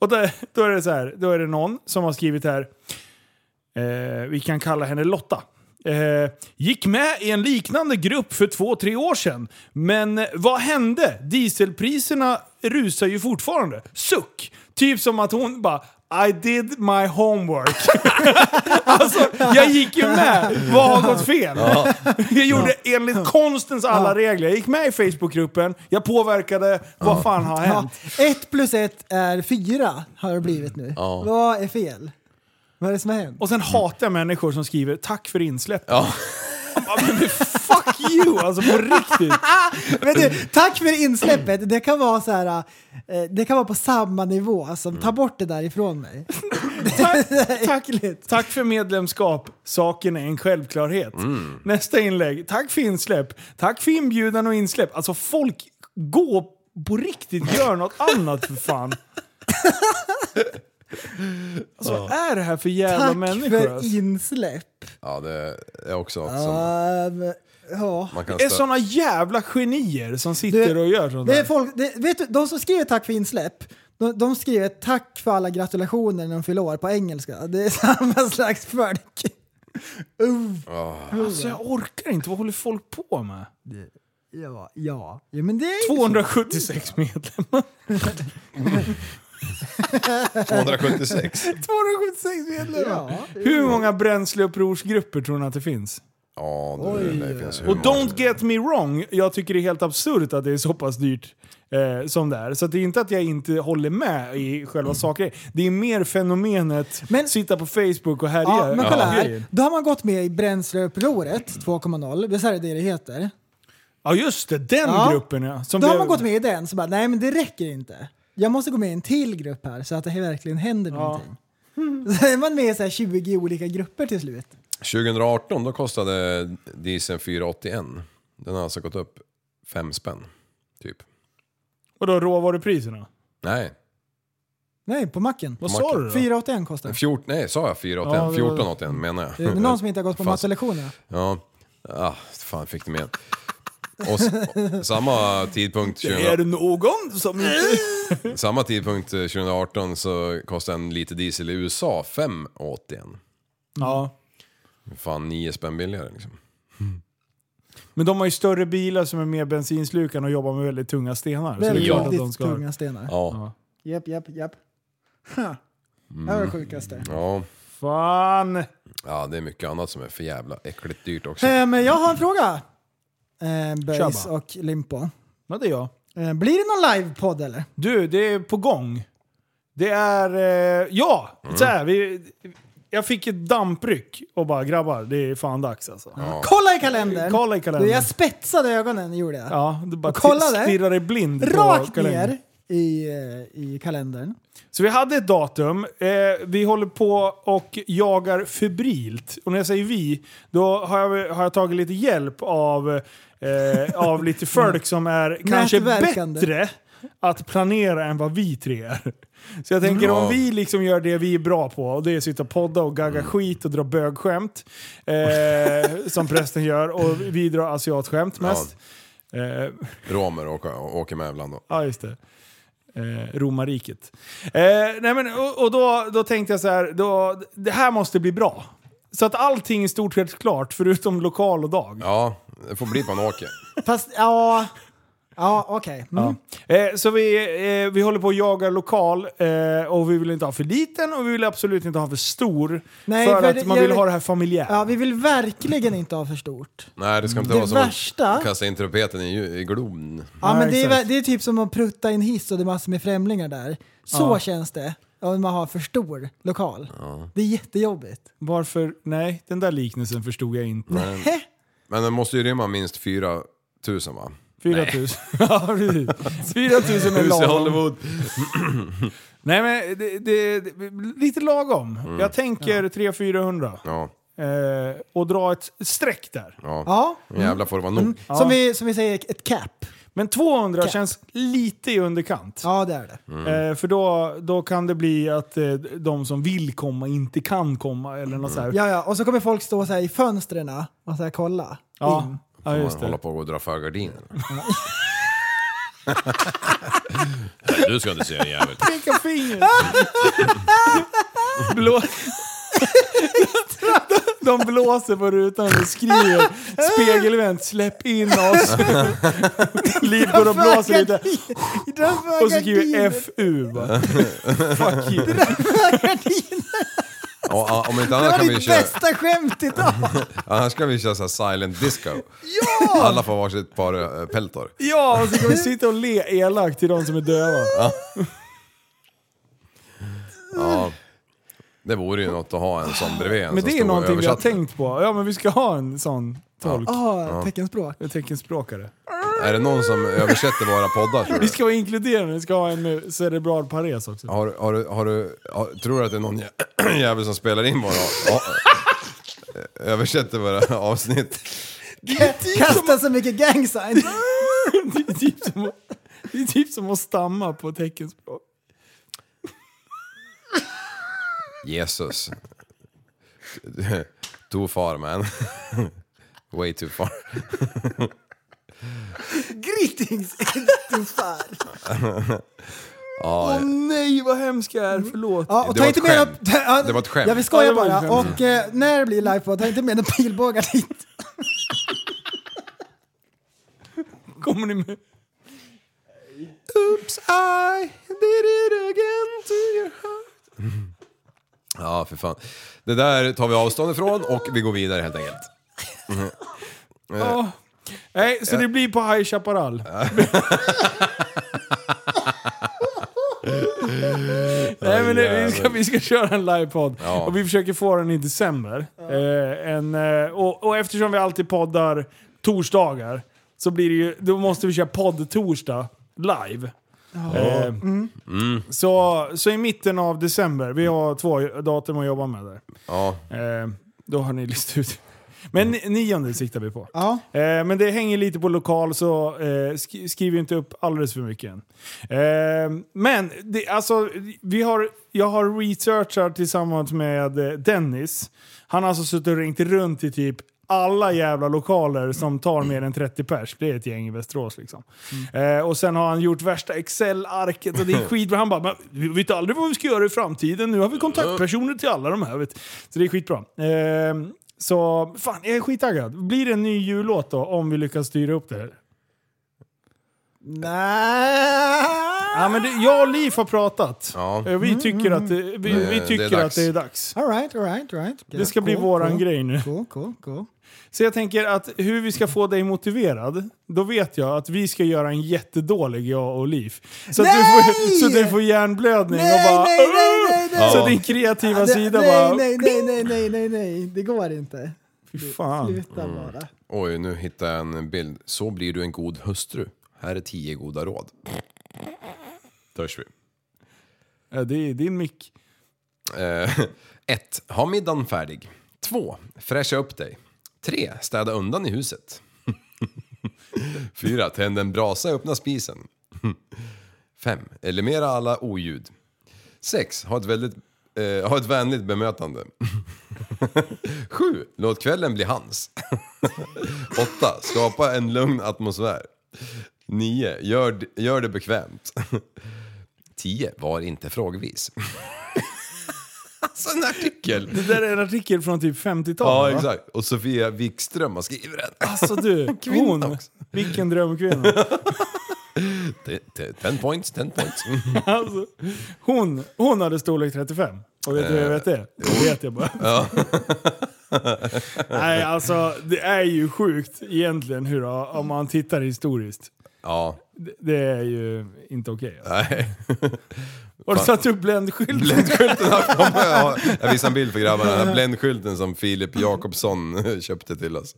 Speaker 2: Och där, då, är det så här, då är det någon som har skrivit här, eh, vi kan kalla henne Lotta. Eh, gick med i en liknande grupp för två, tre år sedan. Men eh, vad hände? Dieselpriserna rusar ju fortfarande. Suck! Typ som att hon bara I did my homework. *laughs* alltså, jag gick ju med. Vad har gått fel? Jag gjorde enligt konstens alla regler. Jag gick med i Facebookgruppen, jag påverkade. Vad fan har
Speaker 3: Ja,
Speaker 2: hänt?
Speaker 3: ett plus ett är fyra har det blivit nu. Vad är fel? Vad är det som har hänt?
Speaker 2: Och sen hatar jag människor som skriver tack för insläppet.
Speaker 4: Ja.
Speaker 2: Ja, men fuck you! Alltså på riktigt.
Speaker 3: *laughs* Men du, tack för insläppet. Det kan vara så här, eh, det kan vara på samma nivå som ta bort det där ifrån mig. *laughs*
Speaker 2: Tack,
Speaker 3: Äckligt.
Speaker 2: tack för medlemskap. Saken är en självklarhet.
Speaker 3: Mm.
Speaker 2: Nästa inlägg. Tack för insläpp. Tack för inbjudan och insläpp. Alltså folk, gå på riktigt. Gör
Speaker 3: *laughs*
Speaker 2: något annat för fan. Alltså, vad är det här för jävla
Speaker 3: Tack
Speaker 2: människor?
Speaker 3: för
Speaker 2: alltså?
Speaker 3: insläpp.
Speaker 4: ja, det är också något som
Speaker 3: Ehm, ja.
Speaker 4: man kan
Speaker 2: Ah. Det är
Speaker 4: störa.
Speaker 2: såna jävla genier som sitter
Speaker 3: Det-
Speaker 2: och gör sånt
Speaker 3: Det är
Speaker 2: där.
Speaker 3: folk, det, vet du, de som skriver tack för insläpp, de, de skriver tack för alla gratulationer när de fyller år på engelska. Det är *laughs* samma slags folk. Uh,
Speaker 2: Alltså, jag orkar inte. Vad håller folk på med?
Speaker 3: ja, ja. ja, men det är ju så.
Speaker 2: 276 medlemmar. *laughs*
Speaker 4: 276.
Speaker 2: 276 medlemmar!
Speaker 3: Ja.
Speaker 2: Hur många bränsleupprorsgrupper tror ni att det finns?
Speaker 4: Ja, det, det finns hur
Speaker 2: Och
Speaker 4: många-
Speaker 2: don't get me wrong, jag tycker det är helt absurt att det är så pass dyrt eh, som det är. Så att det är inte att jag inte håller med i själva saker. Det är mer fenomenet
Speaker 3: Men-
Speaker 2: sitta på Facebook och härja.
Speaker 3: Ja, men kolla här.
Speaker 2: grejer.
Speaker 3: Då har man gått med i Bränsleupproret 2.0, det är så här det heter.
Speaker 2: Ja just det, den
Speaker 3: Ja.
Speaker 2: gruppen ja. Som
Speaker 3: Då har
Speaker 2: blev-
Speaker 3: man gått med i den, så bara nej men det räcker inte. Jag måste gå med i en till grupp här så att det här verkligen händer någonting. *laughs* Så är man med i så här 20 olika grupper till slut.
Speaker 4: 2018 då kostade dieseln 481. Den har alltså gått upp fem spänn, typ.
Speaker 2: Och då råvarupriserna?
Speaker 4: Nej,
Speaker 3: Nej, på macken.
Speaker 2: Vad
Speaker 4: Marken.
Speaker 2: sa du då?
Speaker 3: 4,81 kostar det.
Speaker 4: 14, nej sa jag
Speaker 2: Ja,
Speaker 4: 481?
Speaker 2: det var-
Speaker 4: 1481 menar
Speaker 3: Det är
Speaker 4: jag.
Speaker 2: Mm.
Speaker 3: någon som inte har gått på
Speaker 4: Fast-
Speaker 3: mattelektionerna.
Speaker 4: Ja, ah, fan fick det med. Och s- och samma tidpunkt, 2000,
Speaker 2: Är det någon som inte...
Speaker 4: samma tidpunkt eh, 2018 så kostade en liter diesel i USA 5,81.
Speaker 2: Ja.
Speaker 4: Fan 9 spänn billigare liksom.
Speaker 2: Men de har ju större bilar som är mer bensinslukande och jobbar med väldigt tunga stenar. Så det är klart att de
Speaker 3: Väldigt
Speaker 2: ska ha-
Speaker 3: tunga stenar.
Speaker 4: Ja,
Speaker 3: Japp, japp, japp. Ha. Det
Speaker 2: Mm.
Speaker 3: här var det sjukaste.
Speaker 4: ja.
Speaker 2: Fan!
Speaker 4: ja det är mycket annat som är för jävla äckligt dyrt också.
Speaker 3: Eh, Men jag har en fråga. Eh, Böjs
Speaker 2: bara.
Speaker 3: och Limpo.
Speaker 2: Vad det är jag.
Speaker 3: Eh, Blir det någon livepodd eller?
Speaker 2: Du, det är på gång. Det är... Eh, ja! Så här, vi, jag fick ett dampryck och bara grabbar, det är fan dags alltså.
Speaker 3: Kolla i kalendern!
Speaker 2: Kolla i kalendern.
Speaker 3: Du, jag spetsade ögonen gjorde jag.
Speaker 2: Ja, du bara
Speaker 3: Och kolla det.
Speaker 2: stirrar dig blind
Speaker 3: Rakt
Speaker 2: på kalendern.
Speaker 3: ner i, eh, i kalendern.
Speaker 2: Så vi hade ett datum. Eh, vi håller på och jagar febrilt. Och när jag säger vi, då har jag, har jag tagit lite hjälp av, eh, av lite folk som är kanske
Speaker 3: Nätverkande.
Speaker 2: bättre att planera än vad vi tre är. Så jag tänker om vi liksom gör det vi är bra på, och det är att sitta och podda och gagga skit och dra bögskämt, eh, som prästen gör, och vi drar asiatskämt mest. Eh,
Speaker 4: Romer åker, åker med ibland då.
Speaker 2: Ja, just det. Eh, Romarriket. Eh, nej men, och och då, då tänkte jag så här, då, det här måste bli bra. Så att allting är i stort sett klart, förutom lokal och dag.
Speaker 4: Ja, det får bli på en åker.
Speaker 3: Fast ja... Ja, okej. Mm.
Speaker 2: Eh, så vi, eh, vi håller på att jaga lokal eh, och vi vill inte ha för liten och vi vill absolut inte ha för stor.
Speaker 3: Nej,
Speaker 2: för,
Speaker 3: för
Speaker 2: att
Speaker 3: det-
Speaker 2: man
Speaker 3: jag
Speaker 2: vill
Speaker 3: vet-
Speaker 2: ha det här familjärt.
Speaker 3: Ja, vi vill verkligen inte ha för stort.
Speaker 4: Nej, det ska inte
Speaker 3: Det
Speaker 4: vara som
Speaker 3: värsta-
Speaker 4: att kasta in trumpeten i, ju- i Globen.
Speaker 3: Ja,
Speaker 2: Nej,
Speaker 3: men det är,
Speaker 2: exakt.
Speaker 3: vä- det är typ som att prutta i en hiss och det är massor med främlingar där. Så
Speaker 2: Ja.
Speaker 3: känns det om man har för stor lokal. Det är jättejobbigt.
Speaker 2: Varför? Nej, den där liknelsen förstod jag inte.
Speaker 3: Heh.
Speaker 4: Men den måste ju rymma minst 4 000 va?
Speaker 2: 4 000. *laughs* ja, precis. 4 000 är
Speaker 4: Hus i
Speaker 2: lagom.
Speaker 4: Hollywood.
Speaker 2: Nej, men det, det, det, lite lagom. Jag tänker 300-400.
Speaker 4: Ja,
Speaker 2: Eh, och dra ett streck där.
Speaker 4: ja.
Speaker 3: Ja. Mm.
Speaker 4: Jävlar får det vara nog.
Speaker 3: Som, vi, som vi säger, ett cap.
Speaker 2: Men 200
Speaker 3: Cap.
Speaker 2: känns lite i underkant.
Speaker 3: Ja, det är det.
Speaker 2: Eh, för då, då kan det bli att eh, de som vill komma inte kan komma eller något så här.
Speaker 3: Ja, ja. Och så kommer folk stå så här i fönstren och så här kolla.
Speaker 2: ja.
Speaker 3: in.
Speaker 2: ja
Speaker 4: Man
Speaker 2: just
Speaker 4: håller
Speaker 2: det.
Speaker 4: på och dra
Speaker 2: *laughs*
Speaker 4: för gardinen. du ska inte se
Speaker 2: *laughs*
Speaker 4: en jävel.
Speaker 2: Peka finger! Blå... De blåser på rutan och skriver spegelvänt “Släpp in oss”. Liv går och blåser lite.
Speaker 3: Dra
Speaker 2: Och så skriver FU bara. Fuck you.
Speaker 4: Ja, om inte
Speaker 3: Det
Speaker 4: annat
Speaker 3: var
Speaker 4: kan vi
Speaker 3: ditt
Speaker 4: köra,
Speaker 3: bästa skämt idag!
Speaker 4: annars kan vi köra så här silent disco.
Speaker 3: Ja!
Speaker 4: Alla får varsitt par eh, peltor.
Speaker 2: *laughs* Ja, och så kan vi sitta och le elakt till de som är döva.
Speaker 4: Ja. Det vore ju något att ha en sån bredvid en
Speaker 2: Men
Speaker 3: Alltså,
Speaker 4: som
Speaker 2: det är
Speaker 4: står
Speaker 2: någonting vi har
Speaker 4: översätter.
Speaker 2: tänkt på. Ja, men vi ska ha en sån tolk.
Speaker 3: Ah, teckenspråk.
Speaker 2: En teckenspråkare.
Speaker 4: Är det någon som översätter våra poddar tror
Speaker 2: Vi
Speaker 4: du?
Speaker 2: ska vara inkluderande, vi ska ha en med cerebral pares också.
Speaker 4: Har, har, du- har du, har, tror du att det är någon jä- *clears throat* jävel som spelar
Speaker 2: *laughs*
Speaker 4: in våra... Ja, översätter våra avsnitt?
Speaker 2: typ
Speaker 3: Kasta så mycket
Speaker 2: *laughs*
Speaker 3: gang sign.
Speaker 2: Det, är typ som att, det är typ som att stamma på teckenspråk.
Speaker 4: Jesus. Too far man. Way too far.
Speaker 3: Greetings Edufar.
Speaker 4: Ja,
Speaker 2: Nej vad hemskt jag är, förlåt.
Speaker 3: Mm. Ja, och
Speaker 4: Det
Speaker 3: ta
Speaker 4: var
Speaker 3: inte
Speaker 4: ett
Speaker 3: med
Speaker 4: skämt.
Speaker 3: några- ja,
Speaker 4: Det var ett skämt.
Speaker 3: Jag vill skoja
Speaker 2: Ja, det var ett
Speaker 3: bara.
Speaker 2: skämt.
Speaker 3: Och eh, när det blir livepodd, ta inte med några pilbågar dit.
Speaker 2: Kommer ni med?
Speaker 4: Oops, I did it again to your heart. Ja, för fan. Det där tar vi avstånd ifrån och vi går vidare helt enkelt.
Speaker 2: Ja. Nej, så det blir på High Chaparral. *laughs* Nej men nu, vi, ska, vi ska köra en livepodd
Speaker 4: Ja.
Speaker 2: och vi försöker få den i december. Eh, en, eh, och, och eftersom vi alltid poddar torsdagar så blir det ju, då måste vi köra podd-torsdag live. Eh, Så, så i mitten av december, vi har två datum att jobba med där.
Speaker 4: Ja,
Speaker 2: Eh, då har ni listat ut. Men ni- nionde siktar vi på.
Speaker 3: Ja.
Speaker 2: Eh, men det hänger lite på lokal så eh, sk- skriv inte upp alldeles för mycket än. Eh, men det, alltså, vi har, jag har researchat tillsammans med eh, Dennis. Han har alltså suttit och ringt runt i typ alla jävla lokaler som tar mer än 30 pers. Det är ett gäng i Västerås liksom. Eh, och sen har han gjort värsta Excel-arket och det är skitbra. Han bara, men vi vet aldrig vad vi ska göra i framtiden. Nu har vi kontaktpersoner till alla de här. Vet. Så det är skitbra. Eh, så fan, jag är skittaggad. Blir det en ny jullåt då om vi lyckas styra upp det här?
Speaker 3: Nej.
Speaker 2: Ja, men det, jag och Liv har pratat.
Speaker 4: Ja. mm.
Speaker 2: Eh,
Speaker 3: Mm,
Speaker 2: Vi tycker, att, det, vi,
Speaker 4: det
Speaker 2: vi
Speaker 4: är
Speaker 2: tycker att
Speaker 4: dags.
Speaker 2: det är dags.
Speaker 3: Alright, alright, alright.
Speaker 2: Det ska bli våran grej nu.
Speaker 3: Cool, cool,
Speaker 2: *laughs*
Speaker 3: cool.
Speaker 2: Så jag tänker att hur vi ska få dig motiverad, då vet jag att vi ska göra en jättedålig, jag och Liv. Så, att du
Speaker 3: Nej!
Speaker 2: får- så att du får hjärnblödning
Speaker 3: Nej,
Speaker 2: och bara...
Speaker 3: nej, nej, nej, nej.
Speaker 2: "Åh!" Så
Speaker 4: Ja.
Speaker 2: din kreativa
Speaker 3: Det-
Speaker 2: sida
Speaker 3: nej,
Speaker 2: bara...
Speaker 3: nej, nej, nej, nej, nej, nej. Det går inte.
Speaker 2: Fy fan.
Speaker 3: Sluta
Speaker 4: Mm.
Speaker 3: bara.
Speaker 4: oj nu hittade jag en bild. Så blir du en god hustru. Här är tio goda råd. Törs vi.
Speaker 2: Ja, det är din mick.
Speaker 4: Eh, *laughs* ett, Ha middagen färdig. Två, Fräscha upp dig. Tre, Städa undan i huset. *laughs* Fyra, Tänd en brasa och öppna spisen. *laughs* Fem, Eliminera alla oljud. Sex, Ha ett, väldigt, eh, ha ett vänligt bemötande. *laughs* *laughs* Sju, Låt kvällen bli hans. Åtta, Skapa en lugn atmosfär. 9. Gör, d- gör det bekvämt. *laughs* 10. Var inte frågvis. *laughs* alltså en artikel!
Speaker 2: Det där är en artikel från typ 50-talet
Speaker 4: Ja,
Speaker 2: va?
Speaker 4: exakt. Och Sofia Wikström har skrivit den. Ah,
Speaker 2: Alltså
Speaker 3: *laughs*
Speaker 2: du, hon.
Speaker 4: också.
Speaker 2: Vilken drömkvinna.
Speaker 4: Te- te- Ten points, ten points. Mm.
Speaker 2: Alltså, hon, hon hade storlek 35. Och vet du hur jag vet
Speaker 4: Eh,
Speaker 2: det? Det vet jag bara. Nej, alltså det är ju sjukt egentligen hur, om man tittar historiskt.
Speaker 4: Ja,
Speaker 2: Det- Det är ju inte okej. alltså.
Speaker 4: nej.
Speaker 2: Har du satt upp bländskylten?
Speaker 4: Bländskylten har kommit. Ja, Jag visade en bild för grabbarna. Den här bländskylten som Filip Jakobsson *laughs* köpte till oss.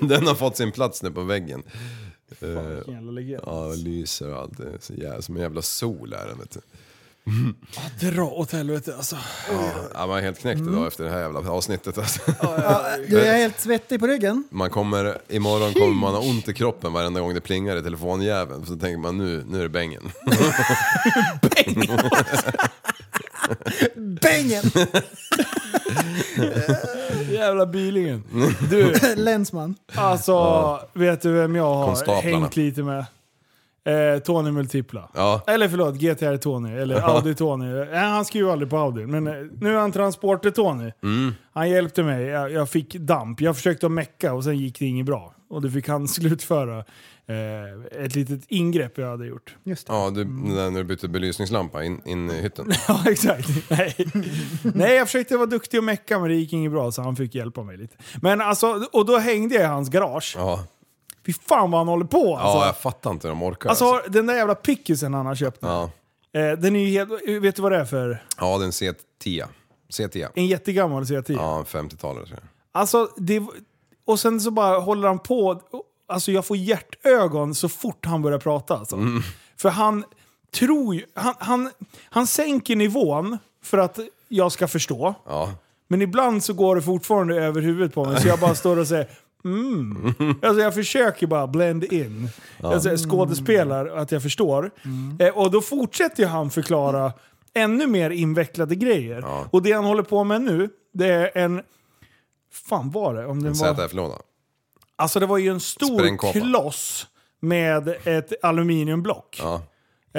Speaker 4: Den har fått sin plats nu på väggen. Eh,
Speaker 2: Vilken jävla legend.
Speaker 4: Ja, det lyser och allt. Det är så jävla, som en jävla sol är den. Vet du.
Speaker 2: Dra åt helvete alltså.
Speaker 4: Ja, man är helt knäckt idag efter det här jävla avsnittet. Alltså.
Speaker 3: Du är helt svettig på ryggen.
Speaker 4: Man kommer, imorgon kommer man ha ont i kroppen varenda gång det plingar i telefonjäveln. Så tänker man nu, nu är det bängen.
Speaker 3: Bängen!
Speaker 2: Jävla bilingen. Du,
Speaker 3: *laughs* Länsman.
Speaker 2: alltså vet du vem jag har
Speaker 4: Konstaplarna.
Speaker 2: hängt lite med? Eh, Tony Multipla.
Speaker 4: Ja.
Speaker 2: Eller förlåt, GTR Tony. Eller Audi Tony. Nej, han skrev ju aldrig på Audi. Men eh, nu är han Transporter Tony.
Speaker 4: Mm.
Speaker 2: Han hjälpte mig. Jag, jag fick damp. Jag försökte att mecka och sen gick det inget bra. Och då fick han *laughs* slutföra eh, ett litet ingrepp jag hade
Speaker 4: *laughs*
Speaker 2: gjort.
Speaker 4: Ja, du, när du bytte belysningslampa in, in i hytten.
Speaker 2: Ja, exakt. Nej. Nej, jag försökte vara duktig och mecka men det gick inget bra så han fick hjälpa mig lite. Men alltså, och då hängde jag i hans garage.
Speaker 4: Ja,
Speaker 2: Fy fan vad han håller på alltså.
Speaker 4: ja jag fattar inte hur de orkar.
Speaker 2: alltså,
Speaker 4: Alltså.
Speaker 2: den där jävla pickisen han har köpt.
Speaker 4: Ja.
Speaker 2: Eh, den är ju helt, vet du vad det är för?
Speaker 4: ja, det är en C10. C10.
Speaker 2: En jättegammal C10.
Speaker 4: Ja, en 50-talare tror jag.
Speaker 2: Alltså, det, och sen så bara håller han på. Alltså jag får hjärtögon så fort han börjar prata. Alltså. För han tror ju... Han, han, han sänker nivån för att jag ska förstå.
Speaker 4: Ja.
Speaker 2: Men ibland så går det fortfarande över huvudet på mig så jag bara står och säger Mm. Alltså jag försöker bara blend in. Alltså skådespelar att jag förstår. Eh, och då fortsätter ju han förklara ännu mer invecklade grejer. Och det han håller på med nu, det är en... fan var det? Om det var,
Speaker 4: ZF-låda.
Speaker 2: alltså det var ju en stor
Speaker 4: Sprängkåpa.
Speaker 2: kloss med ett aluminiumblock.
Speaker 4: Ja.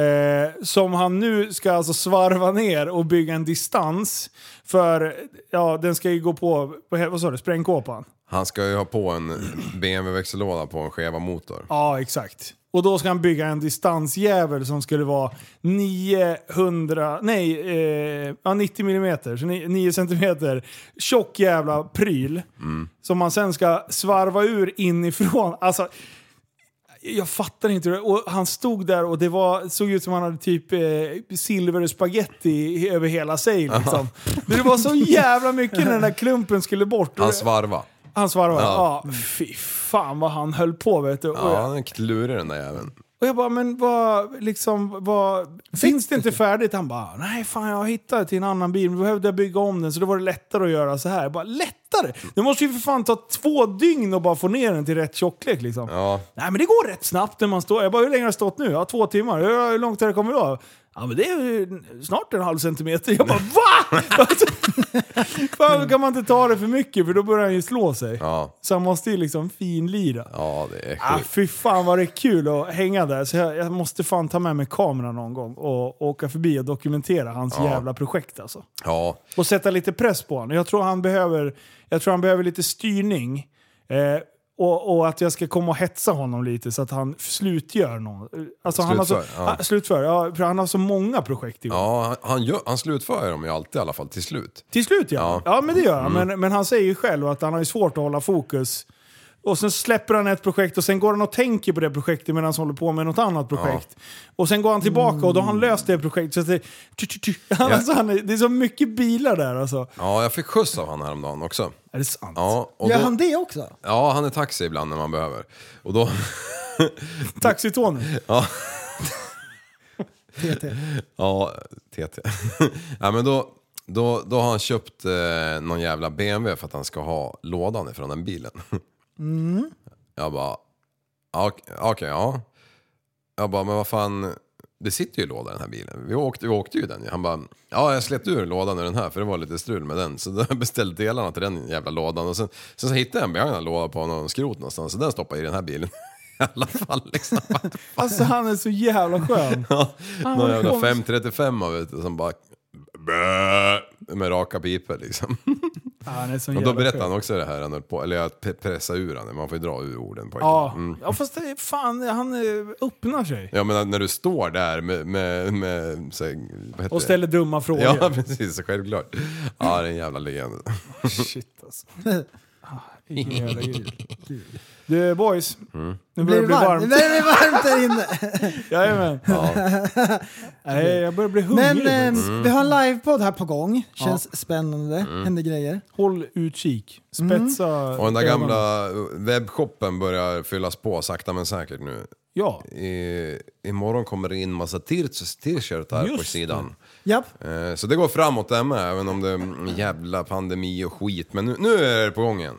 Speaker 2: Eh, som han nu ska alltså svarva ner och bygga en distans. För ja, den ska ju gå på, på vad sa du, sprängkåpan?
Speaker 4: Han ska ju ha på en BMW-växellåda på en skeva motor.
Speaker 2: Ja, exakt. Och då ska han bygga en distansjävel som skulle vara 900, nej, eh, ja, 90 millimeter, så ni- 9 centimeter tjock jävla pryl. Som man sen ska svarva ur inifrån. Alltså, jag fattar inte. hur det- Och han stod där och det var, såg ut som han hade typ eh, silver spaghetti över hela sig. Liksom. Det var så jävla mycket när den där klumpen skulle bort.
Speaker 4: Han svarva.
Speaker 2: Han svarvade. Ja.
Speaker 4: Ja.
Speaker 2: fy fan vad han höll på vet du. Och,
Speaker 4: Ja,
Speaker 2: jag,
Speaker 4: han är klurig den där jäveln.
Speaker 2: och jag bara, men vad, liksom, vad, finns det inte färdigt? Han bara, nej fan jag hittade till en annan bil, men behövde jag bygga om den så då var det lättare att göra så här. Jag bara, lättare? Det måste ju för fan ta två dygn och bara få ner den till rätt tjocklek liksom.
Speaker 4: Ja.
Speaker 2: Nej men det går rätt snabbt när man står. Jag bara, hur länge har det stått nu? Ja, två timmar. Hur hur långt har det kommit då? Ja men det är ju snart en halv centimeter. Jag bara, VA? Alltså, fan, då kan man inte ta det för mycket för då börjar han ju slå sig.
Speaker 4: Ja.
Speaker 2: Så han måste ju liksom finlira.
Speaker 4: Ja, det är
Speaker 2: Ah,
Speaker 4: sjukt.
Speaker 2: fy fan vad det är kul att hänga där. Så jag, jag måste fan ta med mig kameran någon gång och åka förbi och dokumentera hans jävla projekt alltså.
Speaker 4: Ja.
Speaker 2: Och sätta lite press på honom. Jag tror han behöver, jag tror han behöver lite styrning. Eh, och, och att jag ska komma och hetsa honom lite så att han slutgör något. Alltså, han har så,
Speaker 4: Slutför, ja.
Speaker 2: ah, slutför, ja, för han har så många projekt i år.
Speaker 4: Ja, han, han, gör, han slutför dem ju alltid i alla fall, till slut.
Speaker 2: Till slut ja.
Speaker 4: Ja. Mm.
Speaker 2: Ja, men det gör han. Men, men han säger ju själv att han har ju svårt att hålla fokus. Och sen släpper han ett projekt och sen går han och tänker på det projektet medan han håller på med något annat projekt. Och sen går han tillbaka och då har han
Speaker 4: Mm.
Speaker 2: löst det projektet. Så att det, ty, ty, *laughs* ty. Alltså, han är, det är så mycket bilar där alltså.
Speaker 4: Ja, jag fick skjuts av han häromdagen också.
Speaker 2: Är det sant?
Speaker 4: Ja, och
Speaker 3: Gör
Speaker 4: då,
Speaker 3: han det också?
Speaker 4: ja, han är taxi ibland när man behöver. Och då...
Speaker 2: Taxitony.
Speaker 4: *laughs*
Speaker 3: TT.
Speaker 4: Ja, TT. *laughs* ja, men då, då, då har han köpt eh, någon jävla BMW för att han ska ha lådan ifrån den bilen. *laughs* Jag bara, ja, okej, okej, ja. Jag bara, men vad fan, det sitter ju låda i den här bilen. Vi åkte, vi åkte ju den ju. Han bara, ja jag slet ur lådan ur den här för det var lite strul med den. Så då *laughs* har jag beställt delarna till den jävla lådan. Och sen, sen så hittade jag en begagnad låda på någon skrot någonstans. Så den stoppade i den här bilen. *laughs* alla fall. Liksom.
Speaker 2: Alltså han är så jävla skön.
Speaker 4: Någon jävla 535 av ute som bara... Bäh, med raka pipor
Speaker 2: *laughs*
Speaker 4: liksom.
Speaker 2: Han är så
Speaker 4: Och
Speaker 2: jävla
Speaker 4: då berättade han
Speaker 2: skön.
Speaker 4: också det här han höll på, eller jag pe- pressade ur han, man får ju dra ur orden pojken.
Speaker 2: Ja.
Speaker 4: Mm.
Speaker 2: ja, fast det är fan, han eh, öppnar sig.
Speaker 4: Ja men när du står där med, med, med så, här, vad heter
Speaker 2: Och ställer dumma
Speaker 4: det?
Speaker 2: frågor.
Speaker 4: Ja *laughs* precis, så självklart. Ja det är en jävla legend.
Speaker 2: Shit
Speaker 3: *laughs*
Speaker 2: alltså. Ah, vilken jävla gud. Gud. Du boys,
Speaker 4: Mm.
Speaker 2: nu
Speaker 3: Blir
Speaker 2: börjar
Speaker 3: det
Speaker 2: det bli
Speaker 3: varmt? Det
Speaker 2: varmt.
Speaker 3: blir varmt där
Speaker 2: *laughs*
Speaker 3: inne.
Speaker 2: Jajamän. *laughs* Nej, jag börjar bli hungrig.
Speaker 3: Men eh, vi har en livepodd här på gång. Känns spännande.
Speaker 4: Mm.
Speaker 3: Händer grejer.
Speaker 2: Håll utkik.
Speaker 3: Mm.
Speaker 2: Spetsa
Speaker 4: Och den där
Speaker 2: ögonen.
Speaker 4: gamla webbshoppen börjar fyllas på sakta men säkert nu.
Speaker 2: Ja.
Speaker 4: I, imorgon kommer det in massa tir- t-shirtar på sidan.
Speaker 3: Japp.
Speaker 4: Eh, Så det går framåt där med, även om det är en jävla pandemi och skit. Men nu, nu är det på gång igen.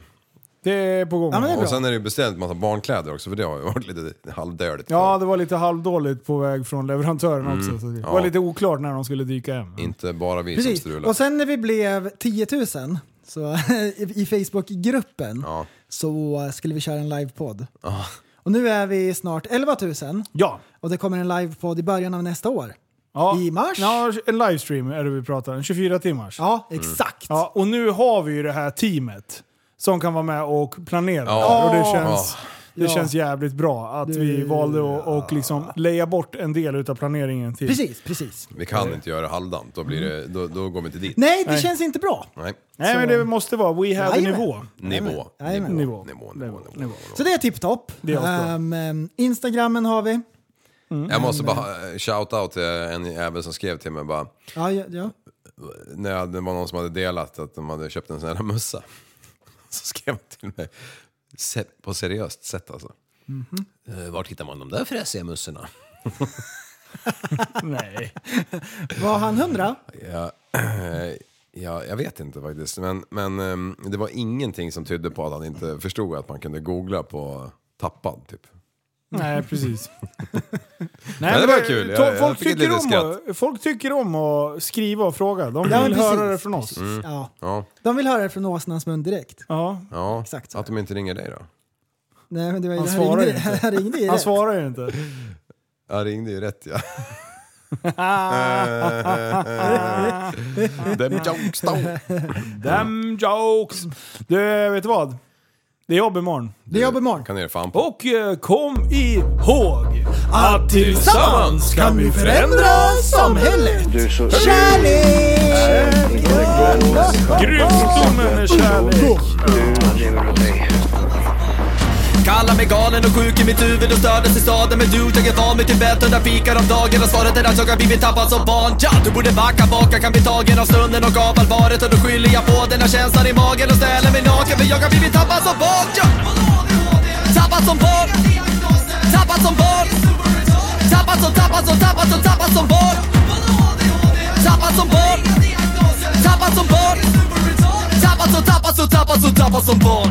Speaker 2: Det är på gång.
Speaker 3: Ja, men det är bra.
Speaker 4: Och sen är det ju beställt massa barnkläder också, för det har ju *laughs* varit lite halvdödligt.
Speaker 2: Ja, det var lite halvdåligt på väg från leverantören också. Så det var
Speaker 4: Mm. Ja.
Speaker 2: lite oklart när de skulle dyka hem.
Speaker 4: Inte bara vi som
Speaker 3: Precis.
Speaker 4: strular.
Speaker 3: Och sen när vi blev 10 000 så, *laughs* i i Facebookgruppen
Speaker 4: Ja.
Speaker 3: så skulle vi köra en livepodd. Och nu är vi snart 11 000
Speaker 2: Ja.
Speaker 3: och det kommer en livepodd i början av nästa år.
Speaker 2: ja.
Speaker 3: I mars?
Speaker 2: Ja, en livestream är det vi pratar om. 24 timmars.
Speaker 3: Ja, exakt.
Speaker 2: Ja, och nu har vi ju det här teamet som kan vara med och planera.
Speaker 4: Ja.
Speaker 2: Och det känns, det
Speaker 3: Ja.
Speaker 2: känns jävligt bra att vi valde att och liksom leja bort en del utav planeringen till...
Speaker 3: Precis, precis.
Speaker 4: Vi kan inte göra halvdant, då, blir det, då, då går vi inte dit.
Speaker 3: Nej, det
Speaker 2: Nej.
Speaker 3: känns inte bra.
Speaker 4: Nej.
Speaker 2: Nej, men det måste vara We have a
Speaker 3: Jajamän.
Speaker 2: nivå.
Speaker 4: Nivå.
Speaker 3: Jajamän.
Speaker 2: Nivå.
Speaker 4: Nivå. Nivå. Nivå. Nivå.
Speaker 3: Så det är tipptopp.
Speaker 2: Det är asbra.
Speaker 3: Ehm, ehm, Instagrammen har vi.
Speaker 4: Jag måste bara eh, shout-out till en jävel som skrev till mig bara,
Speaker 3: Ja, ja, ja.
Speaker 4: när jag- det var någon som hade delat att de hade köpt en sån här mössa. *laughs* Så skrev han till mig, se- på seriöst sätt alltså. Eh, Vart hittar man de där fräsiga mössorna?
Speaker 2: Nej.
Speaker 3: *laughs* Var han hundra?
Speaker 4: Ja, *clears throat* eh, ja, jag vet inte faktiskt. Men, men ehm, det var ingenting som tydde på att han inte förstod att man kunde googla på tappad typ.
Speaker 2: Nej,
Speaker 3: *laughs*
Speaker 2: precis.
Speaker 4: det var kul. Jag-
Speaker 2: to-
Speaker 4: jag
Speaker 2: folk,
Speaker 4: fick ett
Speaker 2: tycker
Speaker 4: litet
Speaker 2: om att, folk tycker om att skriva och fråga. De vill
Speaker 3: Ja, men
Speaker 2: höra
Speaker 3: precis.
Speaker 2: det från
Speaker 4: Mm.
Speaker 2: oss.
Speaker 3: Ja.
Speaker 4: Ja,
Speaker 3: De vill höra det från åsnans mun direkt.
Speaker 2: Ja.
Speaker 4: ja.
Speaker 3: Exakt så.
Speaker 4: Att de inte ringer dig då?
Speaker 3: Nej, men *laughs* det var ju
Speaker 2: Han
Speaker 3: han
Speaker 2: svarar
Speaker 3: ringde,
Speaker 2: inte.
Speaker 3: han ringde ju
Speaker 2: Han
Speaker 3: rätt.
Speaker 2: svarar ju inte.
Speaker 4: Jag ringde ju
Speaker 3: *laughs*
Speaker 4: rätt ja. *laughs* Them jokes don't.
Speaker 2: Them jokes. Du, vet du vad? Det är jobb imorgon.
Speaker 3: Det är jobb imorgon.
Speaker 4: Kan ni ge er fan på.
Speaker 2: Och eh, kom ihåg att tillsammans kan vi
Speaker 3: Förändra samhället!
Speaker 7: Du är så
Speaker 3: Kärlek!
Speaker 7: är en intellektuell människa.
Speaker 2: Grym med kärlek.
Speaker 7: Du lever av dig.
Speaker 8: Kallar mig galen och sjuk i mitt huvud och stördes i staden Men du, jag är van vid Tibet under fikar om dagen Och svaret är att jag har blivit tappad som barn ja! Du borde backa baka, kan bli tagen av stunden och av allvaret Och då skyller jag på den här känslan i magen och ställer mig naken För jag har blivit tappad som barn ja! Tappad som barn Tappad som barn Tappad som, tappad som, tappad som, tappad som barn Tappad som barn Tappad som barn Tappad som, tappad som, tappad som, tappad som barn